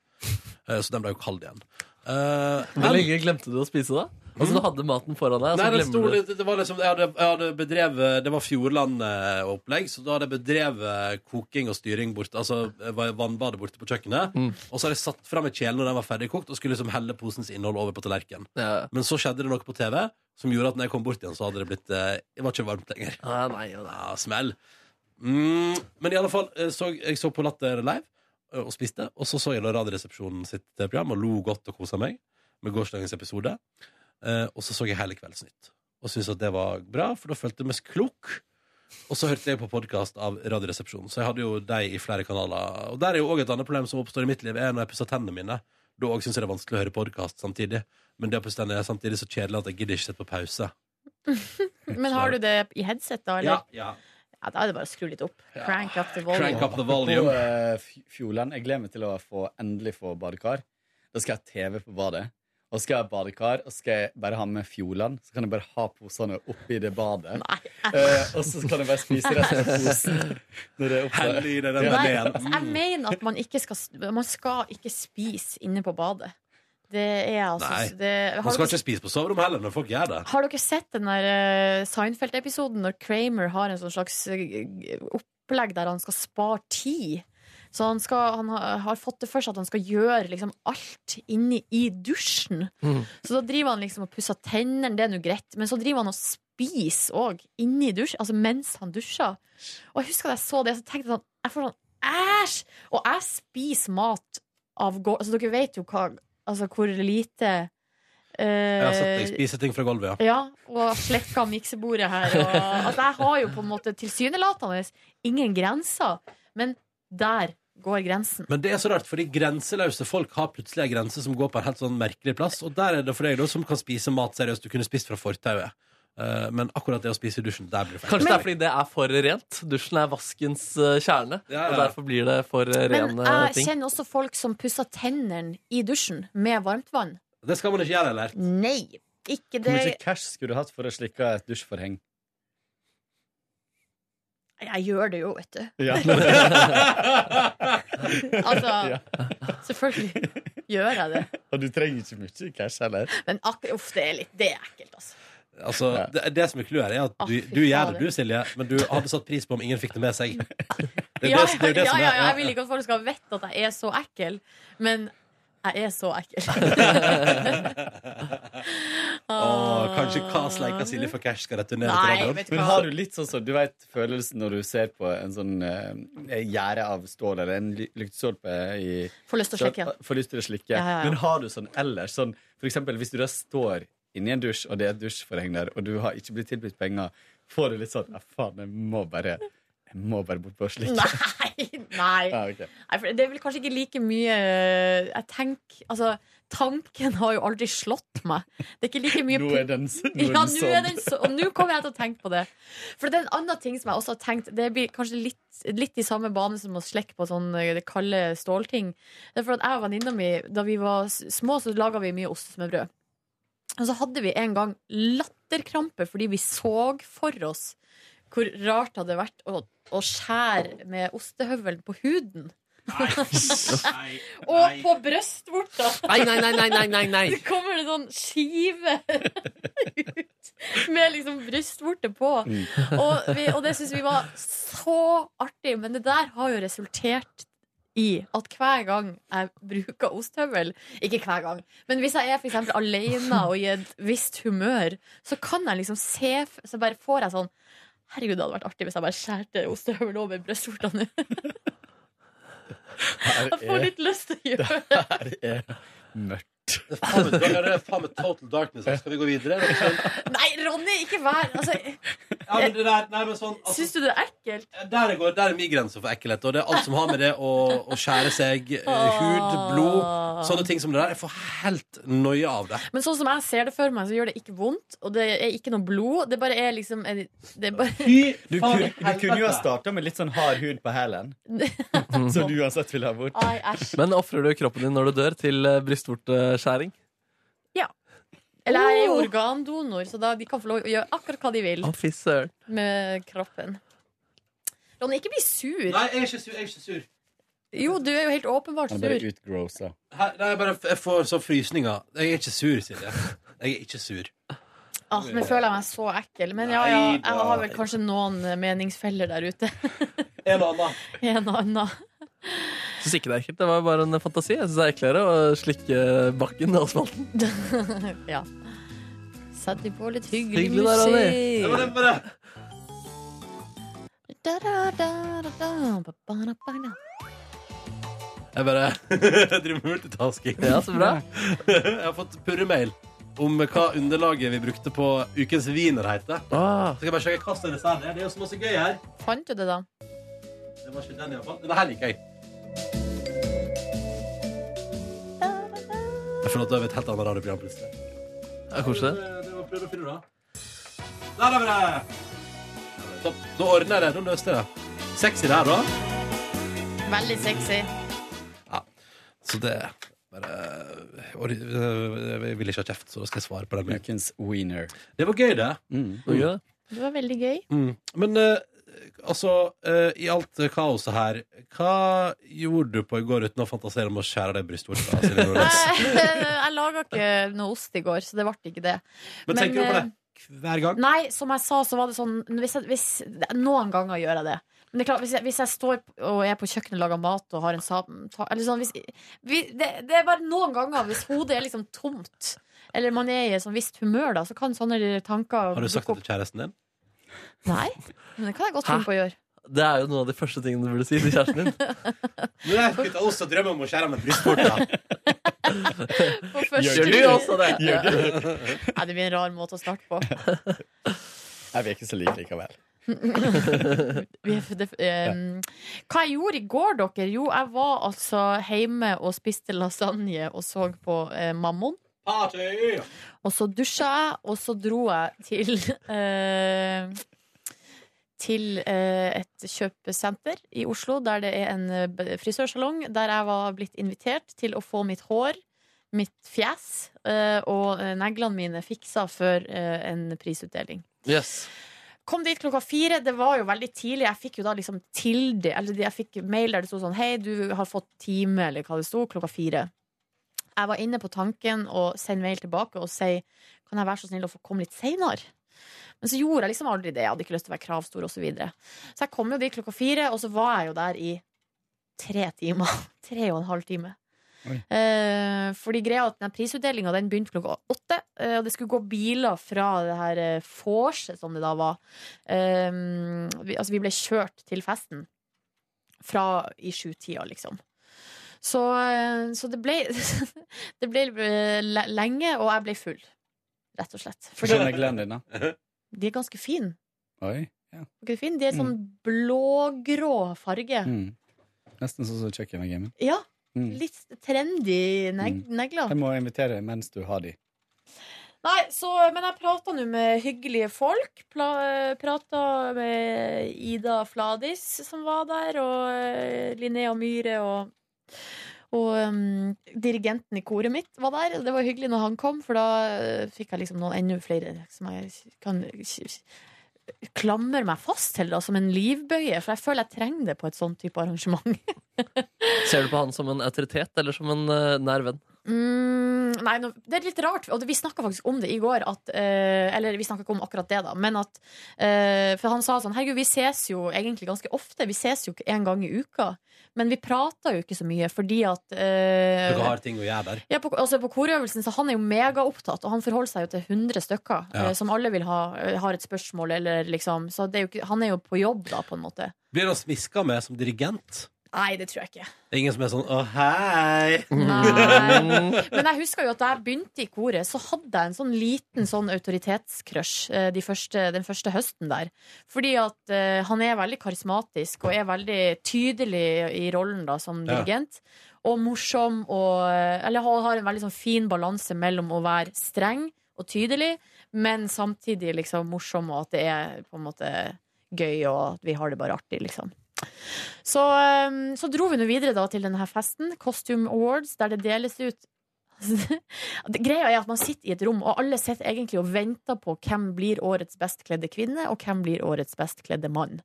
Speaker 2: Eh, Så den ble jo kald igjen. Eh,
Speaker 3: Hvor lenge glemte du å spise, da? Altså, du hadde maten foran deg, og
Speaker 2: Mm.
Speaker 3: så
Speaker 2: Nei, det, sto
Speaker 3: Altså, glemmer du.
Speaker 2: litt, det var liksom Jeg hadde, jeg hadde bedrevet Det var Fjordland-opplegg, så da hadde jeg bedrevet koking og styring borte, altså eh, vannbadet borte på kjøkkenet.
Speaker 3: Mm.
Speaker 2: Og så hadde jeg satt fram en kjele når den var ferdigkokt, og skulle liksom helle posens innhold over på tallerkenen.
Speaker 3: Ja.
Speaker 2: Men så skjedde det noe på TV som gjorde at når jeg kom bort igjen, så hadde det blitt eh, Det var ikke varmt lenger.
Speaker 3: Ah, nei, ja, nei.
Speaker 2: Ja, smell. Mm, men i alle fall, eh, så, jeg så på Latter live eh, og spiste, og så så jeg da Radioresepsjonen sitt eh, program og lo godt og kosa meg med gårsdagens episode. Eh, og så så jeg hele Kveldsnytt og syntes at det var bra, for da følte jeg meg klok. Og så hørte jeg på podkast av Radioresepsjonen, så jeg hadde jo deg i flere kanaler. Og der er jo òg et annet problem som oppstår i mitt liv, er når jeg pusser tennene mine. Da òg syns jeg det er vanskelig å høre podkast samtidig. Men det å pusse tennene er samtidig så kjedelig at jeg gidder ikke sette på pause.
Speaker 6: Men har du det i headset, da? Eller?
Speaker 1: Ja, ja.
Speaker 6: Ja, Da er det bare å skru litt opp. Crank up the volume.
Speaker 1: På, eh, Fj- Fjordland, jeg gleder meg til å få, endelig få badekar. Da skal jeg ha TV på badet. Og skal jeg ha badekar, og skal jeg bare ha med Fjordland, så kan jeg bare ha posene oppi det badet. Eh, og så kan jeg bare spise resten av posen. Når det er oppe.
Speaker 2: Hell i deg den
Speaker 6: Nei,
Speaker 2: ideen.
Speaker 6: altså, jeg mener at man ikke skal Man skal ikke spise inne på badet. Det er altså
Speaker 2: Nei.
Speaker 6: det,
Speaker 2: Man
Speaker 6: har,
Speaker 2: skal
Speaker 6: dere,
Speaker 2: ikke spise på soverommet heller når folk gjør det.
Speaker 6: har dere sett den der eh, Seinfeld-episoden når Kramer har en sånn slags eh, opplegg der han skal spare tid? Så han, skal, han har- har fått det for seg at han skal gjøre liksom alt inni i dusjen.
Speaker 2: Mm.
Speaker 6: Så da driver han liksom og pusser tennene, det er nå greit. Men så driver han og spiser òg inni dusj, altså mens han dusjer. Og jeg husker da jeg så det, så tenkte jeg sånn Jeg får sånn æsj! Og jeg spiser mat av gulv. Altså, dere vet jo hva Altså, hvor lite
Speaker 2: Jeg har sett
Speaker 6: eh,
Speaker 2: deg spise ting fra gulvet, ja.
Speaker 6: ja, og slekka miksebordet her. Og, altså, jeg har jo på en måte tilsynelatende ingen grenser, men der går grensen.
Speaker 2: Men det er så rart, fordi grenseløse folk har plutselig en grense som går på en helt sånn merkelig plass. Og der er det for deg da, som kan spise mat seriøst. Du kunne spist fra fortauet. Eh, men akkurat det å spise i dusjen, der blir det feil.
Speaker 3: Kanskje det er fordi det er for rent. Dusjen er vaskens eh, kjerne. Og derfor blir det for eh,
Speaker 6: Men ah,
Speaker 3: rene
Speaker 6: jeg
Speaker 3: ting.
Speaker 6: kjenner også folk som pusser tennene i dusjen med varmt vann.
Speaker 2: Det skal man ikke gjøre, eller?
Speaker 6: Nei, ikke
Speaker 1: Hvor
Speaker 6: det
Speaker 1: mye cash skulle du hatt for å slikke et dusjforheng?
Speaker 6: Jeg gjør det jo, vet du.
Speaker 1: Ja.
Speaker 6: Altså,
Speaker 1: Ja.
Speaker 6: selvfølgelig gjør jeg det.
Speaker 1: Og du trenger ikke mye cash heller.
Speaker 6: Men ak uff, det er litt Det er ekkelt, altså.
Speaker 2: Altså, det, det som er clouet her, er at du,
Speaker 6: fy
Speaker 2: du gjør det
Speaker 6: fader.
Speaker 2: du, Silje, men du hadde satt pris på om ingen fikk det med seg. Det er jo det- det er jo
Speaker 6: Ja, ja,
Speaker 2: det som er-
Speaker 6: ja, jeg vil ikke at folk skal vite at jeg er så ekkel, men jeg er så ekkel.
Speaker 2: Åh, kanskje hva sleiker Silje for cash skal returnere til radioen?
Speaker 1: Men har du litt sånn som Du vet følelsen når du ser på en sånn uh, gjerde av stål eller en ly- lyktestolpe i
Speaker 6: Får lyst til å slikke, ja.
Speaker 1: Får lyst til å slikke.
Speaker 6: Ja, ja, ja.
Speaker 1: Men har du sånn ellers? Sånn, for eksempel hvis du da står inni en dusj, og det er et dusjforheng der, og du har ikke blitt tilbudt penger, får du litt sånn Ja, faen, jeg må bare Jeg må bare bort på å slikke.
Speaker 6: Nei, nei.
Speaker 1: Ja, ok.
Speaker 6: Nei, for Det er vel kanskje ikke like mye eh, Jeg tenker, altså Tanken har jo aldri slått meg. Det er ikke like mye
Speaker 1: Nå er den, nå er
Speaker 6: ja,
Speaker 1: den
Speaker 6: nå er
Speaker 1: sånn.
Speaker 6: den så, og nå kommer jeg til å tenke på det. For det er en annen ting som jeg også har tenkt Det blir kanskje litt, litt i samme bane som å slekke på sånn eh, det kalde stålting. Det er for at jeg og venninna mi, da vi var s- små, så laga vi mye ostesmørbrød. Og så hadde vi en gang latterkrampe fordi vi så for oss hvor rart det hadde vært å, å skjære med ostehøvelen på huden. og på brystvorta!
Speaker 3: Nei, nei, nei, nei, nei, nei, nei.
Speaker 6: Så kommer det sånn skive ut med liksom brystvorte på. Og, vi, og det syns vi var så artig, men det der har jo resultert i at hver gang jeg bruker ostehøvel Ikke hver gang, men hvis jeg er for eksempel alene og i et visst humør, så kan jeg liksom se f- Så bare får jeg sånn Herregud, det hadde vært artig hvis jeg bare skjærte ostehøvel over brystvorta nå.
Speaker 1: Her
Speaker 6: Jeg får
Speaker 1: er-
Speaker 6: litt lyst til å gjøre det.
Speaker 1: her er mørkt.
Speaker 2: Faen, da er det faen meg total darkness. her. Skal vi gå videre?
Speaker 6: Nei, Ronny, ikke vær altså,
Speaker 2: Ja, men det der, nei, men sånn, altså,
Speaker 6: Syns du det er ekkelt?
Speaker 2: der, går, der er min grense for ekkelhet. Og det er alt som har med det å, å skjære seg, eh, hud, blod, sånne ting som det der. Jeg får helt noie av det.
Speaker 6: Men sånn som jeg ser det for meg, så gjør det ikke vondt, og det er ikke noe blod. Det bare er liksom en- det er bare,
Speaker 1: Du, kunne- du kunne jo ha starta med litt sånn hard hud på hælen. Som du uansett ville ha bort.
Speaker 6: Ai, æsj.
Speaker 3: Men ofrer du kroppen din når du dør, til eh, brystvorteskjæring?
Speaker 6: Eller jeg er jo organdonor, så da de kan få lov å gjøre akkurat hva de vil
Speaker 3: Å, fy søren.
Speaker 6: med kroppen. Ronny, ikke bli sur.
Speaker 2: Nei, jeg er ikke sur. Jeg er ikke sur.
Speaker 6: Jo, du er jo helt åpenbart
Speaker 1: Han er bare
Speaker 6: sur.
Speaker 1: utgrossa.
Speaker 2: Her, nei, jeg, bare, jeg får sånn frysninger. Jeg er ikke sur, Silje. Jeg er ikke sur.
Speaker 6: Ah, nå føler jeg meg så ekkel. Men ja, ja, jeg har vel kanskje noen eh, meningsfeller der ute.
Speaker 2: En og annen.
Speaker 6: En og annen.
Speaker 3: Syns ikke det er ekkelt. Det var jo bare en fantasi. Jeg syns det er eklere å slikke bakken og asfalten.
Speaker 6: Ja. Sett deg på litt hyggelig
Speaker 3: Hyggelig der, Ronny.
Speaker 2: Det var det
Speaker 6: musikk.
Speaker 2: bare.
Speaker 6: Da, da, da, da, da. Ba, ba, da, ba, da.
Speaker 2: Jeg bare jeg driver med multitasking.
Speaker 3: Ja, så bra.
Speaker 2: Jeg har fått purremail om hva underlaget vi brukte på ukens wiener heter.
Speaker 3: Ah,
Speaker 2: Så skal jeg bare sjekke hva som er desserten her. Det er jo så masse gøy her.
Speaker 6: Fant du det, da?
Speaker 2: Det var ikke den, i hvert fall. Denne her liker jeg. Jeg føler at det er et helt annet radioprogram plutselig.
Speaker 3: det er koselig.
Speaker 2: Det var prøv og fyr, da. Der har vi det! Topp. Nå ordner jeg det. Nå løste jeg det. Sexy der, da.
Speaker 6: Veldig sexy.
Speaker 2: Så det bare, og, øh, Jeg vil ikke ha kjeft, så da skal jeg svare på den. med en gang.
Speaker 1: Ukens wiener. Mm.
Speaker 2: Det var gøy, det.
Speaker 3: Nå gjør jeg det.
Speaker 6: Det var veldig gøy.
Speaker 2: Mm. Men eh, altså, eh, i alt eh, kaoset her, hva gjorde du på i går uten å fantasere om å skjære deg i brystvorta? Silje Nordnes?
Speaker 6: jeg laga ikke noe ost i går, så det ble ikke det.
Speaker 2: Men
Speaker 6: Men,
Speaker 2: tenker du på
Speaker 6: eh,
Speaker 2: det hver gang?
Speaker 6: Nei, som jeg sa, så var det sånn hvis jeg, hvis, Noen ganger gjør jeg det. Men det er klart, hvis jeg, hvis jeg står og er på kjøkkenet og lager mat og har en samtale Eller sånn hvis, vi, det, det er bare noen ganger hvis hodet er liksom tomt, eller man er i et sånn visst humør, da, så kan sånne tanker
Speaker 2: Har du sagt
Speaker 6: dukke
Speaker 2: det til kjæresten din?
Speaker 6: opp. Nei, men det kan jeg godt
Speaker 3: Hæ?
Speaker 6: finne på å gjøre.
Speaker 3: Det er jo noen av de første tingene du burde si til kjæresten din.
Speaker 2: Nå er jeg også drømmer om å skjære meg i brystvorta.
Speaker 6: På første altså.
Speaker 3: Gjør du
Speaker 6: uke.
Speaker 3: også det?
Speaker 1: Gjør du?
Speaker 6: Nei, det blir en rar måte å starte på.
Speaker 1: Nei, vi er ikke så like likevel.
Speaker 6: Vi- det- ehm, Hva jeg gjorde i går, dere? Jo, jeg var altså hjemme og spiste lasagne og så på eh, Mammon.
Speaker 2: Party!
Speaker 6: Og så dusja jeg, og så dro jeg til eh, Til eh, et kjøpesenter i Oslo, der det er en eh, b- frisørsalong, der jeg var blitt invitert til å få mitt hår, mitt fjes eh, og eh, neglene mine fiksa før eh, en prisutdeling.
Speaker 3: Yes.
Speaker 6: Kom dit klokka fire, det var jo veldig tidlig. Jeg fikk jo da liksom tilde, eller jeg fikk mail der det sto sånn Hei, du har fått time, eller hva det sto, klokka fire. Jeg var inne på tanken å sende mail tilbake og si kan jeg være så snill å få komme litt seinere. Men så gjorde jeg liksom aldri det. Jeg hadde ikke lyst til å være kravstor osv. Så, videre. så jeg kom jo dit klokka fire, og så var jeg jo der i tre timer. Tre og en halv time.
Speaker 1: Oi.
Speaker 6: Eh, fordi greia er at den prisutdelinga begynte klokka åtte, eh, og det skulle gå biler fra det her eh, vorset som det da var. Eh, vi, altså, vi ble kjørt til festen fra i sjutida, liksom. Så, eh, så det ble Det ble eh, le- lenge, og jeg ble full, rett og slett.
Speaker 1: Få se neglene dine.
Speaker 6: De er ganske fine.
Speaker 1: Oi. Ja.
Speaker 6: Er ikke de fine? De er sånn blågrå farge.
Speaker 1: Mm. Nesten sånn som kjøkkenveggen min.
Speaker 6: Ja,
Speaker 1: Mm.
Speaker 6: litt trendy neg negler.
Speaker 1: Jeg må invitere deg mens du har de.
Speaker 6: Nei, så, men jeg prata nå med hyggelige folk. Pla- Prata med Ida Fladis, som var der, og eh, Linnea Myhre og og um, dirigenten i koret mitt var der. og Det var hyggelig når han kom, for da eh, fikk jeg liksom noen enda flere som jeg kan klamre meg fast til, da, som en livbøye. For jeg føler jeg trenger det på et sånt type arrangement.
Speaker 3: Ser du på han som en autoritet eller som en eh, nær venn?
Speaker 6: Mm, nei, nå, det er litt rart. Og det- vi snakka faktisk om det i går. At, eh, eller vi snakka ikke om akkurat det, da. Men at eh, For han sa sånn Herregud, vi ses jo egentlig ganske ofte. Vi ses jo ikke en gang i uka. Men vi prater jo ikke så mye fordi at eh,
Speaker 2: Dere har ting å gjøre der.
Speaker 6: ja, på, altså på korøvelsen så Han er jo megaopptatt, og han forholder seg jo til 100 stykker
Speaker 2: Ja.
Speaker 6: eh, som alle vil ha, eh, har et spørsmål, eller liksom Så det er jo ikke, han er jo på jobb, da, på en måte.
Speaker 2: Blir han smiska med som dirigent?
Speaker 6: Nei, det tror jeg ikke.
Speaker 2: Det er ingen som er sånn 'Å, hei'.
Speaker 6: Nei. Men jeg husker jo at da jeg begynte i koret, så hadde jeg en sånn liten sånn autoritetscrush eh, de første, den første høsten der. Fordi at eh, han er veldig karismatisk og er veldig tydelig i rollen da som
Speaker 2: Ja.
Speaker 6: dirigent. Og morsom og eh, Eller han har en veldig sånn fin balanse mellom å være streng og tydelig, men samtidig liksom morsom, og at det er på en måte gøy, og at vi har det bare artig, liksom. Så, um, så dro vi nå videre da til denne her festen, Costume Awards, der det deles ut Det- Greia er at man sitter i et rom, og alle sitter egentlig og venter på hvem blir årets bestkledde kvinne, og hvem blir årets bestkledde mann.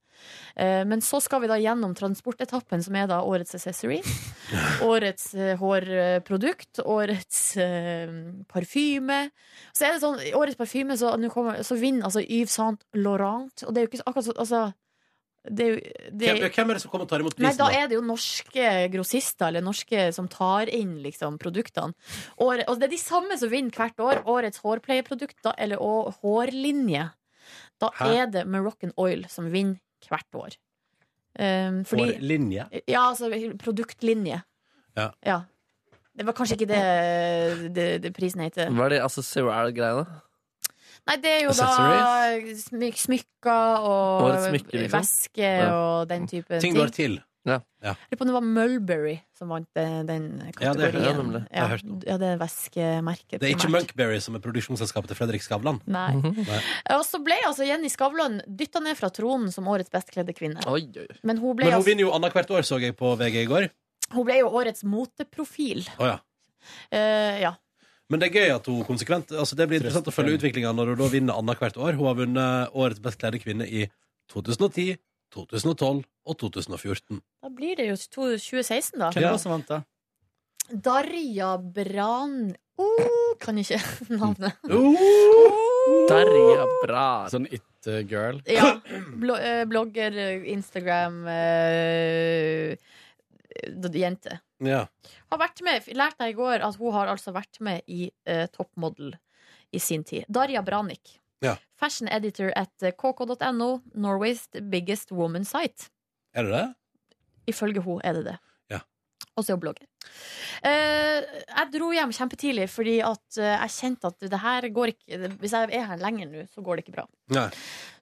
Speaker 6: Eh, Men så skal vi da gjennom transportetappen, som er da årets accessory, årets eh, hårprodukt, årets eh, parfyme. Så er det sånn, i årets parfyme, så, nå kommer, så vinner altså Yves Saint Laurent, og det er jo ikke så- akkurat så Altså, det er jo det,
Speaker 2: Hvem, hvem er det som kommer og tar imot
Speaker 6: Nei,
Speaker 2: prisen?
Speaker 6: da
Speaker 2: da?
Speaker 6: er det jo norske grossister eller norske som tar inn liksom, produktene. Og, og det er de samme som vinner hvert år. Årets hårpleieprodukter eller å- hårlinje. Da
Speaker 2: Hæ?
Speaker 6: er det Moroccan Oil som vinner hvert år. Um,
Speaker 2: For
Speaker 6: fordi
Speaker 2: linje.
Speaker 6: Ja, altså produktlinje.
Speaker 2: Ja.
Speaker 6: Det var kanskje ikke det, det, det prisen heter.
Speaker 3: Hva er de associerer-greiene?
Speaker 6: Nei, det er jo da
Speaker 3: Accessories?
Speaker 6: smyk, smykker og
Speaker 3: Årets smykke, liksom?
Speaker 6: veske
Speaker 3: Ja.
Speaker 6: og den type
Speaker 2: Ting
Speaker 6: ting.
Speaker 2: går til.
Speaker 3: Ja.
Speaker 6: Jeg lurer på om det var Mulberry som vant den, den
Speaker 2: Ja, det
Speaker 6: kategorien.
Speaker 2: har jeg hørt om det. Jeg
Speaker 6: Ja,
Speaker 2: har hørt om
Speaker 6: ja, det er væskemerket.
Speaker 2: Det er ikke
Speaker 6: primært.
Speaker 2: Munkberry som er produksjonsselskapet til Fredrik Skavlan.
Speaker 6: Nei.
Speaker 2: Nei.
Speaker 6: Og så ble altså Jenny Skavlan dytta ned fra tronen som årets bestkledde kvinne.
Speaker 3: Oi, oi. oi.
Speaker 6: Men hun ble,
Speaker 2: Men hun
Speaker 6: altså,
Speaker 2: vinner jo annethvert år, så jeg på VG i går.
Speaker 6: hun ble jo årets moteprofil.
Speaker 2: Å, ja.
Speaker 6: Eh, ja.
Speaker 2: Men det er gøy at hun konsekvent altså Det blir interessant å følge utviklinga når hun da vinner annethvert år. Hun har vunnet Årets best kledde kvinne i 2010, 2012 og 2014.
Speaker 6: Da blir det jo to- 2016, da.
Speaker 2: Hvem var det
Speaker 1: som vant, da?
Speaker 6: Darja Bran... Oh, kan ikke navnet.
Speaker 3: Derja bra.
Speaker 1: Sånn it-girl.
Speaker 6: Ja. Blo eh, blogger, eh, Instagram eh, d- Jente.
Speaker 2: Ja.
Speaker 6: Har vært med, lærte jeg i går at hun har altså vært med i eh, Toppmodell i sin tid. Darja Branik.
Speaker 2: Ja.
Speaker 6: Fashion editor at eh, kk.no, Norway's biggest woman site.
Speaker 2: Er det det?
Speaker 6: Ifølge hun er det det.
Speaker 2: Ja.
Speaker 6: Og så er hun blogger. Eh, jeg dro hjem kjempetidlig fordi at eh, jeg kjente at det her går ikke Hvis jeg er her lenger nå, så går det ikke bra.
Speaker 2: Nei.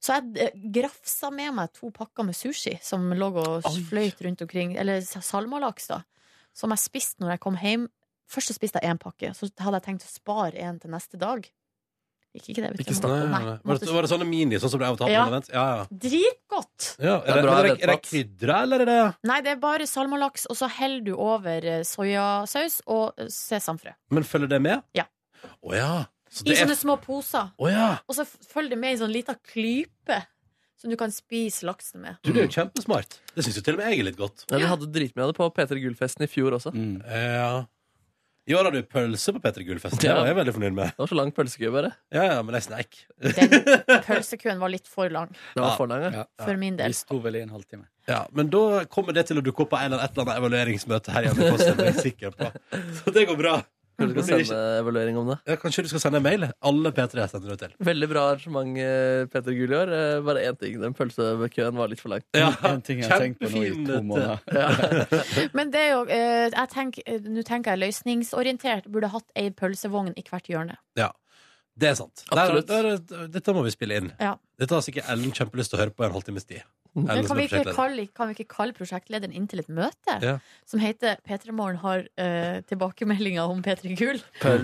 Speaker 6: Så jeg eh, grafsa med meg to pakker med sushi som lå og fløyt rundt omkring. Eller s- salmalaks, da. Som jeg spiste når jeg kom hjem. Først så spiste jeg én pakke, så hadde jeg tenkt å spare en til neste dag. Gikk ikke det? vet du.
Speaker 2: Ikke snakk om
Speaker 6: Nei,
Speaker 2: det. Var
Speaker 6: måtte-
Speaker 2: det, var det sånne mini, sånn som du har tatt
Speaker 6: Ja.
Speaker 2: ja. Ja, ja.
Speaker 6: Dritgodt!
Speaker 2: ja
Speaker 3: Det
Speaker 2: er,
Speaker 3: er
Speaker 2: det, er,
Speaker 3: bra
Speaker 2: det, er det
Speaker 3: vedtatt.
Speaker 2: krydra, eller er det
Speaker 6: Nei, det er bare salmalaks, og så heller du over eh, soyasaus og eh, sesamfrø.
Speaker 2: Men følger det med?
Speaker 6: Ja.
Speaker 2: Å ja. Så
Speaker 6: I
Speaker 2: det er
Speaker 6: sånne små poser.
Speaker 2: Å ja.
Speaker 6: Og så f- følger det med i sånn lita klype som du kan spise laksen med.
Speaker 2: Du, det er jo kjempesmart. Det syns jo til og med jeg er litt godt.
Speaker 3: Ja, vi hadde dritmye av det på P3 Gull-festen i fjor også. Det
Speaker 1: Mm.
Speaker 2: Ja. I år har du pølse på P3 Gull-festen. Det
Speaker 3: Ja.
Speaker 2: var jeg veldig fornøyd med.
Speaker 3: var så lang pølsekø, bare.
Speaker 2: Ja, ja, men jeg sneik.
Speaker 6: Den pølsekøen var litt for lang
Speaker 3: Det var
Speaker 2: Ja.
Speaker 3: for lang, ja.
Speaker 6: for min
Speaker 1: Vi
Speaker 6: del.
Speaker 1: sto vel i en halvtime.
Speaker 2: Ja, men da kommer det til å dukke opp på en eller et eller annet evalueringsmøte her i NRK. så det er jeg sikker på. Så det går bra.
Speaker 3: Kanskje du
Speaker 2: Det blir
Speaker 3: skal sende evaluering om det.
Speaker 2: Ja, kanskje du skal sende en mail? Alle P3 sender du til.
Speaker 3: Veldig bra arrangement, eh, Peter Gull i år. Eh, Bare én ting, den pølsekøen var litt for lang.
Speaker 2: Ja,
Speaker 1: En ting jeg har tenkt på nå i to
Speaker 2: kjempefin,
Speaker 1: måneder.
Speaker 6: Men det er jo eh, jeg tenker- eh, Nå tenker jeg løsningsorientert. Burde hatt ei pølsevogn i hvert hjørne.
Speaker 2: Ja, det er sant. Der,
Speaker 3: Absolutt.
Speaker 2: der, der, dette må vi spille inn.
Speaker 6: Ja.
Speaker 2: Dette har sikkert Ellen kjempelyst til å høre på i en halvtimes tid.
Speaker 3: Men
Speaker 2: Ellen
Speaker 6: Men
Speaker 2: som
Speaker 6: kan
Speaker 2: er
Speaker 6: vi ikke
Speaker 2: prosjektleder.
Speaker 6: kalle, kan vi ikke kalle prosjektlederen inn til et møte?
Speaker 2: Ja.
Speaker 6: Som heter P3 Morgen har eh, tilbakemeldinger om P3 Gull.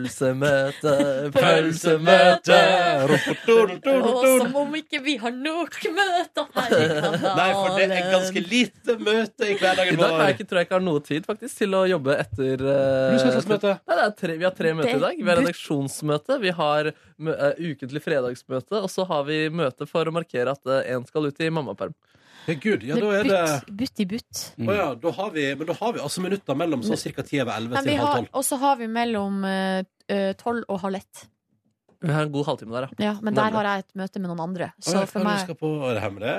Speaker 3: Pølsemøte, pølsemøte!
Speaker 2: Pølsemøte!
Speaker 6: Og som om ikke vi har nok møter her i kanalen.
Speaker 2: Nei, for det er ganske lite møte i
Speaker 3: I
Speaker 2: hverdagen
Speaker 3: dag har
Speaker 2: vår.
Speaker 3: jeg ikke, tror jeg ikke har noe tid faktisk til å jobbe etter eh,
Speaker 2: Produksjonsmøte.
Speaker 3: Nei, det er tre, Vi har tre møter i dag. Vi har
Speaker 6: Det-
Speaker 3: redaksjonsmøte, vi har mø- eh, ukentlig fredagsmøte, og så har vi møte for å markere at én skal ut i mammaperm.
Speaker 2: Ja, Gud, ja,
Speaker 6: Det
Speaker 2: da
Speaker 6: er
Speaker 2: er det
Speaker 6: butt, butt i butt.
Speaker 2: Å ja, da har vi, Men da har vi altså minutter mellom sånn ca. 10 over 11
Speaker 6: Men vi
Speaker 2: til halv
Speaker 6: har,
Speaker 2: 12.
Speaker 6: og så har vi mellom eh, eh, tolv og halv ett.
Speaker 3: Vi har en god halvtime der, ja.
Speaker 6: Ja, men der
Speaker 3: Nemlig.
Speaker 6: har jeg et møte med noen andre.
Speaker 2: Å
Speaker 6: Så
Speaker 2: ja, hva er det
Speaker 6: for
Speaker 2: du
Speaker 6: meg
Speaker 2: skal på, er det hemmelig?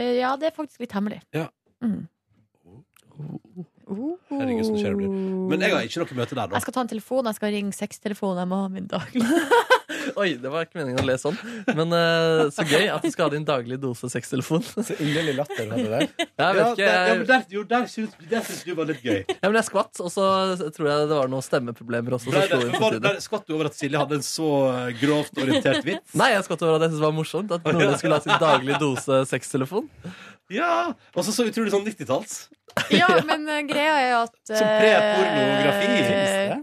Speaker 6: eh, Ja, det er faktisk litt hemmelig.
Speaker 2: Ja. Oh.
Speaker 6: Mm. Oh.
Speaker 2: Herregud, sånn skjer det Men jeg har ikke noe møte der nå.
Speaker 6: Jeg skal ta en telefon, jeg skal ringe sextelefonen. Jeg må ha min daglig
Speaker 3: Oi, det var ikke meningen å le sånn. Men eh, så gøy at du skal ha din daglige dose sextelefon.
Speaker 1: Så inderlig latter du hadde der.
Speaker 3: Jeg vet
Speaker 2: Ja,
Speaker 3: ikke,
Speaker 2: der, ja,
Speaker 3: jeg,
Speaker 2: men der, jo, der syns, der syns du var litt gøy.
Speaker 3: ja, men jeg skvatt, og så tror jeg det var noen stemmeproblemer også.
Speaker 2: Ble
Speaker 3: Som slo
Speaker 2: det-
Speaker 3: inn på
Speaker 2: var-
Speaker 3: tide.
Speaker 2: ble- Skvatt du over at Silje hadde en så eh, grovt orientert vits?
Speaker 3: Nei, jeg skvatt over at jeg syntes det var morsomt at Nordli skulle ha sin daglige dose sextelefon.
Speaker 2: Ja! Og så så utrolig sånn 90-talls.
Speaker 6: Ja, men eh, greia er at
Speaker 2: Som pre-pornografi,
Speaker 6: eh,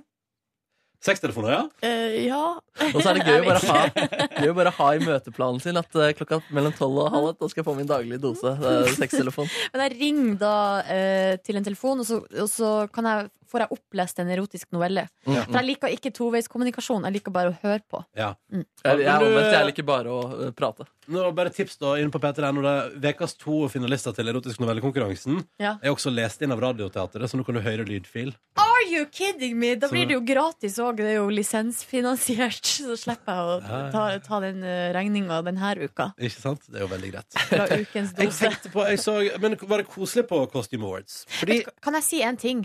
Speaker 2: Sextelefoner, ja?
Speaker 6: eh, Ja.
Speaker 3: Og så er det gøy å
Speaker 6: Jeg vet
Speaker 3: bare ha, gøy å bare ha i møteplanen sin at eh, klokka mellom tolv og halv ett da skal jeg få min daglige dose eh, sextelefon.
Speaker 6: Men jeg ringer da eh, til en telefon, og så, og så kan jeg, får jeg opplest en erotisk novelle.
Speaker 3: Mm,
Speaker 6: For
Speaker 3: mm.
Speaker 6: jeg liker ikke toveiskommunikasjon, jeg liker bare å høre på.
Speaker 3: Jeg, jeg, er
Speaker 2: Men du-
Speaker 3: omvendt, jeg liker bare å eh, prate.
Speaker 2: Nå, bare tips da, inn på P3.no. det er Ukas to finalister til Erotisk novellekonkurransen
Speaker 6: Ja.
Speaker 2: er også lest inn av Radioteatret, så nå kan du høre lydfil.
Speaker 6: Are you kidding me? Da
Speaker 2: Så-
Speaker 6: blir det jo gratis òg, det er jo lisensfinansiert. Så slipper jeg å ta, ta den regninga denne uka.
Speaker 2: Ikke sant? Det er jo veldig greit.
Speaker 6: Fra ukens
Speaker 2: Jeg
Speaker 6: dose.
Speaker 2: tenkte på, jeg så, men var det koselig på Costume Awards? Fordi,
Speaker 6: Kan jeg si en ting?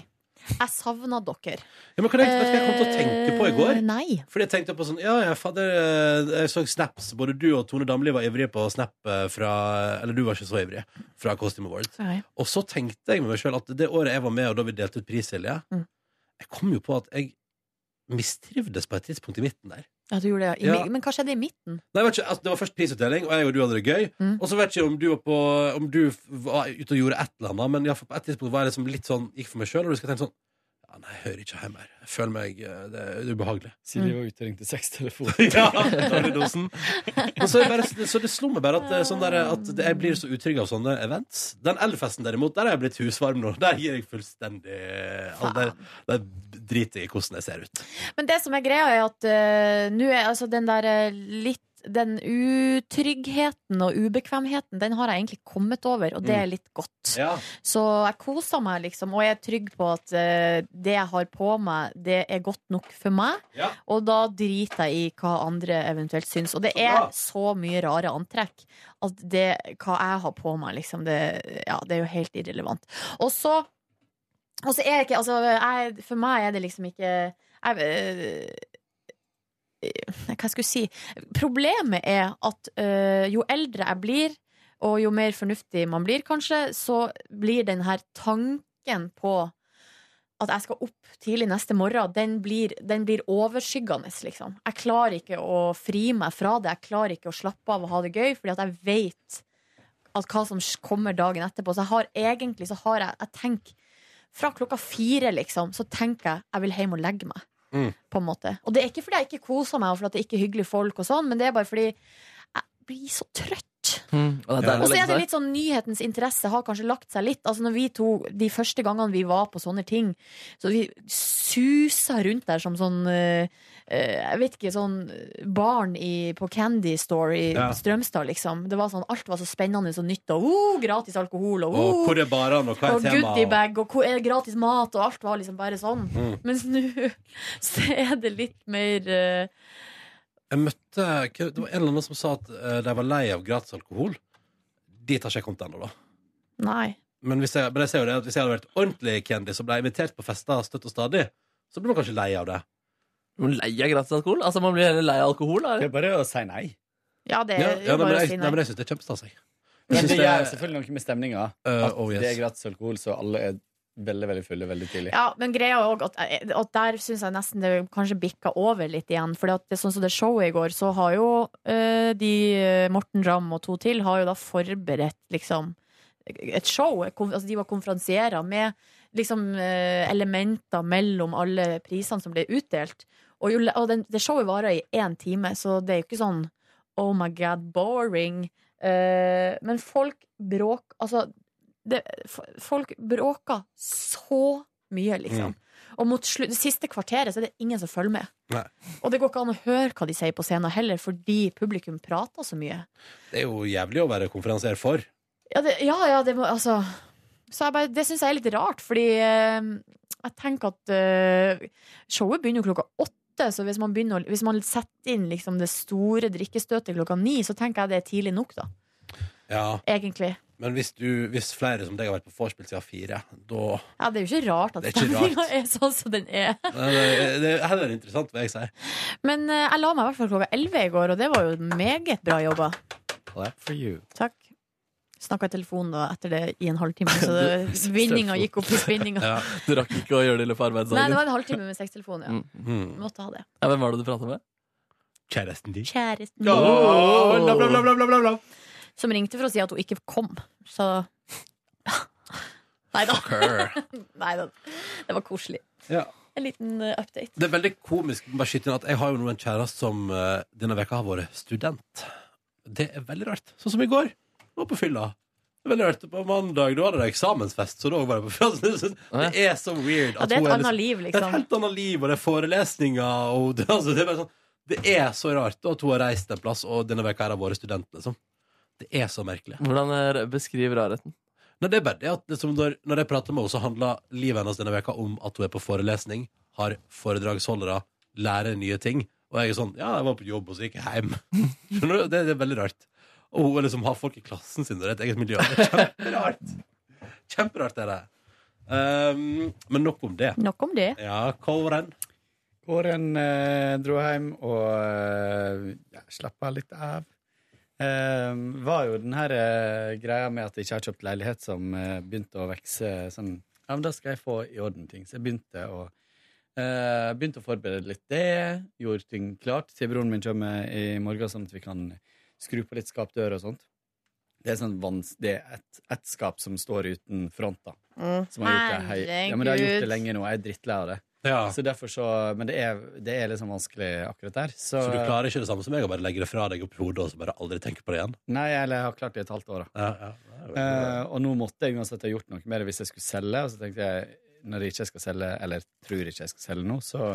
Speaker 6: Jeg savna dere.
Speaker 2: ja, men kan jeg, vet du hva jeg kom til å tenke på i går?
Speaker 6: Eh, Nei.
Speaker 2: Fordi jeg tenkte på sånn, ja, ja, fader, eh, jeg så snaps Både du og Tone Damli var ivrige på snap eh, fra, Eller du var ikke så ivrig Fra Costume Awards
Speaker 6: Nei.
Speaker 2: Og så tenkte jeg med meg selv at det året jeg var med Og da vi delte ut pris, Silje
Speaker 6: Mm.
Speaker 2: Jeg kom jo på at jeg mistrivdes på et tidspunkt i midten der
Speaker 6: Ja, du gjorde det, ja. I,
Speaker 2: Ja.
Speaker 6: mi- Men hva skjedde i midten?
Speaker 2: Nei, jeg vet ikke, altså, Det var først prisutdeling, og jeg og du hadde det gøy.
Speaker 6: Mm.
Speaker 2: Og så vet jeg ikke om du var på Om du f- var ute og gjorde et eller annet, men i hvert fall på et tidspunkt var jeg liksom litt sånn gikk for meg sjøl, og du skal tenke sånn Ja, nei, jeg hører ikke hjemme her. Jeg føler meg eh, Det det er ubehagelig.
Speaker 1: Silje var ute og ringte seks telefoner.
Speaker 2: ja, dårlig dosen. Og så, er det bare, så det slo meg bare at, eh, sånn der, at jeg blir så utrygg av sånne events. Den elfesten derimot, der er jeg blitt husvarm nå. Der gir jeg fullstendig altså, der, der driter jeg i hvordan jeg ser ut.
Speaker 6: Men det som er greia, er at eh, nå er altså den der eh, litt den utryggheten og ubekvemheten, den har jeg egentlig kommet over, og det
Speaker 2: Mm.
Speaker 6: er litt godt.
Speaker 2: Ja.
Speaker 6: Så jeg koser meg, liksom, og jeg er trygg på at eh, det jeg har på meg, det er godt nok for meg.
Speaker 2: Ja.
Speaker 6: Og da driter jeg i hva andre eventuelt syns. Og det er så mye rare antrekk at det, hva jeg har på meg, liksom, det, ja, det er jo helt irrelevant. Og så og så er jeg ikke altså, jeg, For meg er det liksom ikke jeg, øh, Hva skal jeg si? Problemet er at øh, jo eldre jeg blir, og jo mer fornuftig man blir, kanskje, så blir den her tanken på at jeg skal opp tidlig neste morgen, den blir, den blir overskyggende, liksom. Jeg klarer ikke å fri meg fra det. Jeg klarer ikke å slappe av og ha det gøy, fordi at jeg vet at hva som kommer dagen etterpå. Så jeg har egentlig så har jeg, jeg tenker fra klokka fire, liksom, så tenker jeg jeg vil hjem og legge meg.
Speaker 2: Mm.
Speaker 6: På en måte. Og det er ikke fordi jeg ikke koser meg, og fordi det ikke er hyggelige folk, og sånn, men det er bare fordi jeg blir så trøtt.
Speaker 3: Og det er
Speaker 6: Og
Speaker 3: deilig å
Speaker 6: så
Speaker 3: legge
Speaker 6: er det
Speaker 3: seg.
Speaker 6: litt sånn nyhetens interesse har kanskje lagt seg litt. Altså når vi to, De første gangene vi var på sånne ting, så vi susa rundt der som sånn eh, eh, Jeg vet ikke, sånn barn i, på Candy Store i
Speaker 2: Ja.
Speaker 6: på Strømstad, liksom. Det var sånn, Alt var så spennende og nytt, og oh, gratis alkohol, og,
Speaker 2: Og
Speaker 6: oh,
Speaker 2: hvor er barene, og hva
Speaker 6: og
Speaker 2: er temaet?
Speaker 6: goodiebag, og hvor er gratis mat, og alt var liksom bare sånn.
Speaker 2: Mm.
Speaker 6: Mens nå så er det litt mer eh,
Speaker 2: Jeg møtte hva- Det var en eller annen som sa at eh, de var lei av gratis alkohol. Dit har ikke jeg kommet ennå, da.
Speaker 6: Nei.
Speaker 2: Men, hvis jeg, men jeg ser jo det at hvis jeg hadde vært ordentlig kjendis og ble invitert på fester støtt og stadig, så blir man kanskje lei av det.
Speaker 3: Man blir Lei av gratis alkohol? Altså, man blir heller lei av alkohol. Da.
Speaker 1: Det er bare å si nei.
Speaker 6: Ja, det
Speaker 2: Ja,
Speaker 6: er
Speaker 2: ja, nei, men
Speaker 6: bare å
Speaker 2: jeg,
Speaker 6: si
Speaker 2: nei,
Speaker 6: nei.
Speaker 2: men jeg syns det er kjempestas, jeg.
Speaker 1: Men
Speaker 2: synes
Speaker 1: det
Speaker 2: det-
Speaker 1: gjør selvfølgelig noe med stemninga.
Speaker 2: Eh,
Speaker 1: At
Speaker 2: oh, yes.
Speaker 1: det er gratis alkohol, så alle er veldig veldig fulle veldig tidlig.
Speaker 6: Ja, men greia er òg at, eh, at der syns jeg nesten det kanskje bikka over litt igjen. For sånn som det showet i går, så har jo eh, de eh, Morten Ramm og to til har jo da forberedt liksom et show. Kon- Altså, de var konferansierer med liksom eh, elementer mellom alle prisene som ble utdelt. Og, jo, le- og den, det showet varer i én time, så det er jo ikke sånn oh my god, boring. Eh, men folk bråk Altså, det, f- folk bråker så mye, liksom.
Speaker 2: Mm.
Speaker 6: Og mot slu, det siste kvarteret så er det ingen som følger med.
Speaker 2: Nei.
Speaker 6: Og det går ikke an å høre hva de sier på scenen heller, fordi publikum prater så mye.
Speaker 2: Det er jo jævlig å være konferansier for.
Speaker 6: Ja, det, ja, ja, det må Altså. Så jeg bare, det syns jeg er litt rart, fordi eh, jeg tenker at eh, showet begynner jo klokka åtte. Så hvis man, begynner, å- hvis man setter inn liksom, det store drikkestøtet klokka ni, så tenker jeg det er tidlig nok, da.
Speaker 2: Ja,
Speaker 6: Egentlig.
Speaker 2: Men hvis, du, hvis flere som deg har vært på vorspiel siden fire, da
Speaker 6: Ja, det er jo ikke rart at
Speaker 2: Det er ikke rart.
Speaker 6: stemninga er sånn som den er.
Speaker 2: Nei, nei, Det er heller interessant, vil jeg si.
Speaker 6: Men eh, jeg la meg i hvert fall klokka 11 i går, og det var jo meget bra jobba.
Speaker 1: Clap for you.
Speaker 6: Takk. Snakka i telefonen da etter det i en halvtime, så det- vinninga gikk opp i spinninga.
Speaker 2: Ja.
Speaker 3: Du rakk ikke å gjøre det i løpet av
Speaker 6: Nei, det
Speaker 3: arbeidsdagen.
Speaker 6: var en halvtime med sextelefon, ja.
Speaker 3: Mm.
Speaker 2: Mm.
Speaker 6: Måtte ha det.
Speaker 3: Ja, hvem var det du pratet med?
Speaker 2: Kjæresten din.
Speaker 6: Kjæresten
Speaker 2: Ja,
Speaker 6: min,
Speaker 2: bla, bla, bla, bla, bla, bla.
Speaker 6: som ringte for å si at hun ikke kom, så Nei da.
Speaker 2: Her.
Speaker 6: Nei da. Det var koselig.
Speaker 2: Ja.
Speaker 6: En liten eh, update.
Speaker 2: Det er veldig komisk bare skyte inn at jeg har jo nå en kjæreste som eh, denne veka har vært student. Det er veldig rart. Sånn som i går. Jeg var på fylla. Det er Veldig rart. På mandag da hadde de eksamensfest, så da var jeg på fylla. Det er så weird.
Speaker 6: Ja, det er
Speaker 2: hun
Speaker 6: et
Speaker 2: liksom-
Speaker 6: annet liv,
Speaker 2: Det er et
Speaker 6: liksom.
Speaker 2: helt annet liv, og det er forelesninger og det, altså, det, er bare sånn, det er så rart at hun har reist en plass, og denne veka her har vært student, liksom. Det er så merkelig.
Speaker 3: Hvordan er, beskriv rarheten.
Speaker 2: Nei, det er bare det at liksom, når, når jeg prater med henne, så handler livet hennes denne veka om at hun er på forelesning, har foredragsholdere, lærer nye ting. Og jeg er sånn Ja, jeg var på jobb, og så gikk jeg hjem. Skjønner du? Det, det er veldig rart. Og hun liksom har folk i klassen sin, og det er et eget miljø. Det er Kjemperart. Kjemperart er det. Um, men nok om det.
Speaker 6: Nok om det.
Speaker 2: Ja, Kåren.
Speaker 1: Kåren eh, dro hjem og eh, ja, slappa litt av. Eh, var jo den her eh, greia med at jeg ikke har kjøpt eh, leilighet som eh, begynte å vekse sånn Ja, men da skal jeg få i orden ting. Så jeg begynte å Eh, begynte å forberede litt det. Gjorde ting klart. Siden min kommer i morgen, sånn at vi kan skru på litt skapdører og sånt. Det er, sånn vans det er et, et skap som står uten front, da.
Speaker 13: Mm.
Speaker 1: Som har gjort det, hei ja, men det har gjort det
Speaker 13: Herregud.
Speaker 1: lenge nå. Jeg er drittlei av det. Så derfor så, men det er, det er liksom vanskelig akkurat der. Så,
Speaker 2: Så du klarer ikke det samme som meg å bare legge det fra deg oppi hodet og så bare aldri tenke på det igjen?
Speaker 1: Nei, eller jeg har klart det i et halvt år.
Speaker 2: da
Speaker 1: Eh, og nå måtte jeg uansett ha gjort noe med det hvis jeg skulle selge. Og så tenkte jeg, når jeg ikke skal selge, eller tror ikke jeg skal selge nå, så,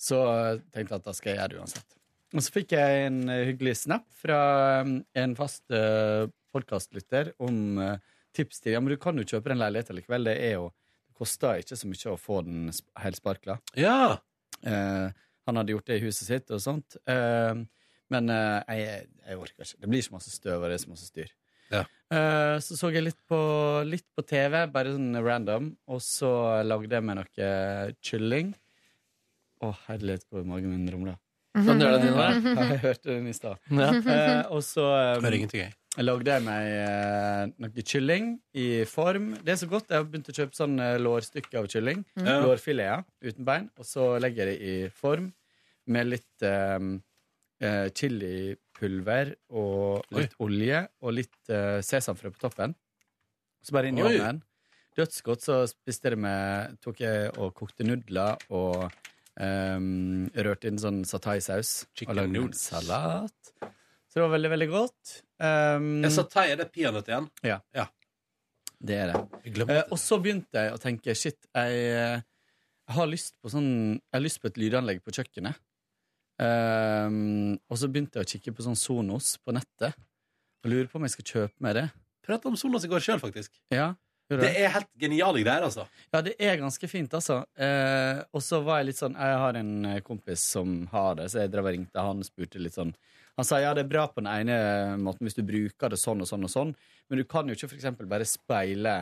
Speaker 1: så tenkte jeg at da skal jeg gjøre det uansett. Og så fikk jeg en eh, hyggelig snap fra eh, en fast uh, podkastlytter om eh, tips til Ja, men du kan jo kjøpe den leiligheten likevel. Det er jo Det koster ikke så mye å få den sp- helsparkla.
Speaker 2: Ja.
Speaker 1: Eh, han hadde gjort det i huset sitt og sånt. Eh, men eh, jeg, jeg orker ikke. Det blir så masse støv, og det er så masse styr. Eh, Så så jeg litt på, litt på TV, bare sånn random, og så lagde jeg meg noe kylling. Å, herlighet, hvor magen min rumla.
Speaker 3: Sånn gjør den din, da.
Speaker 1: Ja, jeg hørte den i stad.
Speaker 3: Ja.
Speaker 6: Mm.
Speaker 1: Eh, og så eh,
Speaker 2: Hører ingenting, jeg.
Speaker 1: lagde jeg meg eh, noe kylling i form. Det er så godt. Jeg har begynt å kjøpe sånn eh, lårstykke av kylling.
Speaker 2: Mm. Ja.
Speaker 1: Lårfileter uten bein. Og så legger jeg det i form med litt eh, eh, chilipulver og litt olje og litt eh, sesamfrø på toppen. Så bare inn i
Speaker 2: Oi.
Speaker 1: ovnen. Dødsgodt. Så spiste jeg det med Tok jeg og kokte nudler og ehm, rørte inn sånn sataisaus. Og lagde en salat. Så det var veldig, veldig godt. Um,
Speaker 2: Jeg sa tei, er det peanøtt igjen?
Speaker 1: ja. Det er det. Eh, og så begynte jeg å tenke shit, jeg, eh, jeg har lyst på sånn Jeg har lyst på et lydanlegg på kjøkkenet. Ehm, og så begynte jeg å kikke på sånn Sonos på nettet. Og lurer på om jeg skal kjøpe meg det.
Speaker 2: Prata om Sonos i går sjøl, faktisk.
Speaker 1: Ja, gjorde
Speaker 2: Det er helt geniale greier, altså.
Speaker 1: ja, det er ganske fint, altså. Eh, og så var jeg litt sånn Jeg har en eh, kompis som har det, så jeg drev og ringte han og spurte litt sånn. Han sa ja, det er bra på den ene måten hvis du bruker det sånn og sånn og sånn, men du kan jo ikke for eksempel bare speile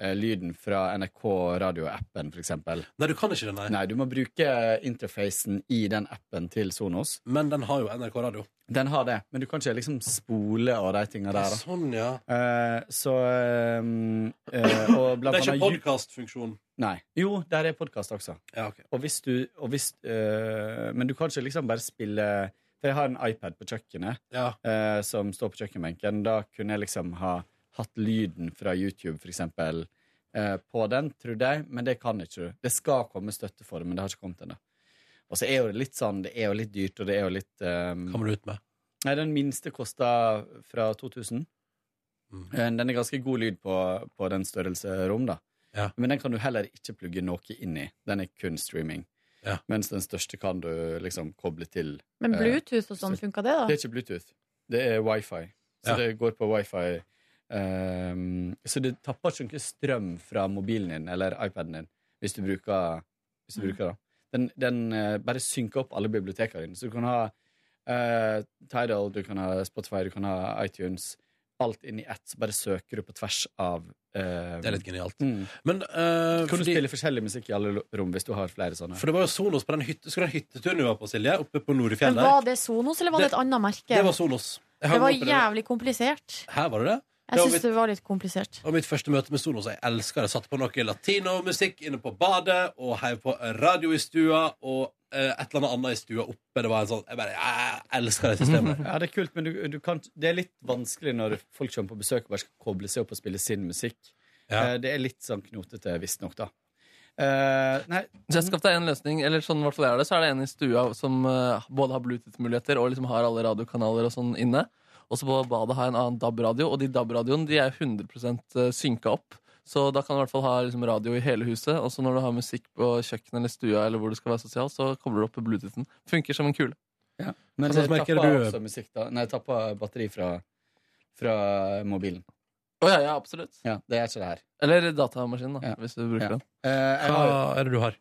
Speaker 1: eh, lyden fra NRK radioappen, for eksempel.
Speaker 2: Nei, du kan ikke det, nei.
Speaker 1: Nei, du må bruke interfacen i den appen til Sonos.
Speaker 2: Men den har jo NRK radio.
Speaker 1: Den har det, men du kan ikke liksom spole og de tinga der, da.
Speaker 2: Sånn, ja.
Speaker 1: Eh, så ehm, eh, Og
Speaker 2: Det
Speaker 1: blant
Speaker 2: er ikke
Speaker 1: annet
Speaker 2: podkastfunksjon.
Speaker 1: Nei. Jo, der er podkast også. Og hvis du og hvis, øh, Men du kan ikke liksom bare spille For jeg har en iPad på kjøkkenet
Speaker 2: Ja.
Speaker 1: øh, som står på kjøkkenbenken. Da kunne jeg liksom ha hatt lyden fra YouTube, for eksempel, øh, på den, trodde jeg, men det kan ikke du. Det skal komme støtte for det, men det har ikke kommet ennå. Og så er jo det litt sånn Det er jo litt dyrt, og det er jo litt øh,
Speaker 2: Kommer du ut med?
Speaker 1: Nei, den minste kosta fra 2000. Eh, Den er ganske god lyd på, på den størrelse rom, da.
Speaker 2: Ja.
Speaker 1: Men den kan du heller ikke plugge noe inn i. Den er kun streaming. Mens den største kan du liksom koble til
Speaker 6: Men
Speaker 1: eh,
Speaker 6: Bluetooth og sånn, funka det,
Speaker 1: Det
Speaker 6: da?
Speaker 1: er ikke Bluetooth. Det er wifi. Så
Speaker 2: Ja.
Speaker 1: det går på wifi. ehm, så det tapper ikke noe strøm fra mobilen din eller iPaden din hvis du bruker, hvis du
Speaker 2: Mm.
Speaker 1: bruker det. Den, den eh, bare synker opp alle bibliotekene dine. Så du kan ha eh, Tidal, du kan ha Spotify, du kan ha iTunes. Alt inn i ett. Så bare søker du på tvers av eh,
Speaker 2: Det er litt genialt.
Speaker 1: Mm.
Speaker 2: Men, eh,
Speaker 1: kan du spille forskjellig musikk i alle lo- rom hvis du har flere sånne?
Speaker 2: For det var jo Sonos på den hytte, skulle den hytteturen vi var på, Silje, oppe på Nord i
Speaker 6: Men
Speaker 2: fjellet.
Speaker 6: var det Sonos, eller var det et annet merke?
Speaker 2: Det var Sonos. Jeg hang
Speaker 6: Det var
Speaker 2: opp i den-
Speaker 6: jævlig komplisert.
Speaker 2: Her var det det? Det
Speaker 6: Jeg
Speaker 2: var
Speaker 6: syns
Speaker 2: mitt,
Speaker 6: det var litt komplisert.
Speaker 2: var mitt første møte med Sonos. Jeg elsker det. Jeg Satte på noe latinomusikk inne på badet, og heiv på radio i stua, og eh, et eller annet annet i stua oppe. Det var en sånn Jeg bare jeg elsker det systemet.
Speaker 1: Ja, det er kult, men du, du kan, det er litt vanskelig når folk kommer på besøk og bare skal koble seg opp og spille sin musikk. Eh, Det er litt sånn knotete, visstnok, da. Eh, nei,
Speaker 3: Så jeg skapte en løsning, eller sånn i hvert fall jeg er det, så er det en i stua som eh, både har Bluetooth-muligheter og liksom har alle radiokanaler og sånn inne. Og så på badet har jeg en annen DAB-radio, og de DAB-radioene de er 100 synka opp. Så da kan du i hvert fall ha liksom, radio i hele huset, og så når du har musikk på kjøkkenet eller stua, eller hvor du skal være sosial, så kobler du opp Bluetoothen. Funker som en kule.
Speaker 1: men
Speaker 3: Altså,
Speaker 1: det
Speaker 3: merker
Speaker 1: tapper
Speaker 3: du-
Speaker 1: også musikk, da. Nei, jeg tapper batteri fra, fra mobilen.
Speaker 3: Å ja, ja, absolutt.
Speaker 1: Ja, det er ikke det her. Eh,
Speaker 3: Eller datamaskinen, da, hvis du bruker den.
Speaker 1: jeg har-
Speaker 2: er det du har?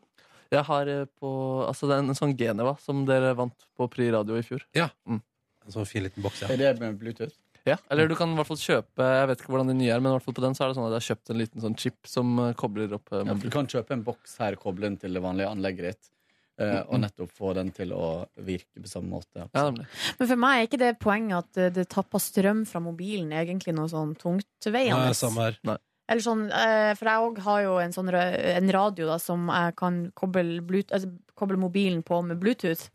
Speaker 3: Jeg har eh, på Altså, det er en sånn Geneva som dere vant på Pri Radio i fjor.
Speaker 2: Ja.
Speaker 3: Mm.
Speaker 2: En sånn fin liten boks, ja.
Speaker 1: Er det med Bluetooth?
Speaker 3: Ja, eller du kan i hvert fall kjøpe Jeg vet ikke hvordan de nye er, men i hvert fall på den så er det sånn at jeg har kjøpt en liten sånn chip som eh, kobler opp
Speaker 1: Ja,
Speaker 3: eh,
Speaker 1: for
Speaker 3: mobilen.
Speaker 1: du kan kjøpe en boks her og koble den til det vanlige anlegget ditt, eh,
Speaker 3: Mm.
Speaker 1: og nettopp få den til å virke på samme måte.
Speaker 6: Men for meg er ikke det poenget at det, det tapper strøm fra mobilen, egentlig noe sånn tungtveiende.
Speaker 2: Nei, samme her.
Speaker 6: Eller sånn, eh, for jeg òg har jo en, sånn, ra- en radio da, som jeg kan koble, blut, altså, koble mobilen på med Bluetooth.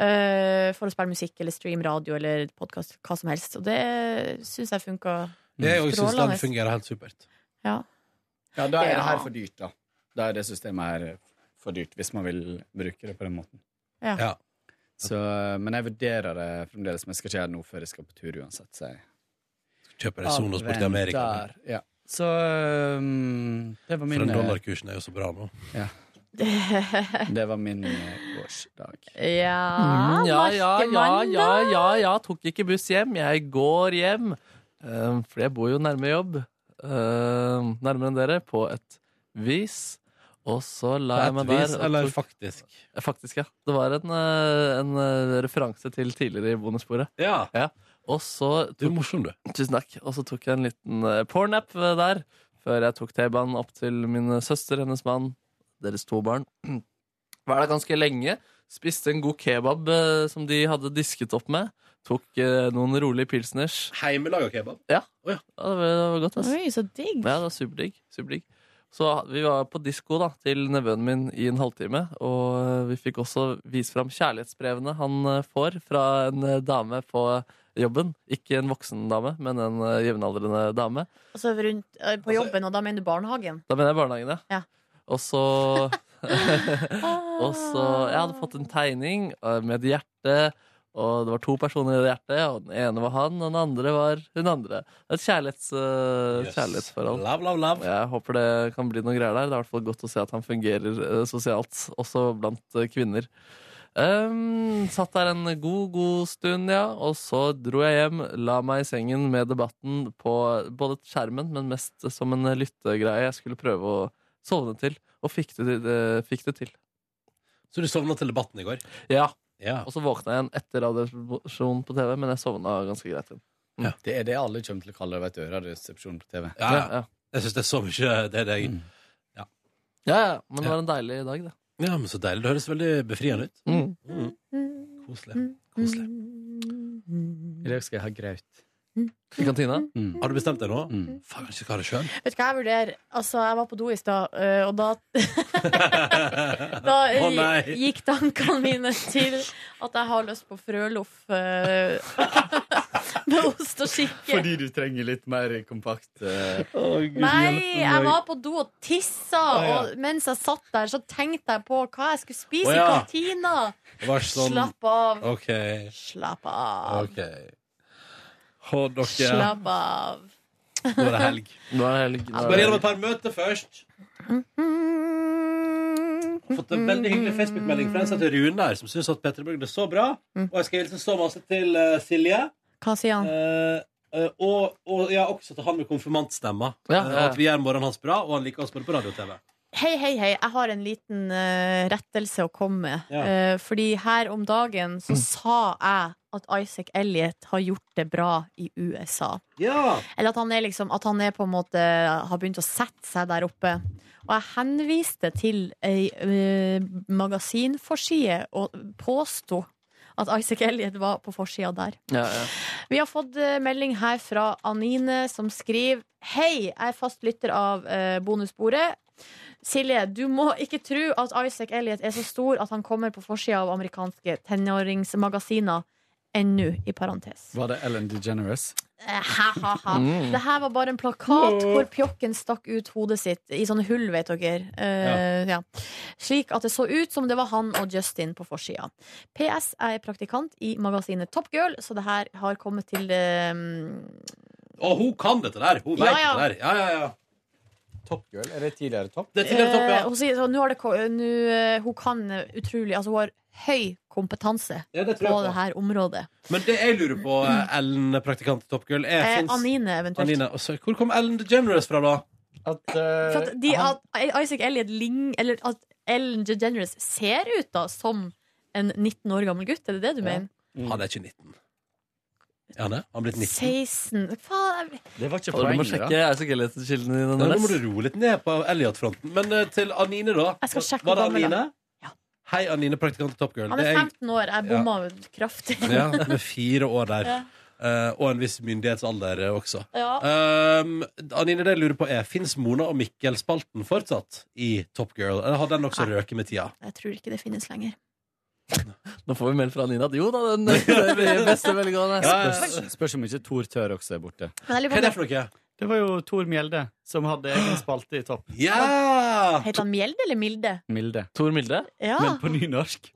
Speaker 6: eh, for å spille musikk eller streame radio eller podkast, hva som helst. Og det syns jeg funka
Speaker 2: Jeg òg syns den fungerer helt supert.
Speaker 6: Ja.
Speaker 1: Ja, da er det
Speaker 6: Ja.
Speaker 1: her for dyrt, da. Da er det systemet her eh, for dyrt, hvis man vil bruke det på den måten.
Speaker 6: Ja.
Speaker 2: Ja.
Speaker 1: Så, eh, men jeg vurderer det fremdeles, men jeg skal ikke gjøre det nå før jeg skal på tur uansett. Så jeg
Speaker 2: Kjøper en Sonos borti Amerika.
Speaker 1: Avventer, Ja. Så eh, det var
Speaker 2: For
Speaker 1: min
Speaker 2: den
Speaker 1: eh,
Speaker 2: dollarkursen er jo så bra nå.
Speaker 1: Ja. Det var min eh, årsdag.
Speaker 6: Ja,
Speaker 3: Mm, ja, ja, ja,
Speaker 6: Markemann,
Speaker 3: ja, ja, ja. Tok ikke buss hjem. Jeg går hjem. Um, for jeg bor jo nærme jobb. Um, nærmere enn dere, på et vis. Og så la
Speaker 2: På
Speaker 3: jeg
Speaker 2: et
Speaker 3: meg der.
Speaker 2: vis,
Speaker 3: og
Speaker 2: eller
Speaker 3: tok-
Speaker 2: faktisk?
Speaker 3: Eh, Faktisk, ja. Det var en, eh, en eh, referanse til tidligere i bonussporet.
Speaker 2: Ja.
Speaker 3: Og så tok,
Speaker 2: Du er morsom, du.
Speaker 3: Tusen takk. Og så tok jeg en liten eh, pornap eh, der, før jeg tok T-banen opp til min eh, søster, hennes mann, deres to barn. Var der ganske lenge. Spiste en god kebab eh, som de hadde disket opp med. Tok eh, noen rolige pilsners.
Speaker 2: Heimelaga kebab?
Speaker 3: Ja.
Speaker 2: Å, ja.
Speaker 3: Ja, det, var, det var godt, ass.
Speaker 6: Oi, så digg.
Speaker 3: Ja, det var superdigg. Superdigg. Så vi var på disko da, til nevøen min i en halvtime, og eh, vi fikk også vist fram kjærlighetsbrevene han eh, får fra en eh, dame på jobben. Ikke en voksen dame, men en eh, jevnaldrende dame.
Speaker 6: Altså rundt, eh, på jobben, og da mener du barnehagen?
Speaker 3: Da mener jeg barnehagen,
Speaker 6: Ja.
Speaker 3: Og så Og så Jeg hadde fått en tegning eh, med et hjerte, og det var to personer i det hjertet, og den ene var han, og den andre var hun andre. Et kjærlighets, eh,
Speaker 2: Yes.
Speaker 3: kjærlighetsforhold.
Speaker 2: Love, love, love.
Speaker 3: Jeg håper det kan bli noen greier der. Det er i hvert fall godt å se at han fungerer eh, sosialt, også blant eh, kvinner. Ehm, satt der en god, god stund, ja, og så dro jeg hjem, la meg i sengen med debatten på både skjermen, men mest som en lyttegreie jeg skulle prøve å sovne til, og fikk det, det- fikk det til.
Speaker 2: Så du sovna til debatten i går?
Speaker 3: Ja,
Speaker 2: Ja.
Speaker 3: og så våkna jeg igjen etter radioresepsjonen på TV, men jeg sovna ganske greit igjen.
Speaker 1: Det er det alle kommer til å kalle det, vet du. Radioresepsjonen på TV.
Speaker 2: ja, ja.
Speaker 3: ja.
Speaker 2: Jeg syns det er så mye det er det jeg
Speaker 3: ja, ja, men det var en deilig dag, det.
Speaker 2: Ja, men så deilig. Det høres veldig befriende ut.
Speaker 3: Mm.
Speaker 2: Mm. Koselig. Koselig.
Speaker 6: Mm.
Speaker 1: I dag skal jeg ha graut.
Speaker 3: I kantina?
Speaker 1: Mm.
Speaker 2: Har du bestemt deg nå?
Speaker 1: Mm.
Speaker 2: Faen, kanskje jeg skal ha det sjøl?
Speaker 6: Vet du hva jeg vurderer? Altså, jeg var på do i stad, eh, og da
Speaker 2: Å
Speaker 6: Da eh,
Speaker 2: nei!
Speaker 6: gikk tankene mine til at jeg har lyst på frøloff eh, med ost og skinke.
Speaker 1: Fordi du trenger litt mer kompakt eh,
Speaker 6: Nei, jeg var på do og tissa,
Speaker 1: Å, ja.
Speaker 6: og mens jeg satt der, så tenkte jeg på hva jeg skulle
Speaker 2: Å,
Speaker 6: spise
Speaker 2: ja.
Speaker 6: i kantina.
Speaker 2: Det var sånn
Speaker 6: Slapp av.
Speaker 2: OK.
Speaker 6: Slapp av.
Speaker 2: OK. Å, dere.
Speaker 6: Slapp av.
Speaker 2: Nå er det helg.
Speaker 3: Nå er det helg. nå er
Speaker 2: Bare
Speaker 3: det
Speaker 2: gjennom et par møter først. Fått en veldig hyggelig Facebook-melding fra en som heter Rune her, som syns at Petter Borgen er så bra.
Speaker 6: Mm.
Speaker 2: Og jeg skal hilse så masse til eh, Silje.
Speaker 6: Hva sier han?
Speaker 2: Eh, eh, og, og ja, også til han med konfirmantstemma.
Speaker 3: Ja,
Speaker 2: Eh,
Speaker 3: ja.
Speaker 2: At vi gjør morgenen hans bra, og han liker oss både på radio og TV.
Speaker 6: Hei, hei, hei. Jeg har en liten eh, rettelse å komme med.
Speaker 2: Ja. Mm.
Speaker 6: Eh, fordi her om dagen så sa jeg at Isaac Elliot har gjort det bra i USA.
Speaker 2: Ja!
Speaker 6: Eller at han er liksom At han er på en måte har begynt å sette seg der oppe. Og jeg henviste til ei eh, magasinforside og påsto at Isaac Elliot var på forsida der.
Speaker 3: helg. Ja, ja.
Speaker 6: Vi har fått eh, melding her fra Anine som skriver Hei, jeg er fast lytter av eh, bonusbordet. Silje, du må ikke tro at Isaac Elliot er så stor at han kommer på forsida av amerikanske tenåringsmagasiner ennå, i parentes.
Speaker 1: Var det Ellen DeGeneres?
Speaker 6: Eh, Ha, ha, ha. Det her var bare en plakat hvor pjokken stakk ut hodet sitt i sånne hull, vet dere. Eh, ja. Slik at det så ut som det var han og Justin på forsida. PS jeg er praktikant i magasinet Top Girl, så det her har kommet til eh,
Speaker 2: Og hun kan dette der! Hun
Speaker 6: Ja,
Speaker 2: vet
Speaker 6: ja.
Speaker 2: det der. Ja, ja, ja.
Speaker 1: Top Girl? Er det tidligere Top?
Speaker 2: Det er tidligere topp,
Speaker 6: eh,
Speaker 2: ja.
Speaker 6: Hun sier så nå har det ko- nå, eh, Hun kan utrolig Altså, hun har høy kompetanse
Speaker 2: ja det tror
Speaker 6: på
Speaker 2: jeg
Speaker 6: det
Speaker 2: på.
Speaker 6: her området.
Speaker 2: Men det jeg lurer på, eh, Ellen, praktikant i Top Girl, er
Speaker 6: Eh,
Speaker 2: finnes-
Speaker 6: Anine, eventuelt.
Speaker 2: Anine. og så- Hvor kom Ellen DeGeneres fra, da?
Speaker 1: At, eh,
Speaker 6: For at, de,
Speaker 1: han-
Speaker 6: at E- Isaac Elliot lign- Eller at Ellen DeGeneres ser ut da som en 19 år gammel gutt, er det det du mener?
Speaker 3: Mm.
Speaker 2: Han er ikke 19. Er han det? Han er blitt 19.
Speaker 6: 16 Faen, jeg-
Speaker 1: Det var ikke
Speaker 3: Så du må
Speaker 1: poenget,
Speaker 3: sjekke
Speaker 1: da.
Speaker 3: Isaac Elliot-kilden din.
Speaker 2: Nå må
Speaker 3: Andreas.
Speaker 2: du roe litt ned på Elliot-fronten. Men eh, til Anine, da.
Speaker 6: Jeg skal sjekke
Speaker 2: Var det
Speaker 6: hvor gammel han er.
Speaker 2: Anine?
Speaker 6: Ja.
Speaker 2: Hei, Anine, praktikant i Top Girl.
Speaker 6: han
Speaker 2: Det
Speaker 6: er
Speaker 2: er
Speaker 6: 15 år. Jeg bomma kraftig.
Speaker 2: Ja, med fire år der. eh, og en viss myndighetsalder eh, også.
Speaker 6: Ja.
Speaker 2: Um, Anine, det jeg lurer på er Fins Mona og Mikkel-spalten fortsatt i Top Girl? Eller har den også røket med tida?
Speaker 6: Jeg tror ikke det finnes lenger.
Speaker 3: Nå får vi meld fra Nina at jo da, den den blir beste velgående.
Speaker 1: Spørs, spørs om ikke Tor Tør også er borte.
Speaker 6: Men jeg lurer på om-
Speaker 2: noe?
Speaker 1: Det var jo Tor Mjelde som hadde egen spalte i topp.
Speaker 2: Ja!
Speaker 6: Heter han Mjelde eller Milde?
Speaker 1: Milde.
Speaker 3: Tor Milde?
Speaker 6: Ja.
Speaker 1: Men på nynorsk.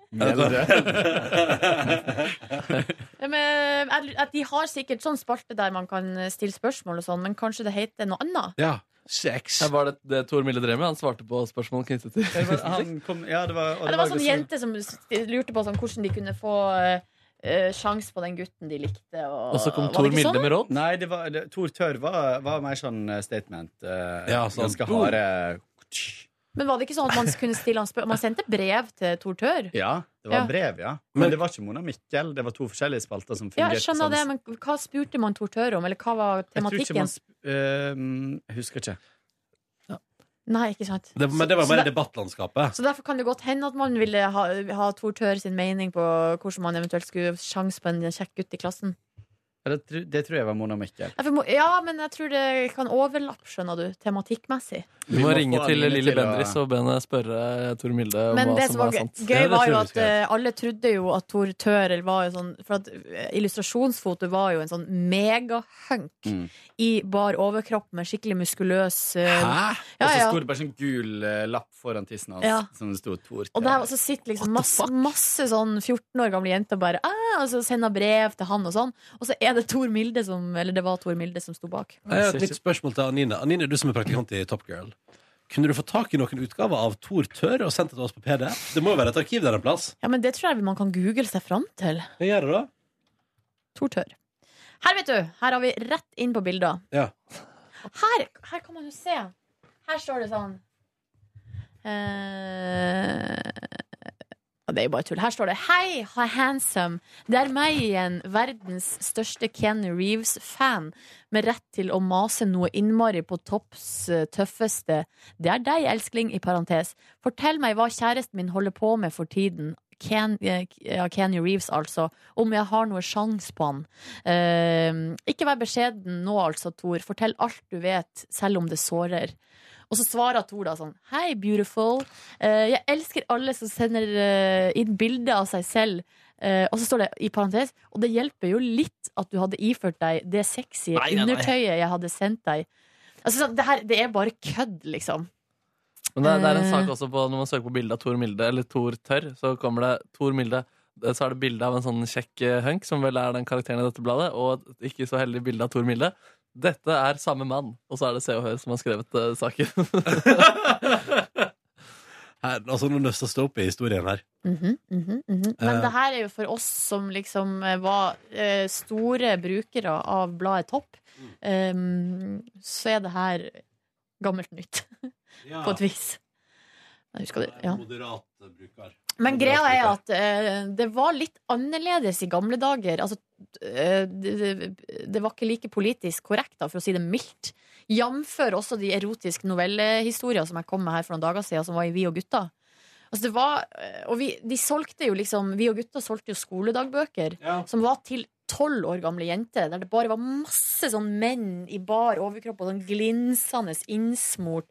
Speaker 6: Ja, men, jeg lurer- at de har sikkert sånn spalte der man kan stille spørsmål og sånn, men kanskje det heter noe annet?
Speaker 2: Ja. Sex.
Speaker 3: Ja, var det det Tor Milde drev med? Han svarte på spørsmål knyttet til
Speaker 1: Det var, han kom, ja, det var, og
Speaker 6: Ja, det var
Speaker 1: jo
Speaker 6: sånn jente som st- lurte på sånn, hvordan de kunne få uh, sjanse på den gutten de likte. Og,
Speaker 3: Og så kom
Speaker 6: var det
Speaker 3: Tor
Speaker 6: ikke
Speaker 3: Milde
Speaker 6: sånn?
Speaker 3: med råd.
Speaker 1: Nei, det var, det, Tor Tør var, var mer sånn eh, statement. eh,
Speaker 2: Ja, sånn.
Speaker 1: Ganske harde
Speaker 6: Men var det ikke sånn at man kunne stille han spørsmål? Man sendte brev til Tor Tør?
Speaker 1: Ja, det var
Speaker 6: Ja.
Speaker 1: brev, ja. Men,
Speaker 2: Men-
Speaker 1: det var ikke Mona Mikkel. Det var to forskjellige spalter som
Speaker 6: Ja,
Speaker 1: fungerte
Speaker 6: jeg skjønner det,
Speaker 1: sammen.
Speaker 6: men hva spurte man Tor Tør om, eller hva var
Speaker 1: sånn. Jeg tror ikke
Speaker 6: tematikken?
Speaker 1: man sp- eh, jeg husker ikke.
Speaker 6: Nei, ikke sant.
Speaker 2: Det, men det var
Speaker 6: Så- så
Speaker 2: mer
Speaker 6: det-
Speaker 2: debattlandskapet.
Speaker 6: Så derfor kan det godt hende at man ville ha, ha Tor Tør sin mening på hvordan man eventuelt skulle sjanse på en kjekk gutt i klassen.
Speaker 1: Ja, Det, tr- det tror jeg var Mona Mikkel.
Speaker 6: Nei, for må- Ja, men jeg tror det kan overlappe, skjønner du, tematikkmessig.
Speaker 3: Vi må
Speaker 1: få
Speaker 3: ringe til
Speaker 1: Anine
Speaker 3: Lilly
Speaker 1: å-
Speaker 3: Bendriss og be henne spørre Tor Milde om
Speaker 6: Men
Speaker 3: hva
Speaker 6: det
Speaker 3: som
Speaker 6: som var
Speaker 3: var
Speaker 6: gøy,
Speaker 3: sant.
Speaker 2: Ja,
Speaker 6: gøy
Speaker 2: det
Speaker 6: var
Speaker 2: tror
Speaker 6: jo
Speaker 2: jeg vi
Speaker 6: at
Speaker 2: skal
Speaker 6: eh, alle trodde jo at Tor Tør var jo sånn For at eh, illustrasjonsfoto var jo en sånn megahunk
Speaker 1: Mm.
Speaker 6: i bar overkropp med skikkelig muskuløs eh,
Speaker 1: Og
Speaker 6: Ja,
Speaker 1: så
Speaker 6: ja.
Speaker 1: sto det bare sånn gul eh, lapp foran tissen hans
Speaker 6: Ja.
Speaker 1: som det sto Tor
Speaker 6: Og der så sitter liksom masse, masse sånn 14 år gamle jenter og bare ah, og så sender brev til han og sånn. Og så er det Tor Milde som Eller det var Tor Milde som sto bak.
Speaker 2: Jeg har et nytt spørsmål til Anine. Anine, du som er praktikant i Top Girl. Kunne du få tak i noen utgaver av Tor Tør og sendt det til oss på PDF? Det må jo være et arkiv der en plass.
Speaker 6: Ja, men det tror jeg man kan google seg fram til.
Speaker 2: Hva gjør du da?
Speaker 6: Tor Tør. Her, vet du. Her har vi rett inn på bilder.
Speaker 2: Ja.
Speaker 6: Her, her kan man jo se. Her står det sånn eh, Det er jo bare tull. Her står det 'Hei, ha handsome'. Det er meg igjen, verdens største Ken Reeves-fan, med rett til å mase noe innmari på topps eh, tøffeste. Det er deg, elskling, i parentes. Fortell meg hva kjæresten min holder på med for tiden. Ken, eh, ja, Kenny Reeves, altså. Om jeg har noe sjans på han. Eh, ikke vær beskjeden nå, altså, Tor. Fortell alt du vet, selv om det sårer. Og så svarer Tor da sånn Hei, beautiful. Eh, jeg elsker alle som sender eh, inn bilde av seg selv. Eh, og så står det i parentes Og det hjelper jo litt at du hadde iført deg det sexy
Speaker 3: Nei, nei, nei.
Speaker 6: undertøyet jeg hadde sendt deg. Altså, sånn, det, her, det er bare kødd, liksom.
Speaker 3: Men det, er- det er en
Speaker 6: Eh.
Speaker 3: sak også på når man søker på bilde av Tor Milde, eller Tor Tørr, så kommer det Tor Milde. Så er det bilde av en sånn kjekk eh, hunk, som vel er den karakteren i dette bladet, og et ikke så heldig bilde av Tor Milde. Dette er samme mann, og så er det Se og Hør som har skrevet eh, saken.
Speaker 2: Her, altså, nå nøstes det opp i historien her.
Speaker 6: Mhm, mhm, mhm. Men
Speaker 2: Eh.
Speaker 6: det her er jo for oss som liksom eh, var eh, store brukere av bladet Topp, em, så er det her gammelt nytt, på et vis. Jeg husker det, ja.
Speaker 2: Moderat bruker.
Speaker 6: Men greia er at eh, det var litt annerledes i gamle dager. Altså, eh, det, det, det var ikke like politisk korrekt, da, for å si det mildt. Jamfør også de erotiske novellehistorier som jeg kom med her for noen dager siden, som var i Vi og gutta. Altså, det var, eh, og vi, de solgte jo liksom, vi og gutta solgte jo skoledagbøker som var til tolv år gamle jenter, der det bare var masse sånn menn i bar overkropp og sånn glinsende innsmurt.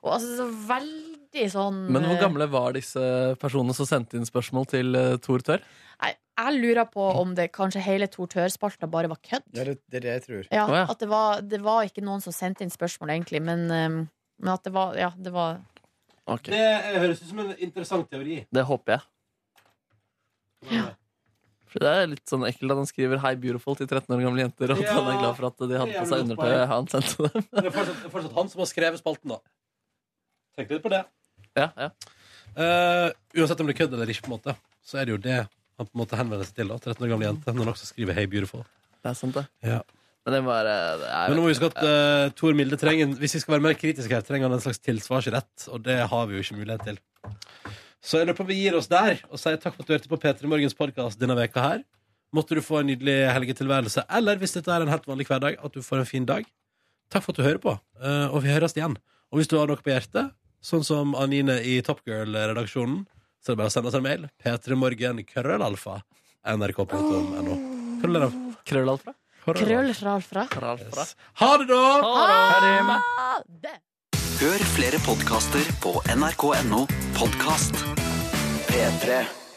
Speaker 6: Og altså så veldig sånn
Speaker 3: Men hvor
Speaker 6: eh,
Speaker 3: gamle var disse personene som sendte inn spørsmål til eh, Tor Tørr?
Speaker 6: Nei, jeg lurer på om det kanskje hele tortørspalta bare var kødd.
Speaker 1: Ja, det, det er det jeg tror.
Speaker 6: Ja,
Speaker 3: Å, ja.
Speaker 6: At det var, det var ikke noen som sendte inn spørsmål, egentlig, men, ehm, men at det var Ja, det var
Speaker 3: Ok,
Speaker 2: Det eh, høres ut som en interessant teori.
Speaker 3: Det håper jeg. For det er litt sånn ekkelt at han skriver 'Hei, beautiful' til 13 år gamle jenter, og at
Speaker 2: Ja.
Speaker 3: han er glad for at de hadde
Speaker 2: Det er
Speaker 3: på
Speaker 2: jævlig
Speaker 3: seg
Speaker 2: godt
Speaker 3: undertøyet han sendte dem.
Speaker 2: Men eh, det er fortsatt, det er fortsatt han som har skrevet spalten, da. Tenk litt på det.
Speaker 3: Ja, ja.
Speaker 2: Eh, uansett om det er kødd eller ikke, på en måte, så er det jo det han på en måte henvender seg til. da 13 år gamle jente, når han også skriver 'Hey, beautiful'.
Speaker 3: Det er sant, det.
Speaker 2: Ja.
Speaker 3: Men det var eh, det er-
Speaker 2: Men nå må vi huske at eh, Tor Milde trenger en- Hvis vi skal være mer kritiske her, trenger han en slags tilsvarsrett, og det har vi jo ikke mulighet til. Så jeg lurer på om vi gir oss der og sier takk for at du hørte på P3 Morgens podkast denne veka her. Måtte du få en nydelig helgetilværelse, eller hvis dette er en helt vanlig hverdag, at du får en fin dag. Takk for at du hører på, eh, og vi høres igjen. Og hvis du har noe på hjertet, sånn som Anine i Top Girl-redaksjonen, så er det bare å sende oss en mail. p3morgen krøllalfa nrk.no. Hva ler du av?
Speaker 3: Krøllalfra?
Speaker 6: Krøll-ralfra.
Speaker 2: Yes. Ha det, da!
Speaker 6: Ha det.
Speaker 7: Hør flere podkaster på nrk.no podkast. P3.